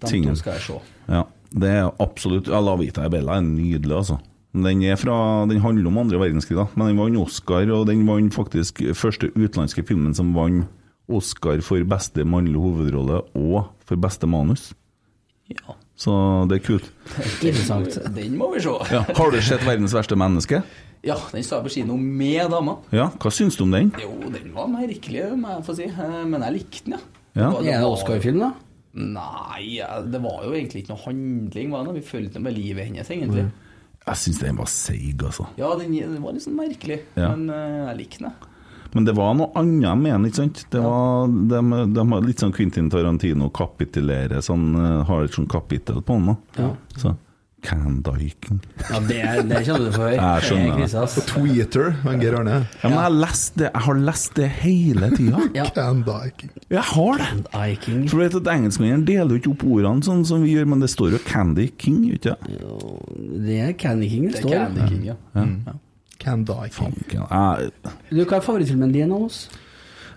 H: to
F: tingen.
H: skal jeg se.
F: Ja, det er absolutt ja, La Vita e Bella er nydelig, altså. Den, er fra, den handler om andre verdenskrig, da. men den vant Oscar, og den vant faktisk første utenlandske filmen som vant Oscar for beste mannlige hovedrolle og for beste manus. Så det er kult.
H: Den må vi se.
F: Ja. Har du sett 'Verdens verste menneske'?
H: Ja, den står jeg på kino med dama.
F: Ja, hva syns du om den?
H: Jo, den var merkelig, må jeg få si. Eh, Men jeg likte den, ja.
F: Ja.
H: var-
F: Er det
H: var-
F: Oscar-film, da?
H: Nei, ja, det var jo egentlig ikke noe handling. Var det? Vi fulgte med livet hennes, egentlig.
F: Jeg syns den var seig, altså.
H: Ja, den, den var litt sånn merkelig,
F: Ja.
H: men eh, jeg likte den. jeg.
F: Men det var noe annet jeg mener, ikke sant? Det var, de, de har litt sånn Quentin Tarantino kapitulerer, sånn, eh, har et sånt kapittel på den. da.
G: Ja.
F: Så, Can Dyken.
G: Ja, det, det kjenner du for.
F: Jeg skjønner det.
I: Tweeter, men Geir Arne.
F: Ja, men jeg, har lest det, jeg har lest det hele tida.
I: Can Dyken.
F: Jeg har det! For du vet at Engelskmennene deler jo ikke opp ordene sånn som vi gjør, men det står jo Candy King, gjør det ikke
G: Det er Candy King det
H: Det er
G: står.
H: Candy King, ja. Mm.
I: Can Dyken.
G: Du, hva er favorittfilmen din av oss?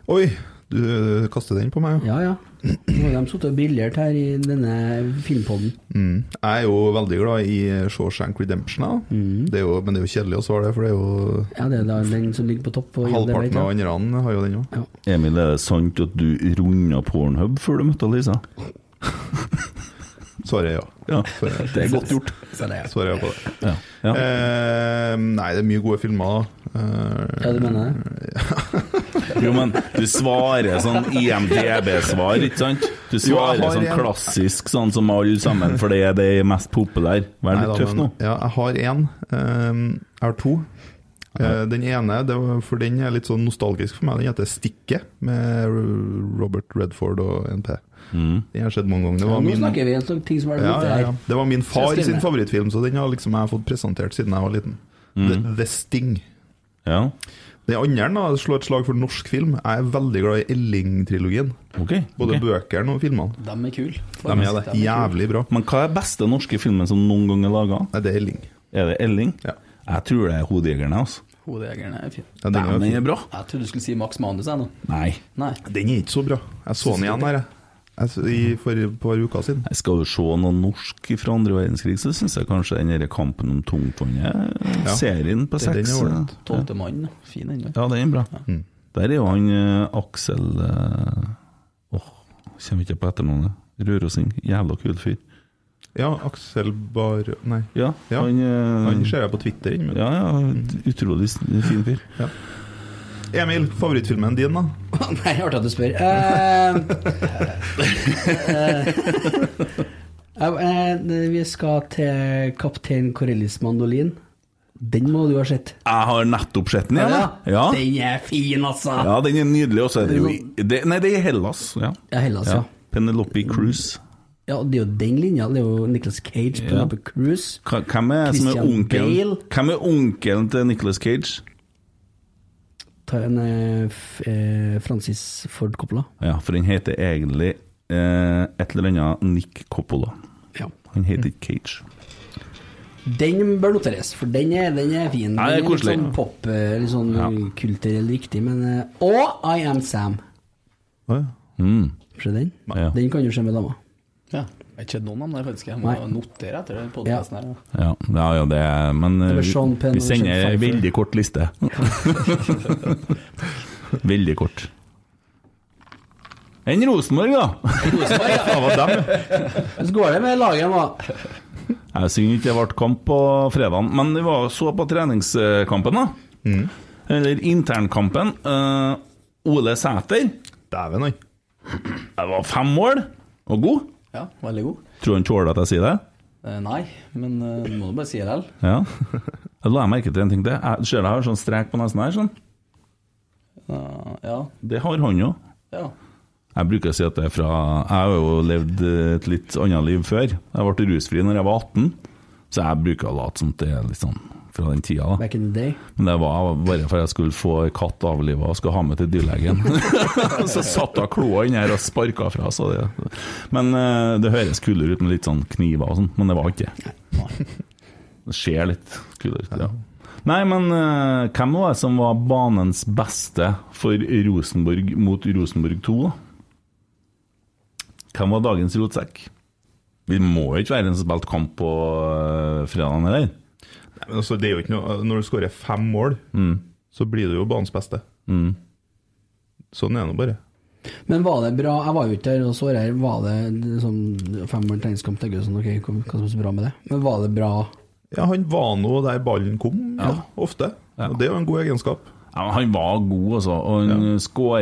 I: Oi, du eh, kaster den på meg,
G: ja? Ja, ja. Nå har de sittet og briljert her i denne filmpodden.
I: Mm. Jeg er jo veldig glad i Shawshank Redemption, da.
G: Mm.
I: Det er jo, men det er jo kjedelig å svare det, for det er jo
G: Ja, det er da den som ligger på topp. på IMDb,
I: halvparten
G: ja.
I: av andre har jo den òg.
F: Emil, er det sant at du runda Pornhub før du møtte Lisa?
I: Svaret er ja. Svaret
F: Det er godt gjort.
I: Svaret er ja på det.
F: Ja. Ja.
I: Eh, nei, det er mye gode filmer, da. Eh,
G: Ja, du mener det?
F: Jo, men du svarer sånn IMDb-svar, ikke sant? Du
I: Jo, jeg
F: svarer
I: har
F: sånn
I: en.
F: klassisk, sånn som alle sammen, for det er det mest populære. Vær
I: Nei da,
F: litt tøff
I: men-
F: nå.
I: Ja, jeg har én. jeg har to. Eh, den ene, det var, for den er litt sånn nostalgisk for meg, den heter 'Stikke', med R- Robert Redford og NP.
F: Mm.
I: Den har jeg sett mange ganger. Det
G: Ja,
I: var
G: nå
I: min,
G: snakker vi om sånne ting som er
I: ja,
G: ute
I: ja,
G: her.
I: ja. Det var min far
G: Så jeg skriver
I: sin
G: med.
I: favorittfilm, så den har liksom jeg fått presentert siden jeg var liten. The, The Sting.
F: Mm. Ja.
I: Den andre da, slår et slag for norsk film. Jeg er veldig glad i Elling-trilogien. Både
F: ok.
I: bøkene og filmene.
H: De er kule.
I: De er det. Jævlig bra.
F: Men hva er beste norske filmen som noen gang er laga?
I: Det er Elling.
F: Er det Elling? Jeg tror det er 'Hodejegerne'. Altså.
H: Hodejegerne er fin.
F: Ja, den er jo Den er fin. bra.
H: Jeg trodde du skulle si Max Manus, jeg nå.
F: Nei.
H: Nei.
I: Den er ikke så bra. Jeg så den igjen her, jeg. jeg. så- I, for et par uker siden.
F: Jeg skal jo se noe norsk fra andre verdenskrig, så syns jeg kanskje den der kampen om tungtvannet,
H: Ja.
F: serien på
H: Det er den
F: seks
H: jeg har
F: eh,
H: hørt. Tolvte mann, da. fin ennå.
F: Ja, den er bra. Der er jo han eh, Aksel eh, Åh, kommer ikke på etternavnet. Rørosing. Jævla kul fyr.
I: Ja, Aksel Bar... Nei.
F: Ja, han, eh,
I: Han ser jeg på Twitter innimellom.
F: Ja, ja, utrolig s- fin fyr.
I: Mm. Emil, favorittfilmen din, da?
G: Nei, artig at du spør. Eh, eh, eh, eh, vi skal til Kaptein Corellis mandolin. Den må du ha sett.
F: Jeg har nettopp sett den, jeg. Ja.
G: Den er fin, altså!
F: ja, den er nydelig. Og så er det jo i- det, Nei, det er i Hellas. Ja,
G: Ja, Hellas, ja.
F: Penelope Cruise.
G: Ja, det er jo den linja. Det er jo Nicholas Cage på
F: Ja.
G: Loppe Cruise.
F: Hva- Hvem er, Eh, som er
G: Christian
F: onkelen
G: Bale.
F: Hvem er onkelen til Nicolas Cage?
G: Ta en eh, f, eh, Francis Ford Coppola.
F: Ja, for den heter egentlig eh, et eller annet Nick Coppola.
G: Ja.
F: Han heter ikke Cage.
G: Den bør noteres, for den er, den er fin. Den
F: Ja, det er
G: er litt
F: koselig.
G: sånn pop, eh, litt sånn kulturell riktig, men eh, Og I Am Sam.
F: Mm.
G: Se den. Den kan du se med dama.
H: Ja. Jeg har ikke sett noen av dem, der, faktisk. Jeg må
G: Nei.
H: notere etter den podkasten her. ja.
F: Ja, ja, ja det er Men
H: Det
F: eh,
H: var
F: vi,
H: Sean Penn
F: vi
H: og
F: sender
H: Sean
F: ei
H: Pfeiffer.
F: veldig kort liste. veldig kort. Enn Rosenborg, da!
G: Rosenborg, ja.
F: Det var dem,
G: Så går det med laget, da.
F: Jeg synd ikke det ble kamp på fredagen, men vi var så på treningskampen, da.
G: Mm.
F: Eller internkampen. Eh, Ole Sæter.
I: Dæven, han.
F: Det var fem mål, og god.
H: ja, veldig god.
F: Tror du han tåler at jeg sier det?
H: Eh, nei, men eh, du må jo bare si det likevel.
F: Ja. Jeg la merke til en ting til. Jeg ser jeg har sånn strek på nesen her. sånn.
H: Ja.
F: Det har han jo.
H: ja.
F: Jeg bruker å si at det er fra Jeg har jo levd et litt annet liv før. Jeg ble rusfri når jeg var 18, så jeg bruker å late som det er litt sånn fra den tida. da
G: Back in the day.
F: Men det var bare for jeg skulle få ei katt avliva og skulle ha med til dyrlegen. så satt hun kloa inni her og sparka fra seg det. Men eh, det høres kulere ut med litt sånn kniver og sånn, men det var ikke det. Det ser litt kulere ut, ja. Nei, men eh, hvem var det som var banens beste for Rosenborg mot Rosenborg 2, da? Hvem var dagens rotsekk? Vi må jo ikke være en som spilte kamp på uh, fredagen, eller?
I: Nei, men altså, det er jo ikke noe, når du skårer fem mål,
F: Mm.
I: så blir du jo banens beste. Sånn er det nå bare.
G: Men var det bra Jeg var jo ikke der og så det
K: liksom
G: her. Var det sånn femmeren treningskamp til Gusen, ok, hva hva som er så bra med det? Men var det bra
I: Ja, han var nå der ballen kom, ja, ofte. Og det er jo en god egenskap.
F: Ja, men han var god, altså, og han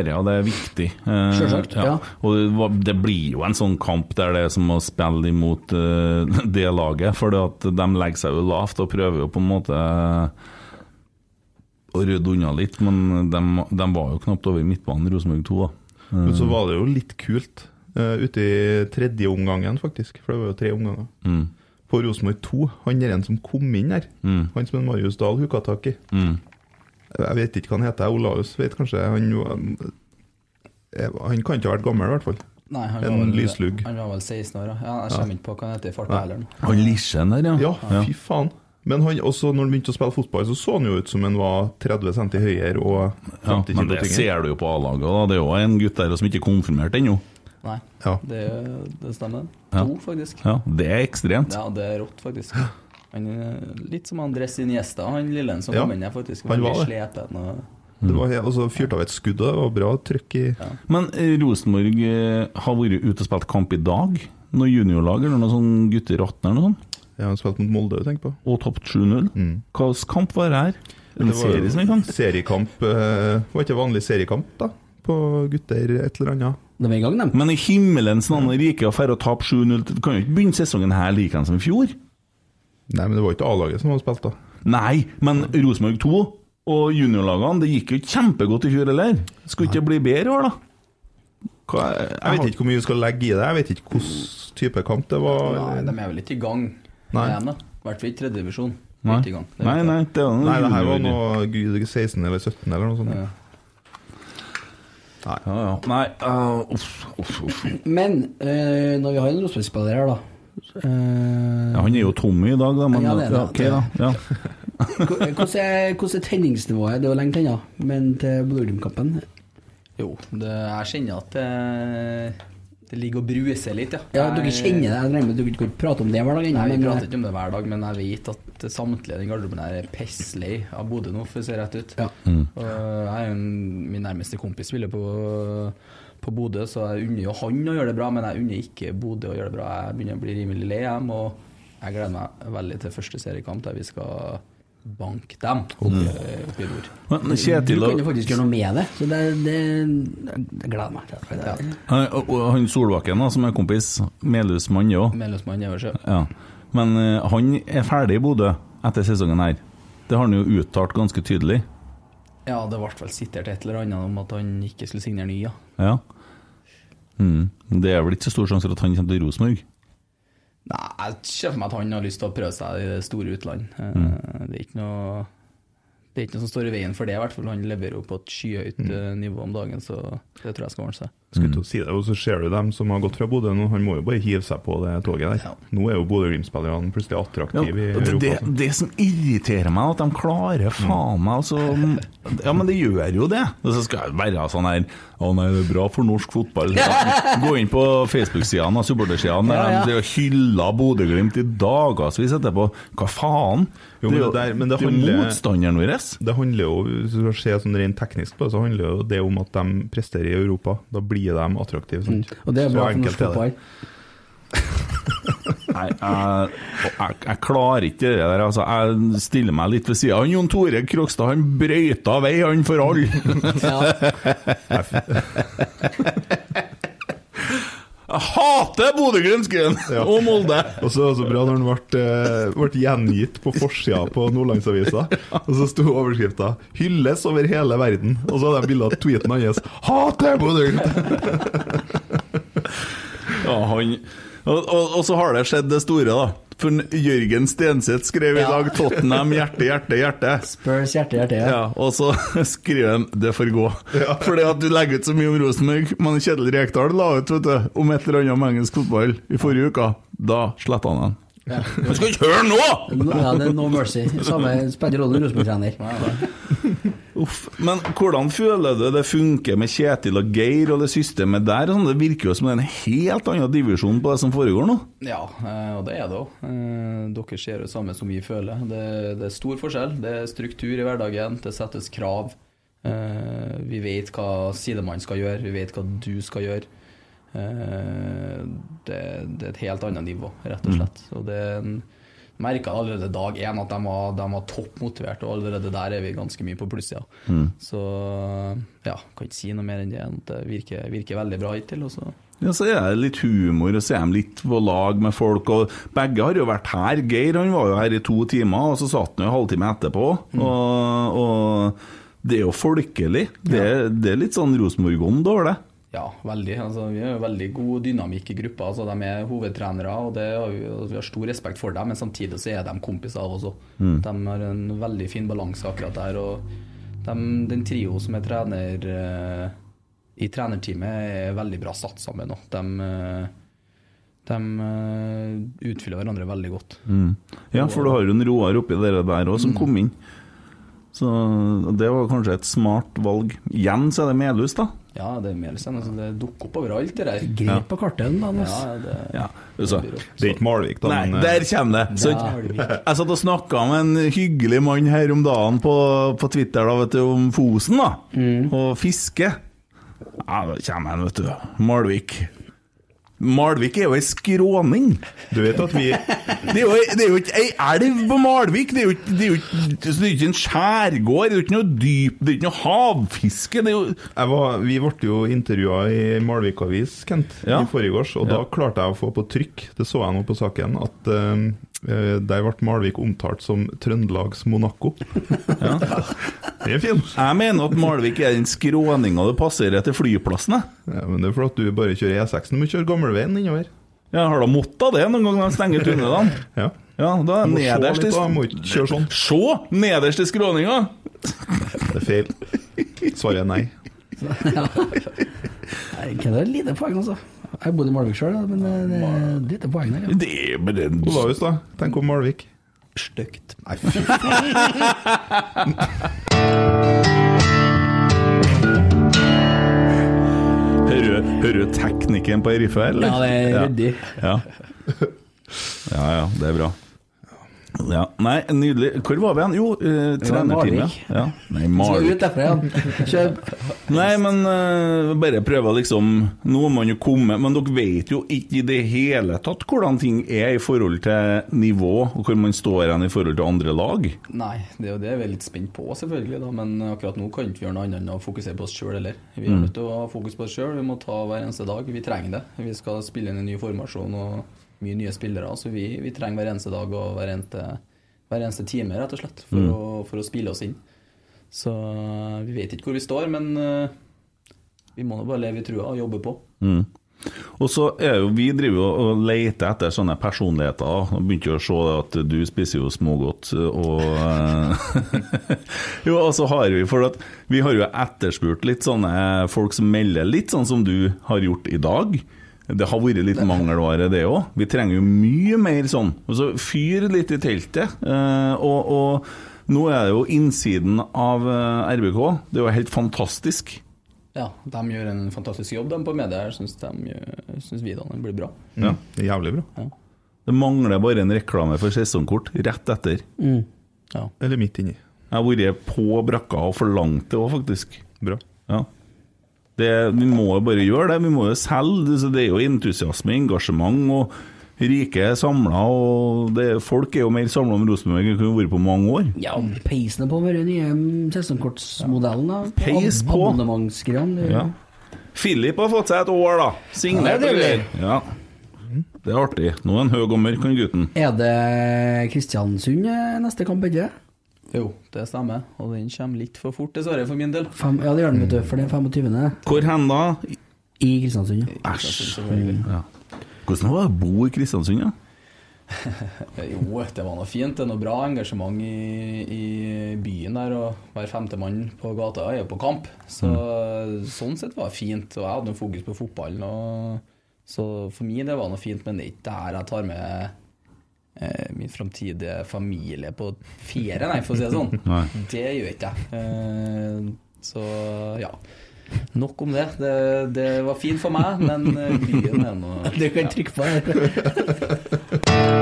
F: ja. og det er viktig. Eh,
I: Selvsagt, ja.
F: Og det, var, det blir jo en sånn kamp der det er som å spille imot eh, det laget, for de legger seg jo lavt og prøver jo på en måte eh, å rydde unna litt, men de, de var jo knapt over midtbanen, Rosenborg 2. Da. Eh,
I: Men så var det jo litt kult eh, ute i tredje omgangen, faktisk. For det var jo tre omganger.
F: Mm.
I: På Rosenborg 2, han der en som kom inn der,
F: Mm.
I: han som en Marius Dahl hooka tak i
F: Mm.
I: Jeg vet ikke hva han heter, Olaus vet kanskje Han, var- eh, han kan ikke ha vært gammel, i hvert fall.
H: Nei, han var
I: en
H: vel-
I: lyslugg.
H: Han var vel 16 år, da. ja. Jeg
I: Ja.
H: kommer ikke på hva han heter i farta
I: Nei.
H: heller. nå.
F: Han Lisjen der, ja.
I: Ja, fy faen. Men han, også når han begynte å spille fotball, så så han jo ut som han var 30 cm høyere og 50
F: men
I: kilo
F: det
I: tyngre.
F: ser du jo på A-laget. da. Det er jo en gutt der som ikke er konfirmert ennå.
H: Nei,
I: Ja.
H: det, det stemmer.
F: Ja.
H: To, faktisk.
F: Ja, det er ekstremt.
H: Ja, det er rått, faktisk. Han, er litt som Andres Iniesta, han lille som
I: Ja,
H: kom inn her, faktisk.
I: han
H: Veldig
I: var det.
H: sliten og
I: Det var, altså, og så fyrte av et skudd, og det var bra trykk i
F: Men eh, Rosenborg eh, har vært ute og spilt kamp i dag. Noe juniorlag eller noe sånn gutter 18 eller noe sånt.
I: Ja, han spilte mot Molde, tenk på. Mm.
F: Og tapt 7-0. Hva slags kamp var det her? En
I: Det var jo
F: serie som gikk an?
I: Seriekamp eh, var ikke vanlig seriekamp, da. På gutter et eller annet.
F: Men i himmelens navn og rike å dra og tape 7-0 Du kan jo ikke begynne sesongen her like som i fjor.
I: Nei, men det var ikke A-laget som hadde spilt, da.
F: Nei, men Rosenborg 2 og juniorlagene, det gikk jo kjempegodt i fjor heller. Skulle ikke det bli bedre i år, da? Hva, jeg,
I: Jeg vet ikke hvor mye du skal legge i det. Jeg vet ikke hvilken type kamp det var.
H: Nei, de er vel ikke i gang
I: Nei.
H: med dem, da. I hvert fall ikke tredje divisjon.
I: Nei.
H: Ikke i gang. Det vet jeg.
F: det var noe
I: Nei, det her var
F: junior-
I: noe gud, 16 eller 17 eller noe sånt. Nei.
F: Ja, ja. Nei ah, uff, uff, uff.
K: Men eh, når vi har en Rosenborg-spiller her, da eh,
F: Ja, han er jo tom i dag, da. Men,
K: Ja, det er det.
F: ja, ok, da. Ja.
K: Hvordan er, hvordan er tenningsnivået? Det er jo lenge til ennå, men til Bodø-Glimt-kampen
H: Jo, det, jeg kjenner at det, det ligger og bruser litt, ja.
K: Ja, dere
H: Jeg-
K: kjenner det. Jeg regner med at dere ikke kan prate om det hver dag ennå.
H: Nei, vi
K: men- eh,
H: prater ikke om det hver dag, men jeg vet at samtlige i den garderoben her er pisslei av Bodø nå, for å se rett ut.
F: Mm.
H: Og jeg er jo en, min nærmeste kompis spiller på, på Bodø, så jeg unner jo han å gjøre det bra, men jeg unner ikke Bodø å gjøre det bra. Jeg begynner å bli rimelig lei dem, og jeg gleder meg veldig til første seriekamp der vi skal banke dem oppe oppe i nord.
F: Oh. Men
K: Du
F: Kjetil og-
K: kan jo faktisk gjøre noe med det, så det, det, jeg gleder meg til det.
F: Nei, og- og Han Solbakken, da, som er kompis, Melhusmann òg.
H: Melhusmann øverst,
F: Ja. Men eh, han er ferdig i Bodø etter sesongen her. Det har han jo uttalt ganske tydelig.
H: Ja, det ble i hvert fall sitert et eller annet om at han ikke skulle signere ny, ja.
F: Ja. Mm. Det er vel ikke så stor sjanse for at han kommer til Rosenborg?
H: Nei, jeg ser for meg at han har lyst til å prøve seg i det store utland. Eh,
F: Mm.
H: Det er ikke noe det er ikke noe som står i veien for det, i hvert fall. Han leverer jo på et skyhøyt eh, nivå om dagen, så det tror jeg skal ordne seg.
F: Mm.
I: Skulle til å si det, og så ser du dem som har gått fra Bodø nå, han må jo bare hive seg på det toget der. Nå er jo Bodø-Glimt-spillerne plutselig
F: Ja,
I: attraktive i
F: det,
I: Europa. sånn.
F: det, det som irriterer meg, er at de klarer faen meg altså, Ja, men det gjør jo det. Og så skal jeg være sånn her Å nei, det er bra for norsk fotball. Ja. Gå inn på Facebook-sidene og supportersidene der
I: Ja, ja.
F: de hyller Bodø-Glimt i dagevis etterpå. Hva faen?
I: Jo, men det, der, men det,
F: det er jo
I: handler,
F: motstanderen vår.
I: det handler jo, hvis du skal se sånn rent teknisk på det, så handler jo det om at de presterer i Europa. Da blir de attraktive. Sant?
K: Og det er
I: Så
K: bra for
I: enkelt
K: norsk
I: er det.
K: fotball.
F: Nei, jeg, jeg, jeg klarer ikke det der. Altså, jeg stiller meg litt ved sida. Jon Tore Krokstad han brøyta vei, han for alle! Jeg hater Bodø-Glimt, Og Molde!
I: Og så var det så bra når han ble, eh, ble gjengitt på forsida på Nordlandsavisa. Og så sto overskrifta 'Hylles over hele verden'. Og så hadde jeg bilde av tweeten hans 'Hater Bodø-Glimt'!
F: Ja, han og, og, og så har det skjedd det store, da. For n- Jørgen Stenseth skrev i dag 'Tottenham hjerte, hjerte, hjerte'.
K: Spurs hjerte, hjerte, ja.
F: Ja, og så skriver han 'det får gå'. Fordi at du legger ut så mye om Rosenborg, men Kjetil Rekdal la ut vet du, om et eller annet om engelsk fotball i forrige uke. Da sletta han den. Du skal ikke høre nå!
K: Ja, det er no mercy. Samme spiller rolle Rosenborg-trener.
F: Men hvordan føler du det funker med Kjetil og Geir og det systemet der? og Sånn, det virker jo som det er en helt annen divisjon på det som foregår nå.
H: Ja, eh, og det er det òg. Dere ser det samme som vi føler. Det, det er stor forskjell. Det er struktur i hverdagen, det settes krav. Eh, Vi vet hva sidemannen skal gjøre, vi vet hva du skal gjøre. Eh, Det, det er et helt annet nivå, rett og slett. Og det er en merka allerede dag én at de var, de var topp motivert, og allerede der er vi ganske mye på plussida.
F: Mm.
H: Så ja, kan ikke si noe mer enn det. enn at Det virker, virker veldig bra hittil. og så-
F: Ja, så er det litt humor, og så er de litt på lag med folk. Og begge har jo vært her. Geir han var jo her i to timer, og så satt han jo en halvtime etterpå. Og, og det er jo folkelig. Det, det er litt sånn Rosenborg-ånd over det.
H: Ja, veldig. Altså, vi har jo veldig god dynamikk i gruppa. Altså, de er hovedtrenere, og det har vi, og vi har stor respekt for dem. Men samtidig så er de kompiser også.
D: Mm.
H: De har en veldig fin balanse akkurat der. Og de, den trio som er trener eh, i trenerteamet, er veldig bra satt sammen. også. De, eh, de eh, utfyller hverandre veldig godt.
F: Mm. Ja, for du har jo en Roar oppi dere der òg, som kom inn. Så det var kanskje et smart valg. Igjen så er det Melhus, da.
H: Ja, det er mer sånn, altså, det dukker opp overalt, det der.
F: Grep
H: på kartet, da. Ja, det,
F: Så,
I: Det er ikke Malvik, da.
F: Nei,
I: men, eh,
F: der kommer det! Så, jeg satt og snakka med en hyggelig mann her om dagen på, på Twitter da, vet du, om Fosen da og fiske. Ja, da kommer han, vet du. Malvik. Malvik er jo ei skråning.
I: Du vet at vi
F: Det er jo, det er jo ikke ei elv på Malvik, det er jo ikke, det er jo ikke, det er jo ikke en skjærgård, det er jo ikke noe dyp, det er ikke noe havfiske. Det er jo
I: Jeg var, vi ble jo intervjua i Malvik Avis, Kent, i forgårs, og da klarte jeg å få på trykk, det så jeg nå på saken, at eh, der ble Malvik omtalt som Trøndelags Monaco. Det er fint.
F: Jeg mener at Malvik er den skråninga du passerer til flyplassen.
I: Ja, men det er fordi at du bare kjører E6, du må kjøre gammelveien innover.
F: Ja, har da måtta det noen gang de stenger tunnelene?
I: ja.
F: ja, da er
I: Må se
F: nederst
I: litt,
F: i
I: da, må ikke kjøre sånn.
F: Se! Nederst i skråninga!
I: Det er feil. Svaret er nei.
K: Nei, Hva er det lite poeng, altså? Jeg bodde i Malvik sjøl, men det det er lite poeng der, ja.
F: er bare
I: Olaus, da. Tenk om Malvik.
H: Stygt.
I: Nei, fy
F: Hører du- hører du teknikken på riffet, her, eller?
K: Ja, det er
F: Ja.
K: ryddig.
F: Ja. ja, ja, det er bra. Ja, Nei, nydelig. Hvor var vi hen? Jo, eh,
K: Det var
F: trenerteamet.
K: Malvik.
F: Ja. Nei,
K: Skal
F: Malvik.
K: ut derfra igjen. Kjøp.
F: Nei, men eh, bare prøve liksom Nå må man jo komme, men dere vet jo ikke i det hele tatt hvordan ting er i forhold til nivå, og hvor man står hen i forhold til andre lag.
H: Nei, det er jo det vi er litt spent på, selvfølgelig. da, Men akkurat nå kan ikke vi gjøre noe annet enn å fokusere på oss sjøl heller. Vi er
F: Mm.
H: nødt til å ha fokus på oss sjøl. Vi må ta hver eneste dag. Vi trenger det. Vi skal spille inn en ny formasjon og mye nye spillere. Så vi, vi trenger hver eneste dag og hver eneste, hver eneste time, rett og slett, for,
F: Mm.
H: å, for å spille oss inn. Så eh, vi vet ikke hvor vi står, men eh, vi må nå bare leve i trua og jobbe på.
F: Mm. Og så er jo vi driver jo og leter etter sånne personligheter. Og begynte jo å se at du spiser jo smågodt, og eh, Jo, og så har vi For at vi har jo etterspurt litt sånne folk som melder litt sånn som du har gjort i dag. Det har vært litt mangelvare, det òg. Vi trenger jo mye mer sånn. Og så fyr litt i teltet. eh, og, og nå er det jo innsiden av eh, RBK. Det er jo helt fantastisk.
H: Ja, de gjør en fantastisk jobb, de på media her, syns videoene blir bra.
F: Ja.
K: Mm.
I: Det er jævlig bra.
F: Det mangler bare en reklame for sesongkort rett etter.
K: Mm.
I: Eller midt inni.
F: Jeg har vært på brakka og forlangt det òg, faktisk.
I: Bra.
F: Ja. Det, vi må jo bare gjøre det. Vi må jo selge. Så det er jo entusiasme, engasjement og rike er samla. Og det, folk er jo mer samla om Rosenborg enn de har vært på mange år.
K: Ja, peisene på med den nye mm, sesongkortsmodellen. da.
F: Peis på.
K: Abonnementsgreiene. det er-
F: Ja. Philip har fått seg et år, da. Signert
K: Mm. Ja, det
F: og
K: er
F: greier. Ja. Det er artig. Nå er han høy og mørk, han gutten.
K: Er det Kristiansund eh, neste kamp, ikke?
H: Jo, det stemmer. Og den kommer litt for fort, dessverre, for min del.
K: Fem, ja, det gjør den, vet du, for det er 25.
F: Hvor hen da?
K: I Kristiansund, ja. Mm.
F: Æsj. Ja. Hvordan var det å bo i Kristiansund, da?
H: Eh, Jo, det var noe fint. Det er noe bra engasjement i, i byen der. Og hver femte mann på gata er jo på kamp. Så sånn sett var det fint. Og jeg hadde noe fokus på fotballen. Og, så for meg det var noe fint, men det er ikke det her jeg tar med eh, min framtidige familie på ferie, nei, for å si det sånn.
F: Nei.
H: Det gjør ikke jeg. Eh, så ja. Nok om det. det. Det var fint for meg, men eh, byen er nå
K: Du kan trykke på her.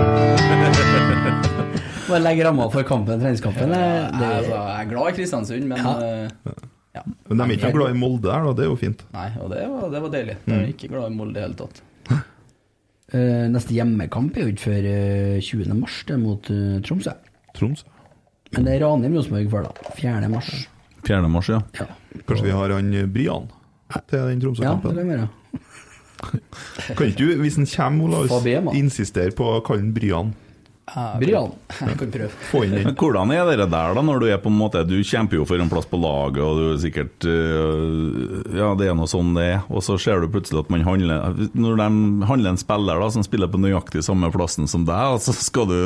K: Bare legge ramma for kampen, treningskampen.
G: eh,
K: Eh, Det,
H: Jeg, altså, jeg er glad i Kristiansund, men eh,
I: Men de er ikke noe glad i Molde her, da. Det er jo fint.
H: Nei, og det var, det var deilig. Jeg er
I: Mm.
H: ikke glad i Molde i det hele tatt.
G: Eh, neste hjemmekamp er jo ikke før eh, 20. mars, det er mot eh, Tromsø.
I: Tromsø.
G: Men det er Ranheim Rosenborg før, da. 4. mars.
F: 4. mars, ja.
I: Kanskje vi har han eh, Brian til den Tromsø-kampen?
G: Ja, det kan
I: kan ikke du, hvis han kommer,
G: Fabema.
I: Olaus, insistere på å kalle han Brian?
G: Brian. Jeg kan prøve.
I: Få inn den.
F: Men hvordan er det der, da, når du er på en måte Du kjemper jo for en plass på laget, og du er sikkert øh, Ja, det er nå sånn det er, og så ser du plutselig at man handler Når de handler en spiller da som spiller på nøyaktig samme plassen som deg, og så skal du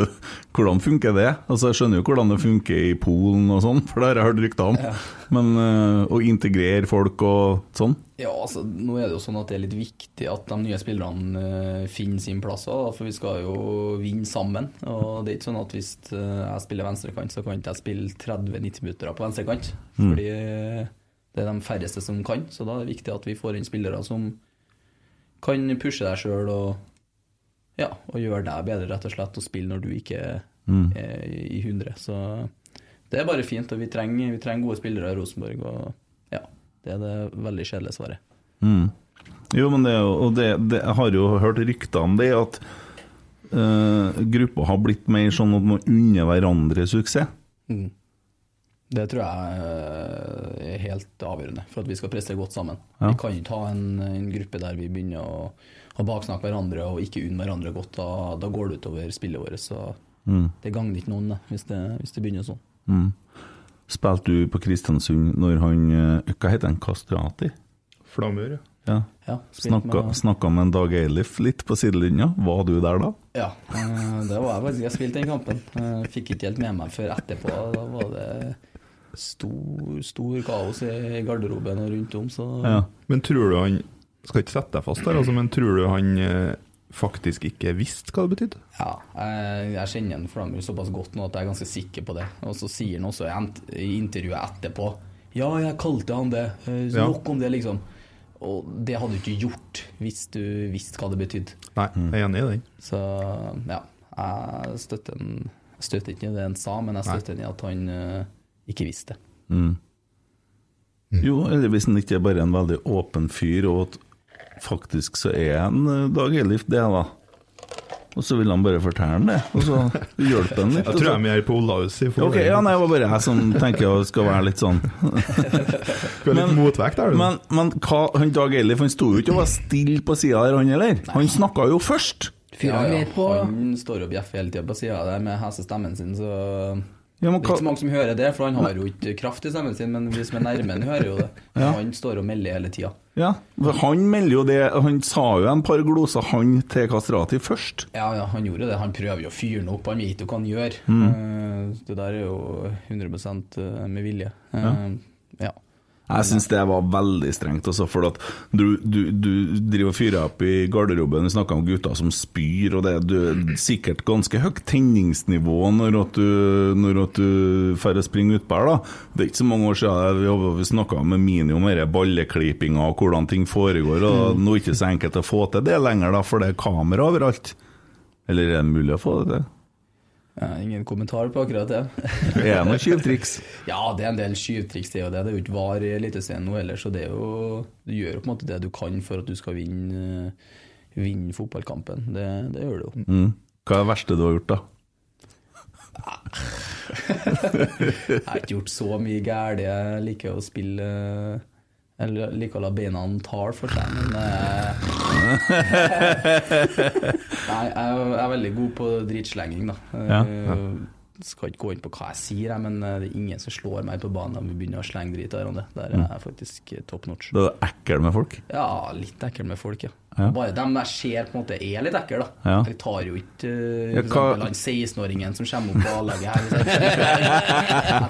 F: Hvordan funker det? Altså, jeg skjønner jo hvordan det funker i Polen og sånn, for det har jeg hørt rykter om, men øh, å integrere folk og sånn
H: Ja, altså, nå er det jo sånn at det er litt viktig at de nye spillerne eh, finner sin plass også, da, for vi skal jo vinne sammen. Og det er ikke sånn at hvis eh, jeg spiller venstrekant, så kan ikke jeg spille 30-90 minutter på venstrekant.
F: Mm.
H: Fordi eh, det er de færreste som kan, så da er det viktig at vi får inn spillere som kan pushe deg sjøl og, ja, og gjøre deg bedre, rett og slett, og spille når du ikke
F: Mm.
H: er Eh, i 100. Så det er bare fint, og vi trenger, vi trenger gode spillere i Rosenborg. og ja, det er det veldig kjedelige svaret.
F: Mm. Jo, men det, er jo- og det, det, jeg har jo hørt rykter om det, at eh, gruppa har blitt mer sånn at man unner hverandre suksess.
H: Mm. Det tror jeg eh, er helt avgjørende for at vi skal prestere godt sammen.
F: Ja.
H: Vi kan ikke ha en, en gruppe der vi begynner å, å baksnakke hverandre og ikke unne hverandre godt. Da, da går det utover spillet vårt. Så
F: Mm.
H: det gagner ikke noen det, hvis, det, hvis det begynner sånn.
F: Mm. Spilte du på Kristiansund når han eh, Hva heter han? Kastrati?
I: Flamør, ja.
F: Ja.
H: Ja, spilte
F: snakka,
H: med-
F: snakka med en Dag Eilif litt på sidelinja. Var du der da?
H: Ja, eh, det var jeg faktisk. Jeg spilte den kampen. Eh, Fikk ikke helt med meg før etterpå. Da var det stor, stor kaos i garderoben og rundt om. Så
I: Men tror du han Skal ikke sette deg fast der, altså, men tror du han eh, faktisk ikke visste hva det betydde?
H: Ja, jeg, jeg kjenner en Flamur såpass godt nå at jeg er ganske sikker på det. Og så sier han også i ent- i intervjuet etterpå Ja, jeg kalte han det. Eh,
I: Ja.
H: Nok om det, liksom. Og det hadde du ikke gjort hvis du visste hva det betydde.
I: Nei, jeg er enig i den.
H: Så ja, jeg støtter, en, jeg støtter ikke det han sa, men jeg støtter han i at han eh, ikke visste det.
F: Mm. Jo, eller hvis han ikke er bare en veldig åpen fyr, og at faktisk så er han eh, Dag Eilif det, da. Og så vil han bare fortelle han Altså, det, og så hjelper han litt.
I: Jeg
F: og
I: tror
F: så-
I: jeg er mer på Olaus. i forhold
F: Ok,
I: til-
F: ja, nei, det var bare jeg som tenker å skal være litt sånn
I: Du er litt motvekt der, du.
F: Men, men hva, han Dag Eilif han sto jo ikke og var stille på sida der, han heller. Han snakka jo først!
H: Han står og bjeffer hele tida på sida der med hesestemmen sin, så
F: Ja, men
H: Det er
F: hva-
H: ikke så mange som hører det, for han har jo ikke kraft i stemmen sin, men vi som er nærme han hører jo det.
F: Ja.
H: Han står og melder hele tida.
F: Ja, for Han melder jo det Han sa jo en par gloser, han til Kastrati først.
H: Ja, ja, han gjorde det. Han prøver jo å fyre den opp, han vet jo hva han gjør.
F: Mm.
H: Eh, Det der er jo 100 med vilje. Eh, ja.
F: Jeg syns det var veldig strengt, altså, for at du, du, du driver og fyrer opp i garderoben, vi snakker om gutter som spyr, og det du er sikkert ganske høyt tenningsnivå når at du, når at du færre springer utpå her, da. Det er ikke så mange år siden vi, vi snakka med Mini om denne balleklippinga og hvordan ting foregår, og
H: Mm.
F: nå er det ikke så enkelt å få til det lenger, da, for det er kamera overalt. Eller er det mulig å få det til?
H: Eh, Ingen kommentar på akkurat det.
F: Er det noen skyvtriks?
H: ja, det er en del skyvtriks. Det er jo det. Det er jo ikke var i Eliteserien nå heller, så det er jo Du gjør jo på en måte det du kan for at du skal vinne, eh, vinne fotballkampen. Det, det gjør du jo.
F: Mm. Hva er det verste du har gjort, da?
H: Jeg har ikke gjort så mye gærent. Jeg liker å spille eh, Eller liker å la beina tale for seg, men eh, Nei, jeg er- jeg er veldig god på dritslenging, da. Eh,
F: Ja, ja.
H: Skal ikke gå inn på hva jeg sier, jeg, men eh, det er ingen som slår meg på banen når vi begynner å slenge drit av hverandre. Der er jeg faktisk eh, top notch.
F: Du er ekkel med folk?
H: Ja, litt ekkel med folk, ja.
F: Ja.
H: Bare dem jeg ser på en måte er litt ekle, da.
F: Ja.
H: Jeg tar jo ikke eh,
F: Ja,
H: for
F: hva-
H: eksempel han 16-åringen som kommer opp på A-laget her. Jeg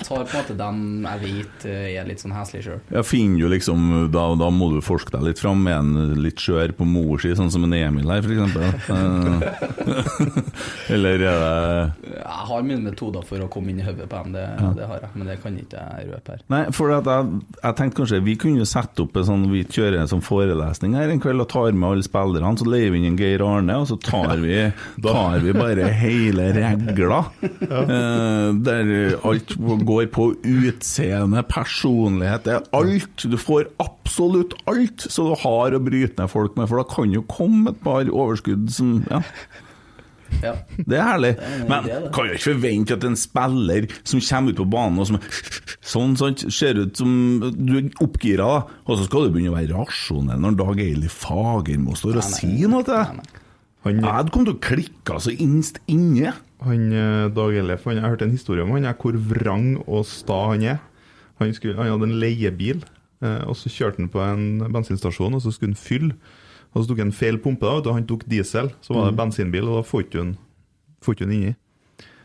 H: tar på en måte dem jeg vet eh, er litt sånn heslige sjøl.
F: Ja, finner du liksom da, da må du forske deg litt fram. Er han litt skjør på mor si, sånn som en Emil her, f.eks.? Eh, Eller er det
H: Jeg har mine metoder for å komme inn i hodet på dem, det,
F: Ja.
H: det har jeg. Men det kan ikke jeg røpe her.
F: Nei, for at jeg, jeg tenkte kanskje vi kunne sette opp en sånn Vi kjører en sånn forelesning her en kveld og tar med alle spillerne, så leier vi inn en Geir Arne, og så tar vi, tar vi bare hele regla. Eh, der alt går på utseende, personlighet, det er alt. Du får absolutt alt så du har å bryte ned folk med, for da kan jo komme et par overskudd som ja.
H: Ja.
F: Det er herlig.
H: er en
F: Men
H: idé, det.
F: kan jo ikke forvente at en spiller som kommer ut på banen og som sånn, sant, ser ut som du er oppgira, da. og så skal du begynne å være rasjonell når Dag Eili Fagermo står og sier noe til deg.
I: Han,
F: Jeg hadde kommet til å klikke så innst inne.
I: Han eh, Dag Ellef, han, jeg hørte en historie om han, jeg, hvor vrang og sta han er. Han, skulle, han hadde en leiebil, eh, og så kjørte han på en bensinstasjon, og så skulle han fylle. Og så tok han feil pumpe, da, vet du, han tok diesel, så var det
F: Mm.
I: bensinbil, og da får ikke han- får ikke han inni.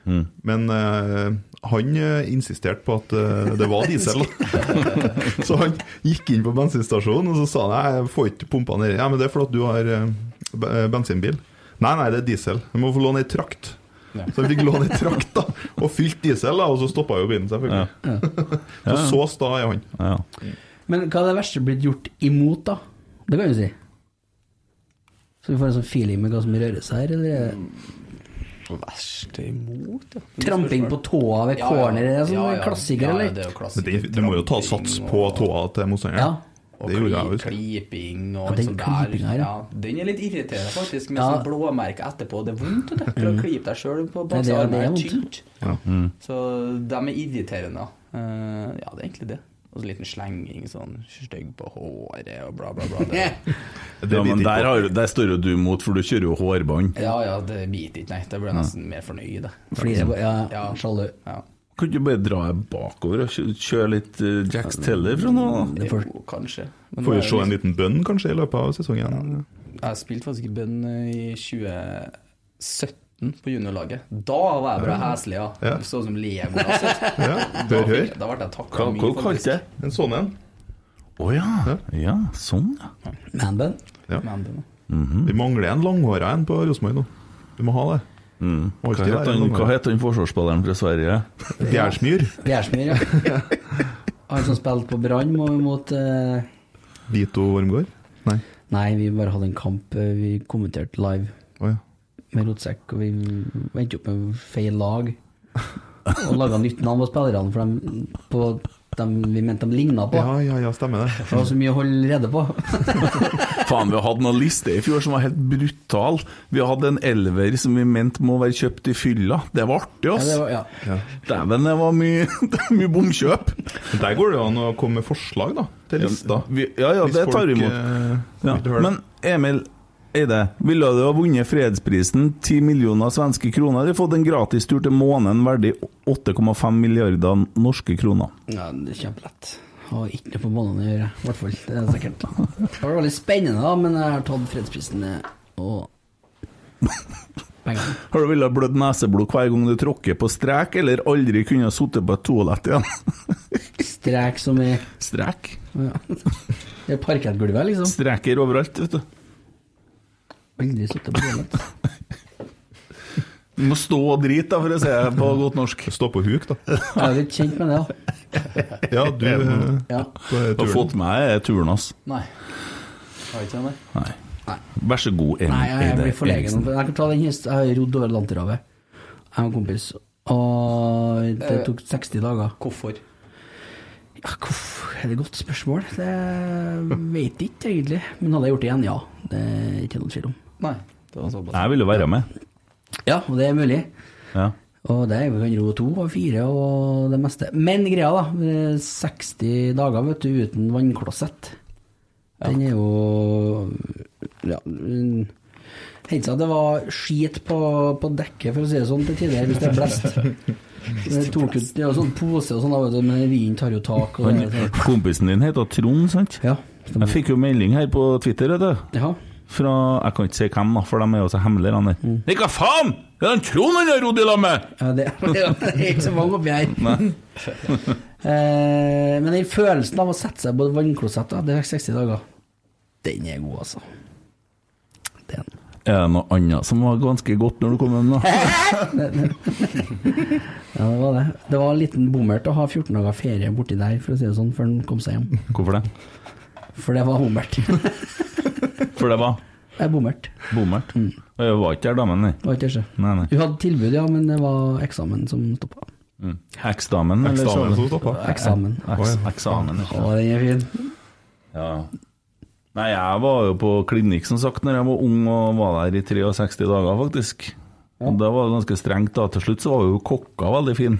F: Mm.
I: Men eh, han eh, insisterte på at eh, det var diesel. da. så han gikk inn på bensinstasjonen og så sa han «Nei, jeg får ikke pumpa nedi. Ja, men det er fordi at du har eh, b- eh, bensinbil. Nei, nei, det er diesel. Du må få låne ei trakt.
H: Ja.
I: Så han fikk låne ei trakt da, og fylt diesel, da, og så stoppa jo bilen, selvfølgelig. så så sta er han.
G: Men hva er det verste blitt gjort imot, da? Det kan du si. Så vi får en sånn feeling med hva som rører seg her, eller? er det- Tramping på tåa
H: Ja,
G: ved
H: ja.
G: corner, er det sånn
H: Ja, ja.
G: klassiker,
H: Ja, ja,
G: eller?
H: det er jo
I: Men
H: klassiker.
I: det, du må jo ta sats på tåa til motstanderen.
H: Og
I: Det gjorde jeg
H: kli-
I: også.
H: kliping og
I: Ja,
H: alt
I: den
H: sånt
I: klipingen her, ja.
H: altså, ja. Den er litt irriterende, faktisk, med
I: Ja.
H: sånn blåmerke etterpå. Det er vondt vet du, for å
I: Mm.
H: klype deg sjøl på
G: Det er det,
H: baksearmen.
G: det er
H: Det er altså
G: vondt.
H: tynt.
I: Ja. Mm.
H: Så de er irriterende. Eh, ja, det er egentlig det. Og så liten slenging, sånn stygg på håret og bla, bla, bla. Det,
F: Ja, men
H: biter ikke
F: der, har, der står jo du imot, for du kjører jo hårbånd.
H: ja, ja, det biter ikke, nei. Da blir jeg nesten mer fornøyd.
F: Flirer på-
H: ja, sjalu. Ja.
F: Kan du ikke bare dra deg bakover og kjø- kjøre litt eh, Jacks Teller fra nå?
H: Det får- Jo, kanskje. Men
I: Får
H: nå
I: vi
H: er det
I: se en
H: liksom-
I: liten bønn, kanskje, i løpet av sesongen?
H: Jeg spilte faktisk i bønn i 2017 på juniorlaget. Da var jeg bare
I: Ja.
H: heslig, ja.
I: Ja.
H: Sånn som Legolas. vet du.
I: Ja,
H: Da
I: hør,
H: fikk-
I: hør.
H: Da ble jeg takka
I: Hva-
H: mye.
I: hva kalte det? En sånn en.
F: Å ja. ja. Sånn, ja. Mhm.
G: Manbun.
I: Ja.
H: Manbun,
I: Vi mangler en langhåra en på Rosenborg nå. Vi må ha det. Må
F: Mm. Hva
I: alltid
F: het
I: være en
F: han, hva
I: langhåra.
F: het han forsvarsspilleren fra Sverige?
I: Bjærsmyr.
G: Bjærsmyr, ja. Han som spilte på Brann må- mot eh,
I: Vito Wormgård? Nei.
G: Nei, vi bare hadde en kamp eh, vi kommenterte live med Rotsekk, og vi endte opp med feil lag. Og laga nytt navn på spillerne, for dem, på dem vi mente de ligna på.
I: Ja, ja, ja, stemmer det.
G: Det var så mye å holde rede på.
F: Faen, vi hadde noen lister i fjor som var helt brutal. Vi hadde en elver som vi mente må være kjøpt i fylla. Det var artig, ass.
I: Ja, det var- ja.
F: Dæven, det var mye, det var mye bomkjøp.
I: Men Der går det jo an å komme med forslag, da. Til lista.
F: Vi, ja, ja,
I: Hvis
F: det tar vi
I: folk,
F: imot.
I: eh,
F: Ja.
I: vil høre det.
F: Men Emil Eide, ville du ha vunnet fredsprisen, 10 millioner svenske kroner, eller fått en gratis tur til månen verdig 8,5 milliarder norske kroner?
G: Ja, det er kjempelett. Har ikke noe på banen å gjøre, i hvert fall. Det er sikkert. Det var veldig spennende, da, men jeg har tatt fredsprisen eh, og
F: Har du villet blødd neseblod hver gang du tråkker på strek, eller aldri kunne ha sittet på et toalett igjen?
G: strek som er
F: Strek?
G: Ja. Det er parkettgulvet, liksom.
F: Streker overalt, vet du.
G: Aldri slutta på toalett.
F: Du må stå og drite, da, for å si det på godt norsk.
I: Stå på huk, da.
G: Jeg er litt kjent med det, da.
I: Ja, du eh,
G: Ja.
I: på turen.
F: Har fått med deg turen hans.
H: Nei. Har ikke den der.
F: Nei. Vær så god, Emil
G: Nei, jeg, jeg
F: Eide
G: blir forlegen.
F: Eriksen.
G: nå, for Jeg kan ta den hist. Jeg har rodd over Atlanterhavet. Jeg og en kompis. Og det tok 60 dager.
H: Eh, Hvorfor?
G: Ja, hvorfor? Er det et godt spørsmål? Det vet jeg ikke egentlig. Men hadde jeg gjort det igjen, ja. Det er ikke noen tvil om.
H: Nei. Det var såpass.
F: Jeg ville være med.
G: Ja, og det er mulig.
F: Ja.
G: Og det er vi kan ro to og fire og det meste. Men greia, da. det er 60 dager vet du, uten vannklosett. Den er jo Ja. mm, Hendte seg at det var skit på, på dekket, for å si det sånn, til tider, hvis det er blest. Det tok ut det er jo sånn pose og sånn, da, vet du, men vinden tar jo tak. Og det, er
F: Han,
G: sånn.
F: kompisen din heter Trond, sant?
G: Ja,
F: jeg fikk jo melding her på Twitter, vet du.
G: Ja.
F: Fra Jeg kan ikke si hvem, da, for de er jo så hemmelige. han der. Nei, hva faen?! Det er han Trond han har rodd i lag med!
G: ja, det, det er ikke så mange oppi her.
F: Nei. Mm.
G: Eh, men den følelsen av å sette seg på et vannklosett da, det er 60 dager, den er god, altså.
F: Er det noe annet som var ganske godt når du kom hjem, da?
G: Ja, det var det. Det var en liten bommert å ha 14 dager ferie borti der, for å si det sånn, før han kom seg hjem.
F: Hvorfor det?
G: For det var bommert.
F: For det var
G: Jeg bommerte.
F: Bommert.
G: Mm.
F: Og jeg var ikke der, damen, nei.
G: Det var ikke det.
F: nei, nei.
G: Hun hadde tilbud, ja, men det var eksamen som stoppa.
F: Mm. Eks-damen, eller
G: Eksamen
F: så-
G: som stoppet. Eksamen.
F: Eks- Eksamen.
G: Å, den er fin.
F: Ja. Nei, jeg var jo på klinikk, som sagt, når jeg var ung og var der i 63 dager, faktisk. Og Da var det ganske strengt. da Til slutt så var jo kokka veldig fin.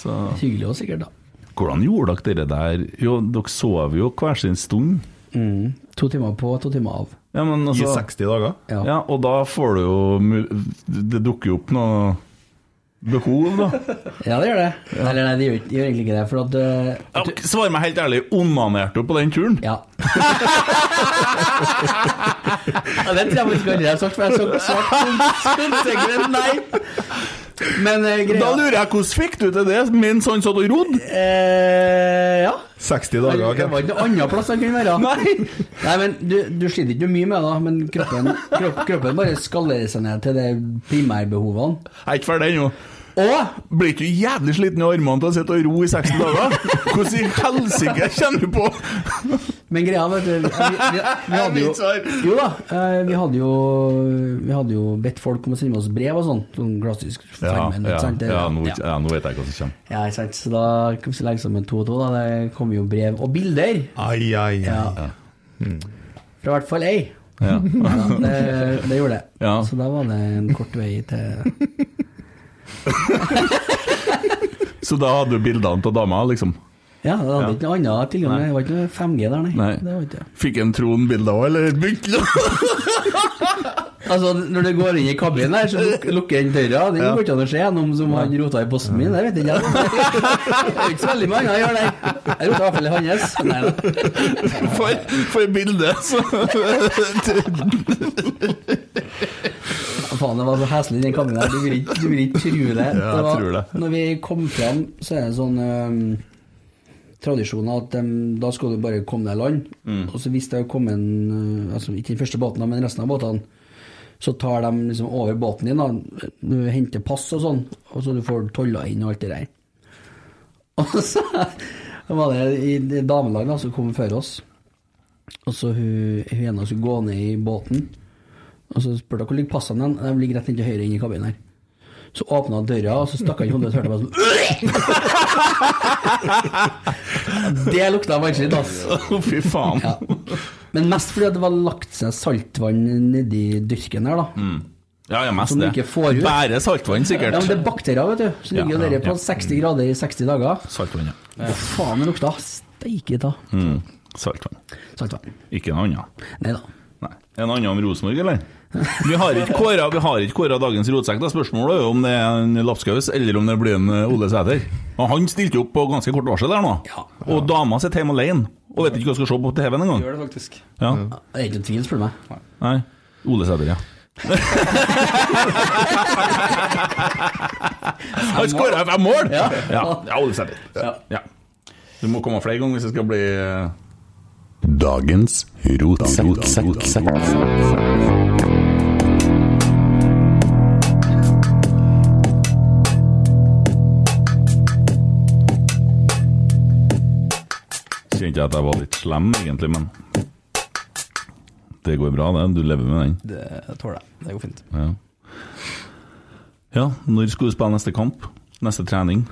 F: så.
G: Hyggelig også, sikkert, da.
F: Hvordan gjorde dere det der? Jo, dere sov jo hver sin stund.
G: Mm. To timer på, to timer av.
F: Ja, men altså,
G: I
I: 60 dager?
F: Ja. og da får du jo mul- Det dukker jo opp noe behov, da.
G: Ja, det gjør det. Eller nei, det gjør, det gjør egentlig ikke det. For at eh,
F: Ja, Svar meg helt ærlig, onanerte du på den turen?
G: Ja. ja, det tror jeg faktisk aldri jeg har sagt, for jeg har sagt- sagt konsekvent nei. Men eh, greia
F: Da lurer jeg, hvordan fikk du til det mens han satt og rodde?
G: Eh, ja.
I: 60
G: dager. Det var ikke noe annet plass han kunne være.
F: Nei,
G: men du, du sliter ikke mye med det, da, men kroppen, kropp, kroppen bare skallerer seg ned til de primærbehovene.
F: Jeg er ikke ferdig ennå.
G: Og
F: blir ikke du jævlig sliten i armene til å sitte og ro i 60 dager? Hvordan i helsike kjenner du på
G: Men greia, vet du Vi, vi, vi hadde jo Jo da, eh, vi hadde jo Vi hadde jo bedt folk om å sende oss brev og sånn. Sånn klassisk Farmen. ikke sant? Det-
F: vet jeg hva som kommer.
G: Ja, ikke sant. Så da kan vi legge sammen to og to. da Det kom jo brev og bilder
I: Ai, ai, ai.
G: Ja. fra i hvert fall ei.
F: Ja.
G: det, det gjorde det.
F: Ja.
G: Så da var det en kort vei til
F: Så da hadde du bildene til dama, liksom?
G: Ja, det hadde ikke noe annet tilgang.
F: Nei.
G: Det var ikke noe 5G der, nei.
F: Nei.
G: Det var ikke det.
F: Fikk en Trond bilder òg, eller begynte
G: Altså, når du går inn i kabinen her, så luk- lukker den døra. Det går ikke an å se gjennom som han rota i posten min, det vet jeg ikke. Det er ikke så veldig mange han gjør det. Jeg rota i hvert fall i hans. Nei, da.
F: For, for altså. bildet, så
G: Faen, det var så heslig i den kabinen her. Du vil ikke, du vil ikke tro det.
F: Ja, jeg
G: var-
F: tror det.
G: Når vi kom frem, så er det sånn ehm, tradisjon at ehm, da skal du bare komme deg i land.
K: Mm.
G: Og så hvis det har kommet en, eh, altså ikke den første båten, da, men resten av båtene, så tar de liksom over båten din, da. Du henter pass og sånn, og så du får tolla inn og alt det der. Og så var det i det damelaget da, som kom før oss, og så hun, hun ene skulle gå ned i båten, og så spurte jeg hvor ligger passene hen? De ligger rett inn til høyre inn i kabinen her. Så åpna døra, og så stakk han i hodet, og så hørte jeg bare sånn Det lukta vanskelig, ass.
F: Fy faen.
G: Men mest fordi at det var lagt seg saltvann nedi dyrken her, da.
F: mm. Ja, ja, mest
G: Som du
F: det.
G: ikke får ut.
F: Bære saltvann, sikkert.
G: Ja, men det er bakterier, vet du. Så ligger
F: Ja,
G: jo dere
F: ja,
G: på
F: ja.
G: 60 grader i 60 dager.
F: Saltvann, ja.
G: Hva faen, det lukta steike ta.
F: Mm. Saltvann.
G: Saltvann.
F: Ikke noe annet.
G: Nei da.
F: En annen om Rosenborg, eller? Vi har ikke kåra- vi har ikke kåra dagens rotsekk. da. Spørsmålet er jo om det er en Lapskaus eller om det blir en eh, Ole Sæter. Og han stilte jo opp på ganske kort varsel der nå. Og dama sitter hjemme alene og vet ikke hva hun skal se på TV-en engang.
H: Gjør det faktisk.
F: Ja.
G: Det er ikke noen tvil, spør du meg.
F: Nei. Ole Sæter, ja. Han skåra fem mål! Ja. Ja. Ole Sæter. Ja. Du må komme flere ganger hvis det skal bli eh, Dagens rotsekk. Kjente jeg at jeg var litt slem, egentlig, men det går bra, det. Du lever med den.
H: Det tåler jeg. Det går fint.
F: Ja, ja når skal du spille neste kamp? Neste trening?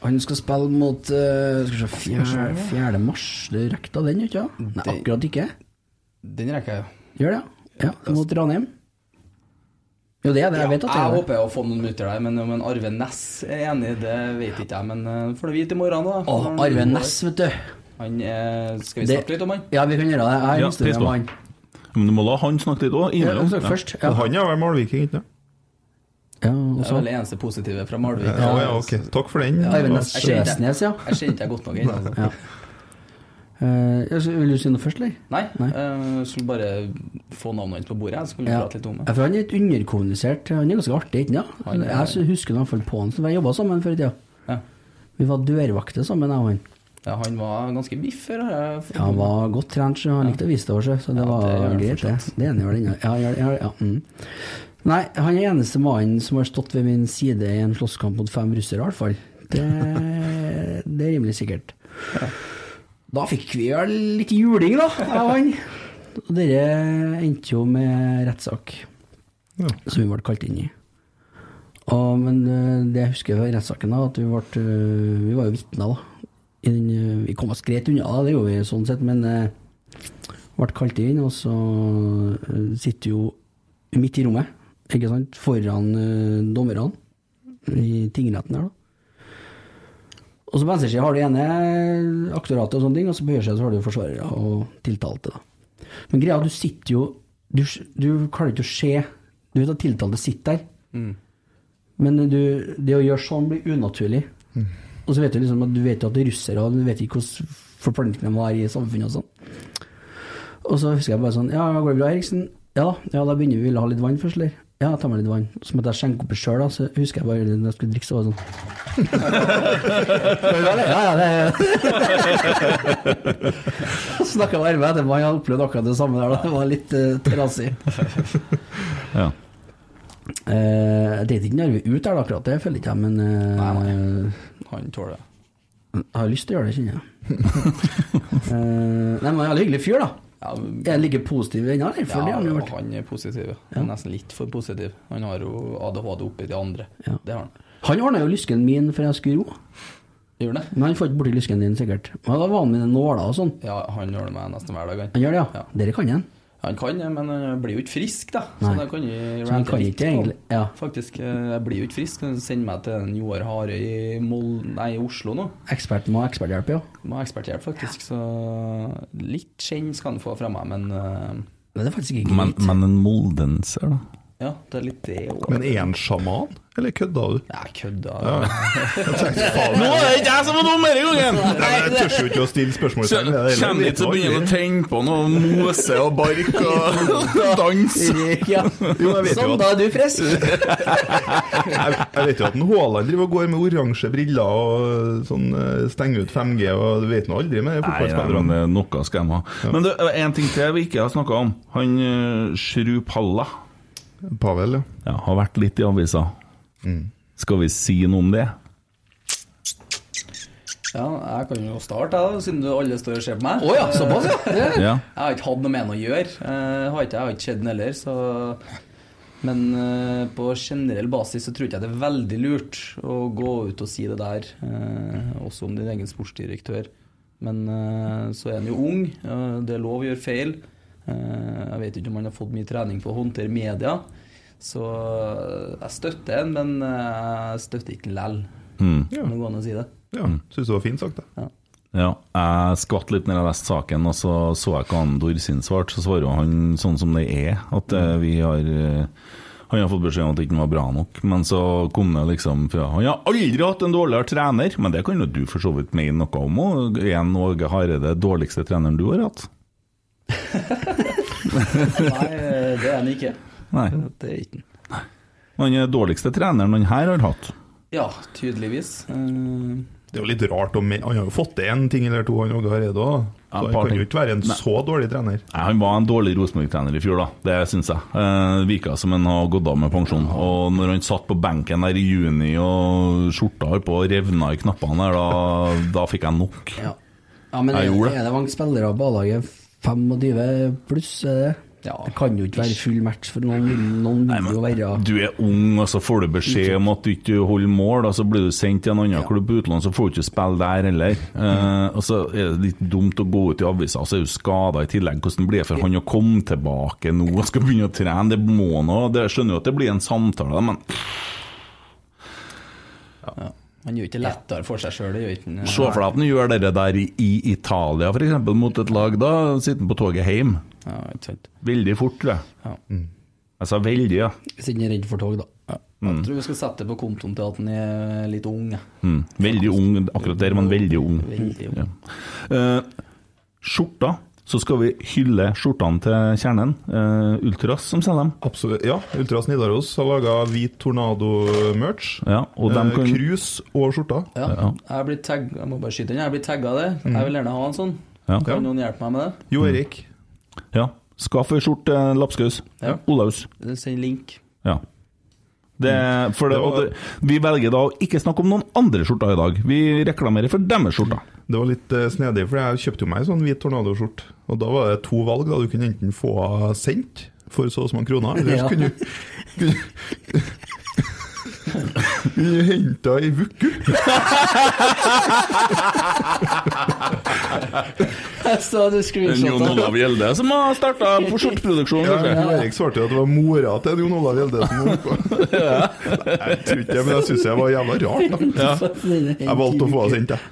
G: Han skal spille mot eh, skal vi se, fjerde, fjerde mars. Det rekker da den, ikke sant? Nei,
H: Det-
G: akkurat ikke.
H: Den rekker jeg.
G: Gjør det, ja. ja mot Ranheim. Jo, det er det. Jeg vet at det
H: jeg
G: er det.
H: håper jeg å få noen minutter der, men om en Arve Næss er enig, det vet ikke jeg. Men eh, får du vite i morgen, da.
G: Å,
H: Når han
G: Arve
H: går.
G: Næss, vet du.
H: Han er Skal vi
G: Det-
H: snakke litt om han?
G: Ja, vi kan gjøre det. Jeg har
F: Ja,
G: en historie
F: pris
G: om
F: på.
G: han.
F: Men du må la han snakke litt òg,
G: Ja,
F: innimellom.
G: han snakker først, ja. Men han
I: er vel målviking, ikke
G: Ja,
H: Det er
G: også.
H: vel det eneste positive fra Malvik.
I: Ja, ja, ok. Takk for den.
G: Arve Næss
H: Jeg kjente-
G: Skjesnes, ja.
H: Jeg kjente jeg godt nok inn. Altså.
G: Ja. Eh, ja, så vil du si noe først, eller?
H: Nei, eh, skulle bare få navnet hans på bordet. Jeg skulle
G: Ja.
H: prate litt om
G: Ja,
H: det.
G: for han er litt underkommunisert. Han er ganske artig, ikke
H: Han
G: sant?
H: er-
G: Jeg sy- husker han i hvert fall på han som vi jobba sammen før i tida.
H: Ja.
G: Vi var dørvakter sammen, jeg og han.
H: Ja, han var ganske biff før. har jeg fått-
G: Ja, han var godt trent, så han likte å vise det over seg. Så det var
H: gjør han
G: greit, det. Det ene gjør det ene. Ja, han gjør det, ja, ja. Mm. Nei, han er eneste mannen som har stått ved min side i en slåsskamp mot fem russere, i hvert fall. Det, det er rimelig sikkert. Da fikk vi vel litt juling, da, jeg og han. Og dere endte jo med rettssak, som vi ble kalt inn i. Og, men eh, det jeg husker fra rettssaken, da, at vi, ble, eh, vi var jo vitner, da. I den, eh, vi kom oss greit unna, da, det gjorde vi sånn sett, men eh, ble kalt inn, og så eh, sitter jo midt i rommet, ikke sant, foran eh, dommerne i tingretten her, da. Og så på venstresida har du ene aktoratet og sånne ting, og så på høyresida så har du forsvarere og tiltalte. da. Men greia er at du sitter jo Du, du klarer ikke å se Du vet at tiltalte sitter der,
D: Mm.
G: men du, det å gjøre sånn blir unaturlig. Og så vet du liksom at du vet jo at det er russere, og du vet ikke hvordan forplantning de var i samfunnet og sånn. Og så husker jeg bare sånn Ja, går det bra, Eriksen? Ja da, ja, da begynner vi. Vil du ha litt vann først, eller? Ja, ta meg litt vann. Så måtte jeg skjenke oppi sjøl, da. Så husker jeg bare når jeg skulle drikke, så var det sånn Ja, det- ja, det er Snakka med Arve etterpå, han hadde opplevd akkurat det samme der. Da. Det var litt uh, trasig.
F: Ja.
G: Eh, jeg delte ikke Arve ut der, da, akkurat det føler ikke jeg, men
H: Han tåler det.
G: Jeg har lyst til å gjøre det, kjenner jeg. Eh, nei, men Jævlig hyggelig fyr, da. er han like positiv ennå? eller? For det har han jo vært.
H: han er positiv, ja. Han er nesten litt for positiv. Han har jo ADHD oppi de andre. Det har han.
G: Han ordna jo lysken min før jeg skulle ro.
H: Gjorde han det?
G: Men han får ikke borti lysken din, sikkert. Men da var han med nåler og sånn.
H: Ja, han gjør det med nesten hver dag,
G: Han gjør det, ja. Dere kan han.
H: Han kan det, men han blir jo ikke frisk, da.
G: Nei.
H: Så da kan jeg
G: Så han
H: rante
G: kan
H: litt
G: ikke
H: på han.
G: egentlig- ja.
H: Faktisk, eh, jeg blir jo ikke frisk. Han sender meg til en Joar Hare i Mol... Nei, i Oslo nå.
G: Ekspert må ha eksperthjelp, ja.
H: Må ha eksperthjelp, faktisk. Så litt skjenn skal han få fra meg, men eh,
G: Men det er faktisk ikke
F: Men, men en moldenser, da?
H: ja, det er litt det òg.
I: Men er han sjaman, eller kødda du?
H: Jeg kødda.
F: Nå er det ikke jeg som er dum denne gangen!
I: Nei, men Jeg tør jo ikke å stille spørsmål selv.
F: Kjenner ikke til å begynne å tenne på noe mose og bark og dans.
G: Ja.
I: Jo, jeg vet jo
G: Sånn,
I: at-
G: da er du frisk!
I: jeg, jeg vet jo at en Haaland driver og går med oransje briller og sånn eh, stenger ut 5G, og du vet nå aldri med
F: Nei, nei, men
I: fotballspillerne.
F: det er noe skal de ha. Men du, en ting til vi ikke har snakka om. Han eh, Shru Palla.
I: Pavel, ja. Mm.
F: Har vært litt i avisa. Skal vi si noe om det?
H: Ja, jeg kan jo starte, da, siden du alle står og ser på meg.
G: Å ja, såpass, ja.
H: Eh,
F: Ja.
H: Jeg har ikke hatt noe med han å gjøre. Eh, har ikke- Jeg har ikke sett den heller, så Men eh, på generell basis så tror ikke jeg det er veldig lurt å gå ut og si det der, eh, også om din egen sportsdirektør. Men eh, så er han jo ung, eh, det er lov å gjøre feil. Eh, Jeg vet ikke om han har fått mye trening på å håndtere media. Så eh, jeg støtter han, men eh, jeg støtter ikke han lell.
F: Mm.
H: Om det går an å si det.
I: Ja, Syns det var fint sagt, det.
F: Ja, jeg skvatt litt når jeg leste saken, og så så jeg hva han Dorsin svarte. Så svarer jo han sånn som det er, at eh, vi har eh, Han har fått beskjed om at ikke han var bra nok, men så kom det liksom fra Han har aldri hatt en dårligere trener, men det kan jo du for så vidt mene noe om òg. Er han Åge Hareide dårligste treneren du har hatt?
H: Nei, eh, det er han ikke.
F: Nei.
H: Det er ikke han.
F: Han er dårligste treneren han her har hatt.
H: Ja, tydeligvis. Eh,
I: Det er jo litt rart om Han har jo fått til en ting eller to, han Åge Hareide òg.
F: Ja,
I: Så
F: et
I: han
F: par
I: kan
F: ting.
I: jo ikke være en
F: Nei.
I: så dårlig trener.
F: Nei, Han var en dårlig Rosenborg-trener i fjor, da. Det syns jeg. Eh, virka som han har gått av med pensjon. Og når han satt på benken der i juni og skjorta holdt på å revne i knappene der, da, da fikk jeg nok.
G: Ja, men
F: Jeg
G: er,
F: gjorde det.
G: er det mange spillere på A-laget? 25 pluss, er det? Det kan jo ikke være full match, for noen vil, noen vil jo være
F: Du er ung, og så får du beskjed om at du ikke holder mål, og så blir du sendt til en annen klubb på utlandet, så får du ikke spille der heller. Eh, og så er det litt dumt å gå ut i avisa, og så er du skada i tillegg. Hvordan blir det for han å komme tilbake nå og skal begynne å trene? Det må nå Jeg skjønner jo at det blir en samtale, da, men
H: Han gjør ikke det lettere for seg sjøl, det gjør ikke han.
F: Se for deg at han gjør det der i i Italia, f.eks., mot et lag. Da sitter han på toget hjem. Veldig fort, tror jeg.
H: Mm.
F: Jeg sa veldig, ja.
G: Siden jeg er redd for tog, da.
H: Jeg tror vi skal sette det på kontoen til at han er litt ung. jeg.
F: Mm. Veldig ung akkurat der, men veldig ung.
H: Veldig ung.
F: Ja. Eh, skjorta. Så skal vi hylle skjortene til kjernen. Eh, Ultras som selger dem.
I: Absolutt. Ja, Ultras Nidaros har laga hvit tornado-merch.
F: Ja, og dem
I: Eh,
F: kan-
I: Krus og skjorta.
H: Ja. Jeg blir tagg... Jeg må bare skyte inn, jeg blir tagga det.
I: Mm.
H: Jeg vil gjerne ha en sånn.
F: Ja.
H: Kan noen hjelpe meg med det?
I: Jo
F: Mm.
I: Erik.
F: Ja. Skaff ei skjorte, Lapskaus.
H: Ja.
F: Olaus.
H: Send link.
F: Ja. Det,
I: Mm.
F: for det, og det, vi velger da å ikke snakke om noen andre skjorter i dag. Vi reklamerer for deres skjorter.
I: Det var litt eh, snedig, for jeg kjøpte jo meg en sånn hvit tornadoskjorte. Og da var det to valg. da Du kunne enten få henne sendt for så og så mange kroner, eller
E: Ja.
I: så kunne du kunne- Kunne du hente henne i Vuku.
G: Jeg så du
F: Jon Olav Gjelde som har starta skjorteproduksjonen,
I: Ja,
F: kanskje?
I: Erik svarte jo at det var mora til Jon Olav Gjelde som var oppå. Jeg tror ikke det, men jeg syns det var jævla rart. Da. Jeg valgte å få henne sendt, jeg.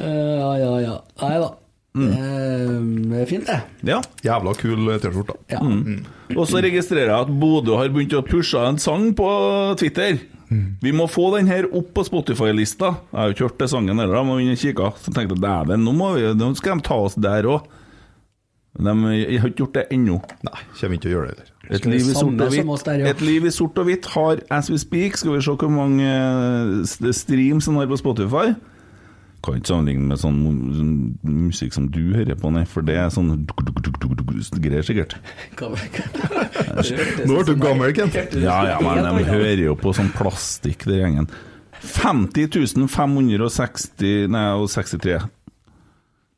G: Eh, ja, ja, ja. Nei da.
I: Mm.
G: Eh, det er fint, det.
F: Ja.
I: Jævla kul eh, T-skjorte.
G: Ja.
F: Mm. Og så registrerer jeg at Bodø har begynt å pushe en sang på Twitter. Vi må få den her opp på Spotify-lista. Jeg har jo ikke hørt det sangen heller, da, men jeg kikka. Så tenkte jeg dæven, nå, må vi- nå skal de ta oss der òg. Men de jeg har ikke gjort det ennå.
I: Nei, kommer ikke til å gjøre det heller.
F: Et liv, i sort og
G: Samme som oss
F: hvitt,
G: der, ja.
F: et liv i sort og hvitt har As We Speak. Skal vi se hvor mange eh, st- streams han har på Spotify? Kan ikke sammenligne med sånn mu- sånn musikk som du hører på, nei, for det er sånn duk- duk- duk- duk- duk- greier, sikkert.
I: Nå ble du gammel, Kent.
F: Ja, ja, men de hører jo på sånn plastikk, den gjengen. 50 560 Nei, og 63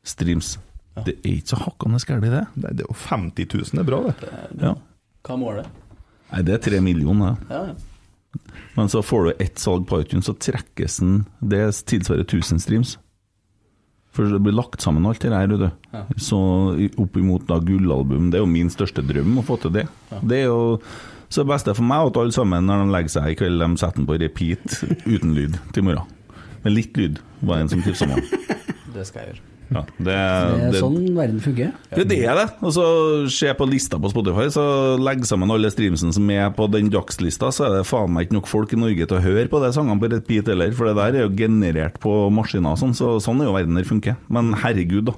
F: streams. Det er ikke så hakkende gærent, det.
I: Nei, det er jo 50 000 er bra, det.
F: Ja.
H: Hva er målet?
F: Nei, det er tre millioner. det.
H: Ja, ja.
F: Men så får du ett salg på iTunes, så trekkes den Det tilsvarer 1000 streams. For det blir lagt sammen alt det her, vet du.
L: Ja.
F: Så i- opp imot da gullalbum. Det er jo min største drøm å få til det. Det er jo så det beste for meg er at alle sammen når de legger seg i kveld, de setter den på repeat uten lyd til i morgen. Med litt lyd, var en som tipsa meg.
H: Det skal jeg gjøre.
F: Ja, det,
G: Det er
F: det,
G: sånn verden fungerer.
F: ja, det er det. Og så se på lista på Spotify, så legg sammen alle streamsene som er på den dagslista, så er det faen meg ikke nok folk i Norge til å høre på de sangene på repeat heller, for det der er jo generert på maskiner og sånn, så sånn er jo verden der funker. Men herregud, da.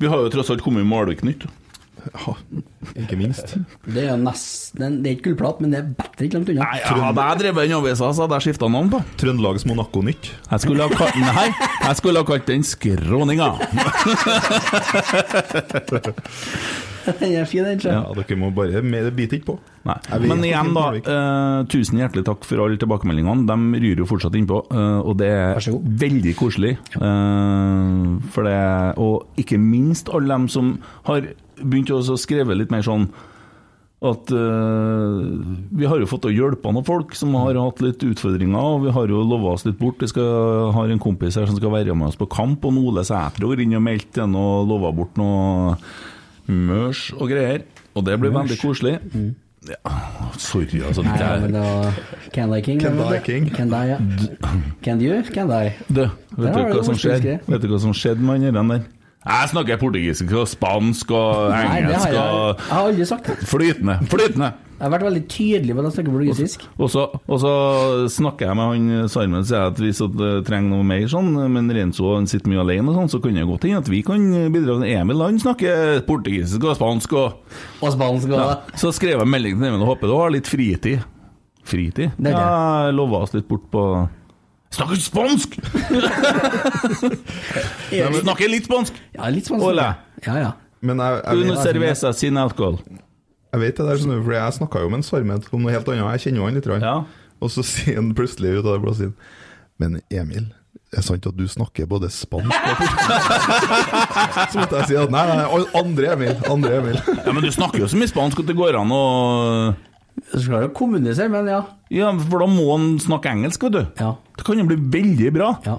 F: Vi har jo tross alt kommet i Malvik nytt.
I: ikke minst.
G: Det er jo nesten Det er ikke gullplat, men det er bedre ikke langt unna.
F: Ja, altså. der drev jeg en avisa, så hadde jeg skifta navn på.
I: Trøndelags Monaco nytt.
F: Jeg skulle ha kalt Nei, jeg skulle ha kalt den Skråninga.
G: Den er fin, den.
I: Ja,
G: Ja.
I: dere må bare mer bite ikke på.
F: Nei.
I: Jeg vet
F: Men
I: ikke
F: igjen,
I: om
F: da.
I: Malvik-
F: eh, tusen hjertelig takk for alle tilbakemeldingene. De ryr jo fortsatt innpå, eh, og det er veldig koselig. Eh, for det, og ikke minst alle dem som har begynt å så skrive litt mer sånn at eh, vi har jo fått å hjelpe noen folk som har hatt litt utfordringer, og vi har jo lova oss litt bort. Vi skal, har en kompis her som skal være med oss på kamp, og Ole Sæter har inn og meldt igjen og lova bort noe mørs og greier. Og det blir
G: Mørs.
F: veldig koselig. Ja, sorry, altså.
G: Nei,
F: Det
G: ja, men
F: er,
G: det var Can I King?
F: Can
G: det var
F: I
G: det.
F: King.
G: Can I, ja. Can you? Can I?
F: du,
G: Der
F: vet du
G: har du
F: hva som
G: ordspillskrevet.
F: skjer? Vet du hva som skjedde med han der? Jeg snakker portugisisk og spansk og
G: Nei, det har
F: engelsk
G: jeg,
F: og
G: jeg har aldri sagt det.
F: Flytende. Flytende!
G: Jeg har vært veldig tydelig på at jeg snakker portugisisk.
F: Og så, og så snakker jeg med han Sarmen og sier at hvis at det trenger noe mer sånn, men Renzo han sitter mye alene og sånn, så kan det godt hende at vi kan bidra. Emil han snakker portugisisk og spansk og ja. Så skrev jeg melding til Emil og håper du har litt fritid. Fritid?
G: Det er det.
F: Ja, lova oss litt bort på Snakker spansk! Nei, men- Snakker litt spansk!
G: Ja, litt spansk.
F: Ole.
G: Ja, ja.
I: Men jeg, jeg,
F: Uno cerveza sin alcohol.
I: Jeg vet det der, skjønner du, for jeg snakka jo med en Sarmet om noe helt annet. Jeg kjenner jo han litt. grann. Og så sier han plutselig ut av det blå sier han, Men Emil, er det sant at du snakker både spansk og Så måtte jeg si at nei, nei, nei, andre Emil. Andre Emil.
F: Ja, men du snakker jo så mye spansk at det går an å
G: Du skal jo kommunisere, men ja.
F: Ja, for da må han snakke engelsk, vet du. Det kan jo bli veldig bra.
G: Ja.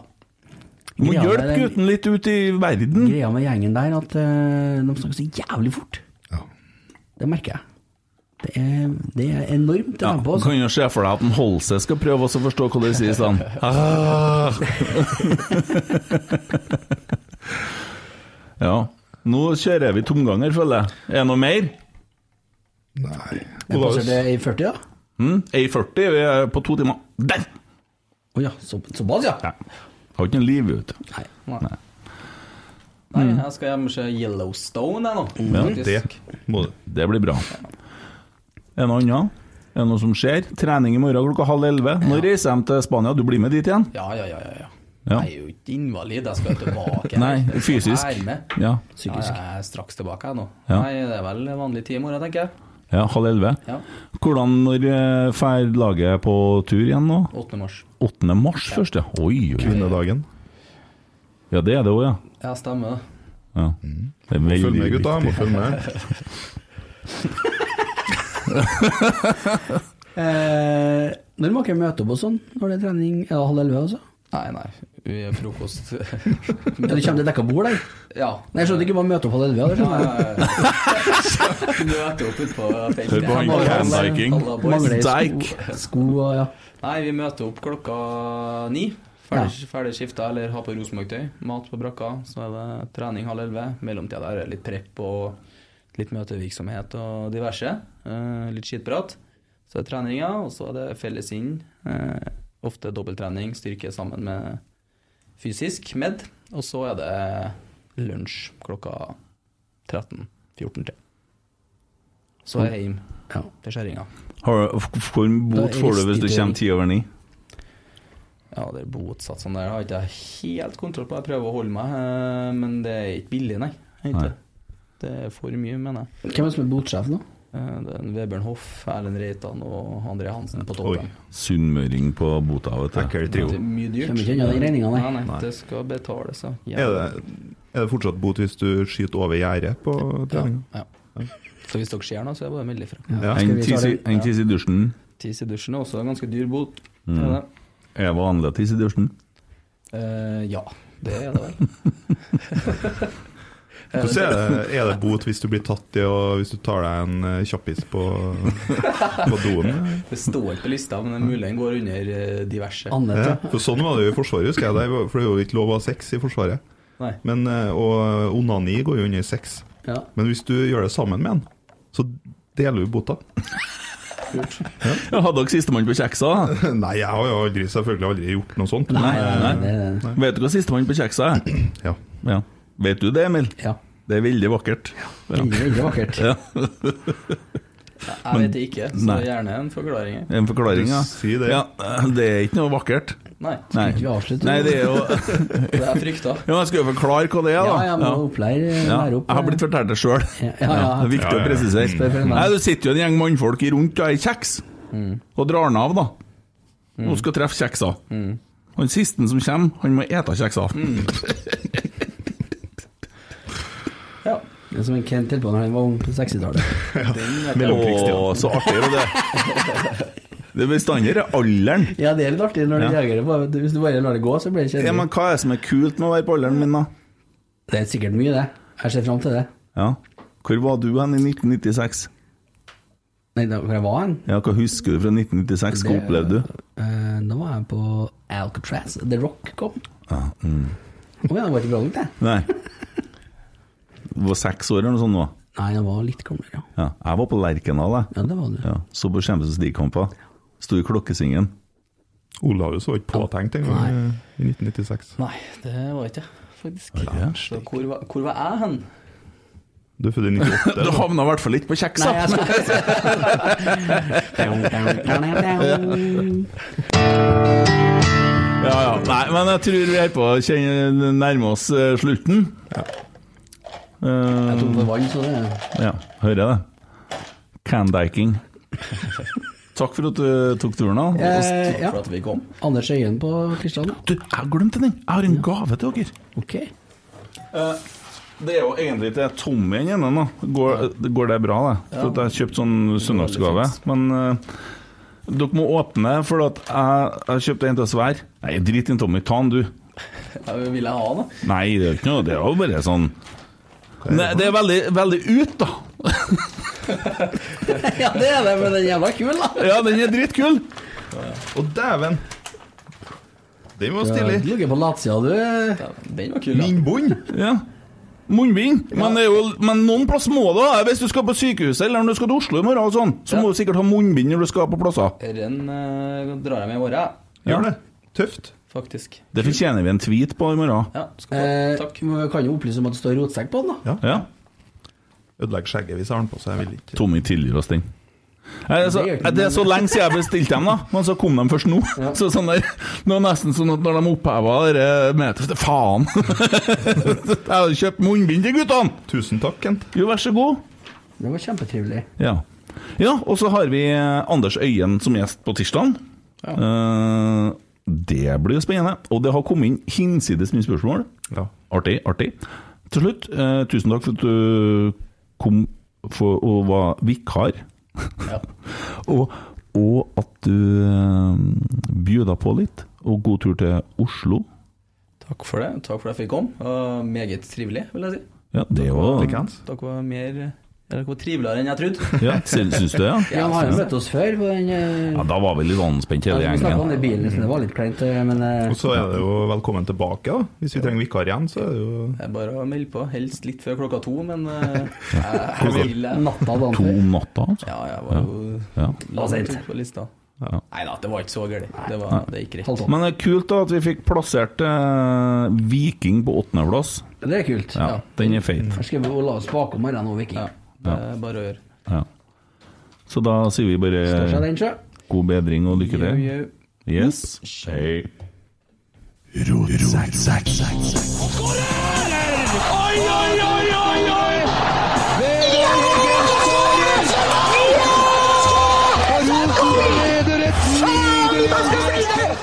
F: Må
G: Greia
F: hjelpe
G: med den-
F: gutten litt ut i verden.
G: Greia med gjengen der at eh, de snakker så jævlig fort. Det merker jeg. Det er, det er enormt det tempoet.
F: Du
G: altså.
F: kan jo se for deg at en Holse skal prøve også å forstå hva det sier i stedet. Ah. Ja. Nå kjører vi tomganger, føler jeg. Er det noe mer?
I: Nei.
G: Jeg passerte i 40, da.
F: Mm, A40 vi er på to timer. Der!
G: Å ja, så, såpass, ja.
F: Har ikke noe liv, vet du. Mm.
H: Nei. Nei, jeg skal hjem og se Yellowstone, jeg nå.
F: Ja,
H: Mm, faktisk.
F: Det blir bra. Er det noe annet? Er det noe som skjer? Trening i morgen klokka halv elleve. Nå reiser de til Spania. Du blir med dit igjen?
H: Ja, ja, ja, ja, ja.
F: Ja.
H: Jeg er jo ikke invalid, jeg skal tilbake. her.
F: Nei,
H: Jeg skal
F: fysisk.
H: være med.
F: Ja.
H: Ja, jeg er straks tilbake her nå.
F: Ja.
H: Nei, det er vel vanlig time i morgen, tenker jeg.
F: Ja, halv elleve.
H: Ja.
F: Hvordan når eh, fer laget på tur igjen nå?
H: 8. mars.
F: 8. mars
H: Ja.
F: først, ja. Oi, oi.
I: Kvinnedagen.
F: Ja, det er det òg, ja.
H: Ja, stemmer det.
F: ja. Det er
I: Må følge
F: veldig
I: Mm. med, gutta. Må
F: viktig.
I: følge med.
G: Eh, når må dere møte opp og sånn? Når det er trening? Ja, halv elleve, altså?
H: Nei, nei. Vi er frokost. ja,
G: Ja, det kommer til dekka bord, der?
H: Ja.
G: Nei, jeg skjønner ikke bare møte opp halv elleve. det skjønner jeg.
H: Møter opp utpå feltet.
G: Hør på han Candyking.
H: Alla boys.
G: Mangler sko- Sko og ja.
H: Nei, vi møter opp klokka ni. Ferdig, ferdig skifta eller ha på Rosenborg-tøy. Mat på brakka. Så er det trening halv elleve. Mellomtida der er det litt prep og litt møtevirksomhet og diverse. Eh, litt skitprat. Så er det treninga, og så er det felles inn. Eh, ofte dobbelttrening, styrke sammen med fysisk med. Og så er det lunsj klokka 13-14 til. Så er jeg hjem til skjæringa.
F: Har, hvor
H: Da er
F: bot får du hvis du
H: risikoen-
F: kommer ti over ni?
H: Ja, det er botsatsene der har ikke jeg helt kontroll på. Jeg prøver å holde meg, eh, men det er ikke billig, nei. Egentlig. Det er for mye, mener jeg.
G: Hvem er det som er botsjef nå?
H: Eh, Det er en Vebjørn Hoff, Erlend Reitan og André Hansen på toppen.
F: Sunnmøring på bota, vet
H: Det er mye dyrt.
G: Kommer ikke unna den regninga, nei.
H: nei. Det skal betales, ja.
I: Er det, er det fortsatt bot hvis du skyter over gjerdet på treninga?
H: Ja. Så hvis dere ser noe, så er det bare å melde ifra.
F: Ja. En tiss i- en tiss i dusjen.
H: Tis i dusjen er også en ganske dyr bot.
F: Mm.
H: Er det?
F: Er det vanlig å tisse i dusjen?
H: Eh, ja, det er det vel. Eh,
I: Hvordan er det, er det bot hvis du blir tatt i og hvis du tar deg en eh, kjappis på, på doen?
H: Det står ikke på lista, men det er mulig den går under eh, diverse.
I: Ja, for sånn var det jo i Forsvaret, husker jeg. Det var- For det er jo ikke lov å ha sex i Forsvaret.
H: Nei.
I: Men, eh, og onani går jo under sex.
H: Ja.
I: Men hvis du gjør det sammen med en, så deler du bota.
F: Ja, hadde dere sistemann på kjeksa? da?
I: Nei, jeg har jo aldri, selvfølgelig aldri gjort noe sånt.
F: Nei,
I: Men,
F: nei,
I: eh,
F: Vet du hva sistemann på kjeksa er?
I: Ja.
F: Vet du det, Emil?
G: Ja.
F: Det er veldig vakkert. Ja.
H: Veldig, veldig vakkert.
F: Ja.
H: Jeg vet det ikke, så
F: Nei.
H: gjerne en forklaring. her.
F: En forklaring, ja.
H: Du sier det.
F: ja. Det er ikke noe vakkert.
H: Nei.
F: Nei,
H: Skulle ikke vi avslutte?
F: Nei det er jo
H: Det er frykta.
F: Ja, jeg skal jo forklare hva det er, da.
H: Ja, jeg må opplære- lære opp,
F: Jeg har blitt fortalt det sjøl.
H: ja, ja.
F: Det er viktig å
H: Ja, ja, ja. Spør for
F: presisere.
H: en venn.
F: Nei, Du sitter jo en gjeng mannfolk i rundt og er kjeks, og drar den av, da.
H: Mm.
F: Og skal treffe kjeksa.
G: Mm.
F: Han siste som kommer, han må ete kjeksa.
G: Det er som en Kent holdt på når han var ung på 60-tallet.
F: Å, så artig er det. Det er bestandig det alderen.
G: Ja, det er litt artig når du
F: Ja.
G: reagerer på det. Hvis du bare lar det gå, så blir det
F: Ja,
G: kjedelig.
F: men hva er det som er kult med å være på alderen min, da?
G: Det er sikkert mye, det. Jeg ser fram til det.
F: Ja. Hvor var du hen i 1996?
G: Nei, da, hvor jeg var hen?
F: Ja, Hva husker du fra 1996? Hva
G: Det-
F: opplevde du?
G: Eh, da var jeg på Alcatraz. The Rock kom.
F: Ja, mm.
G: Å ja, det var ikke bra nok, det.
F: Nei. Du var seks år eller noe sånt nå?
G: Nei, jeg var litt gammel, ja.
F: Ja. Jeg var på Lerkendal, jeg.
G: Ja, det var du.
F: Ja. Så på Champions League-kamper. Sto i klokkesingen.
I: Olaus var ikke påtenkt engang eh, i 1996.
H: Nei, det var ikke jeg, faktisk.
I: Var ikke det?
H: Så hvor, var- hvor var jeg hen?
I: Du er født i 98.
F: Du havna i hvert fall ikke på kjeksa!
H: Nei,
F: Ja, ja. Nei, men jeg tror vi er på å kjenne- nærme oss eh, slutten.
G: Jeg
F: Eh,
G: tok for vann, så det
F: ja, hører jeg det. Candiking. Takk for at du tok turen, da.
G: Eh, ja.
H: for at vi kom.
G: Anders Øyen på Kristian.
F: Du, jeg glemte den! Jeg har en gave til dere.
G: Ok.
F: Eh, Det er jo egentlig til Tommy den ene, da. Går, går det bra, det? For at jeg har kjøpt sånn søndagsgave. Men eh, dere må åpne, for at jeg jeg har kjøpt en til Svær. Nei, drit i den, Tommy. Ta den, du.
H: Ja, vil jeg ha den?
F: Nei, det er jo ikke noe. Det er jo bare sånn Nei, det er veldig, veldig ut, da.
G: ja, det er det, men den er jævla kul, da.
F: Ja, den er dritkul.
I: Og dæven! Den var stilig.
G: Du ligger på latsida, du.
H: Den var kul, ja.
F: Ja. Munnbind. Men, det er jo, men noen plass må det være. Hvis du skal på sykehuset eller når du skal til Oslo i morgen, og sånn, så må du sikkert ha munnbind når du skal på plasser.
H: Den eh, drar jeg med i morgen. jeg.
F: Gjør
I: det. Tøft.
H: Faktisk.
F: Det fortjener vi en tweet på i morgen.
H: Ja,
G: eh, men Vi kan jo opplyse om at det står rotsekk på den, da.
F: Ja.
I: Ødelegger skjegget hvis jeg har den på, så jeg vil ikke
F: Tommy tilgir oss den. Nei, Det er, så, det er så lenge siden jeg bestilte dem, da, men så kom de først nå. Så sånn der, det var nesten sånn at når de oppheva det
I: eh,
F: meteret Faen! jeg hadde kjøpt munnbind til guttene!
I: Tusen takk, Kent.
F: Jo, vær så god.
G: Det var kjempetrivelig.
F: Ja. Ja, og så har vi eh, Anders Øyen som gjest på tirsdag. det blir spennende. Og det har kommet inn hinsides mye spørsmål. Artig, artig. Til slutt, eh, tusen takk for at du kom for å være vikar. og, og at du eh, bjuda på litt. Og god tur til Oslo.
H: Takk for det. Takk for at jeg fikk komme. Og meget trivelig, vil jeg si.
F: Ja, det var
H: Dere var mer Dere var triveligere enn jeg trodde.
F: Ja, syns syns du det? Ja,
G: Ja, han har jo møtt oss før på den eh,
F: Ja, da var vi litt anspent hele
G: Vi snakket om
F: gjengen.
G: det i bilen, så det var litt kleint, eh, men eh,
I: Og så er det jo velkommen tilbake, da. Hvis vi trenger vikar igjen, så er det jo
H: Det er bare å melde på. Helst litt før klokka to, men eh, jeg
I: Klokka
H: vil eh,
F: To om natta, altså?
H: Ja, jeg var jo
F: Ja.
H: la meg tok på lista.
F: Ja.
H: Nei da, det var ikke så gærent. Det,
F: Nei.
H: var- det gikk greit.
F: Men det er kult da at vi fikk plassert eh, Viking på åttendeplass.
G: det er kult.
F: Ja, den er feit.
G: Jeg skal jo la oss bakom morgenen nå, Viking.
F: Ja.
H: Det er Bare å gjøre.
F: Ja. Så da sier vi
G: Står seg
F: bare
G: den, sjø.
F: god bedring og lykke til.
H: Jau, jau.
F: Yes. Hei.
E: Oi, oi, oi, oi, oi! Vegard Hoggen skårer! Og Rosenborg leder et nydelig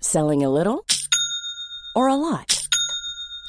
B: Selling a little or a lot?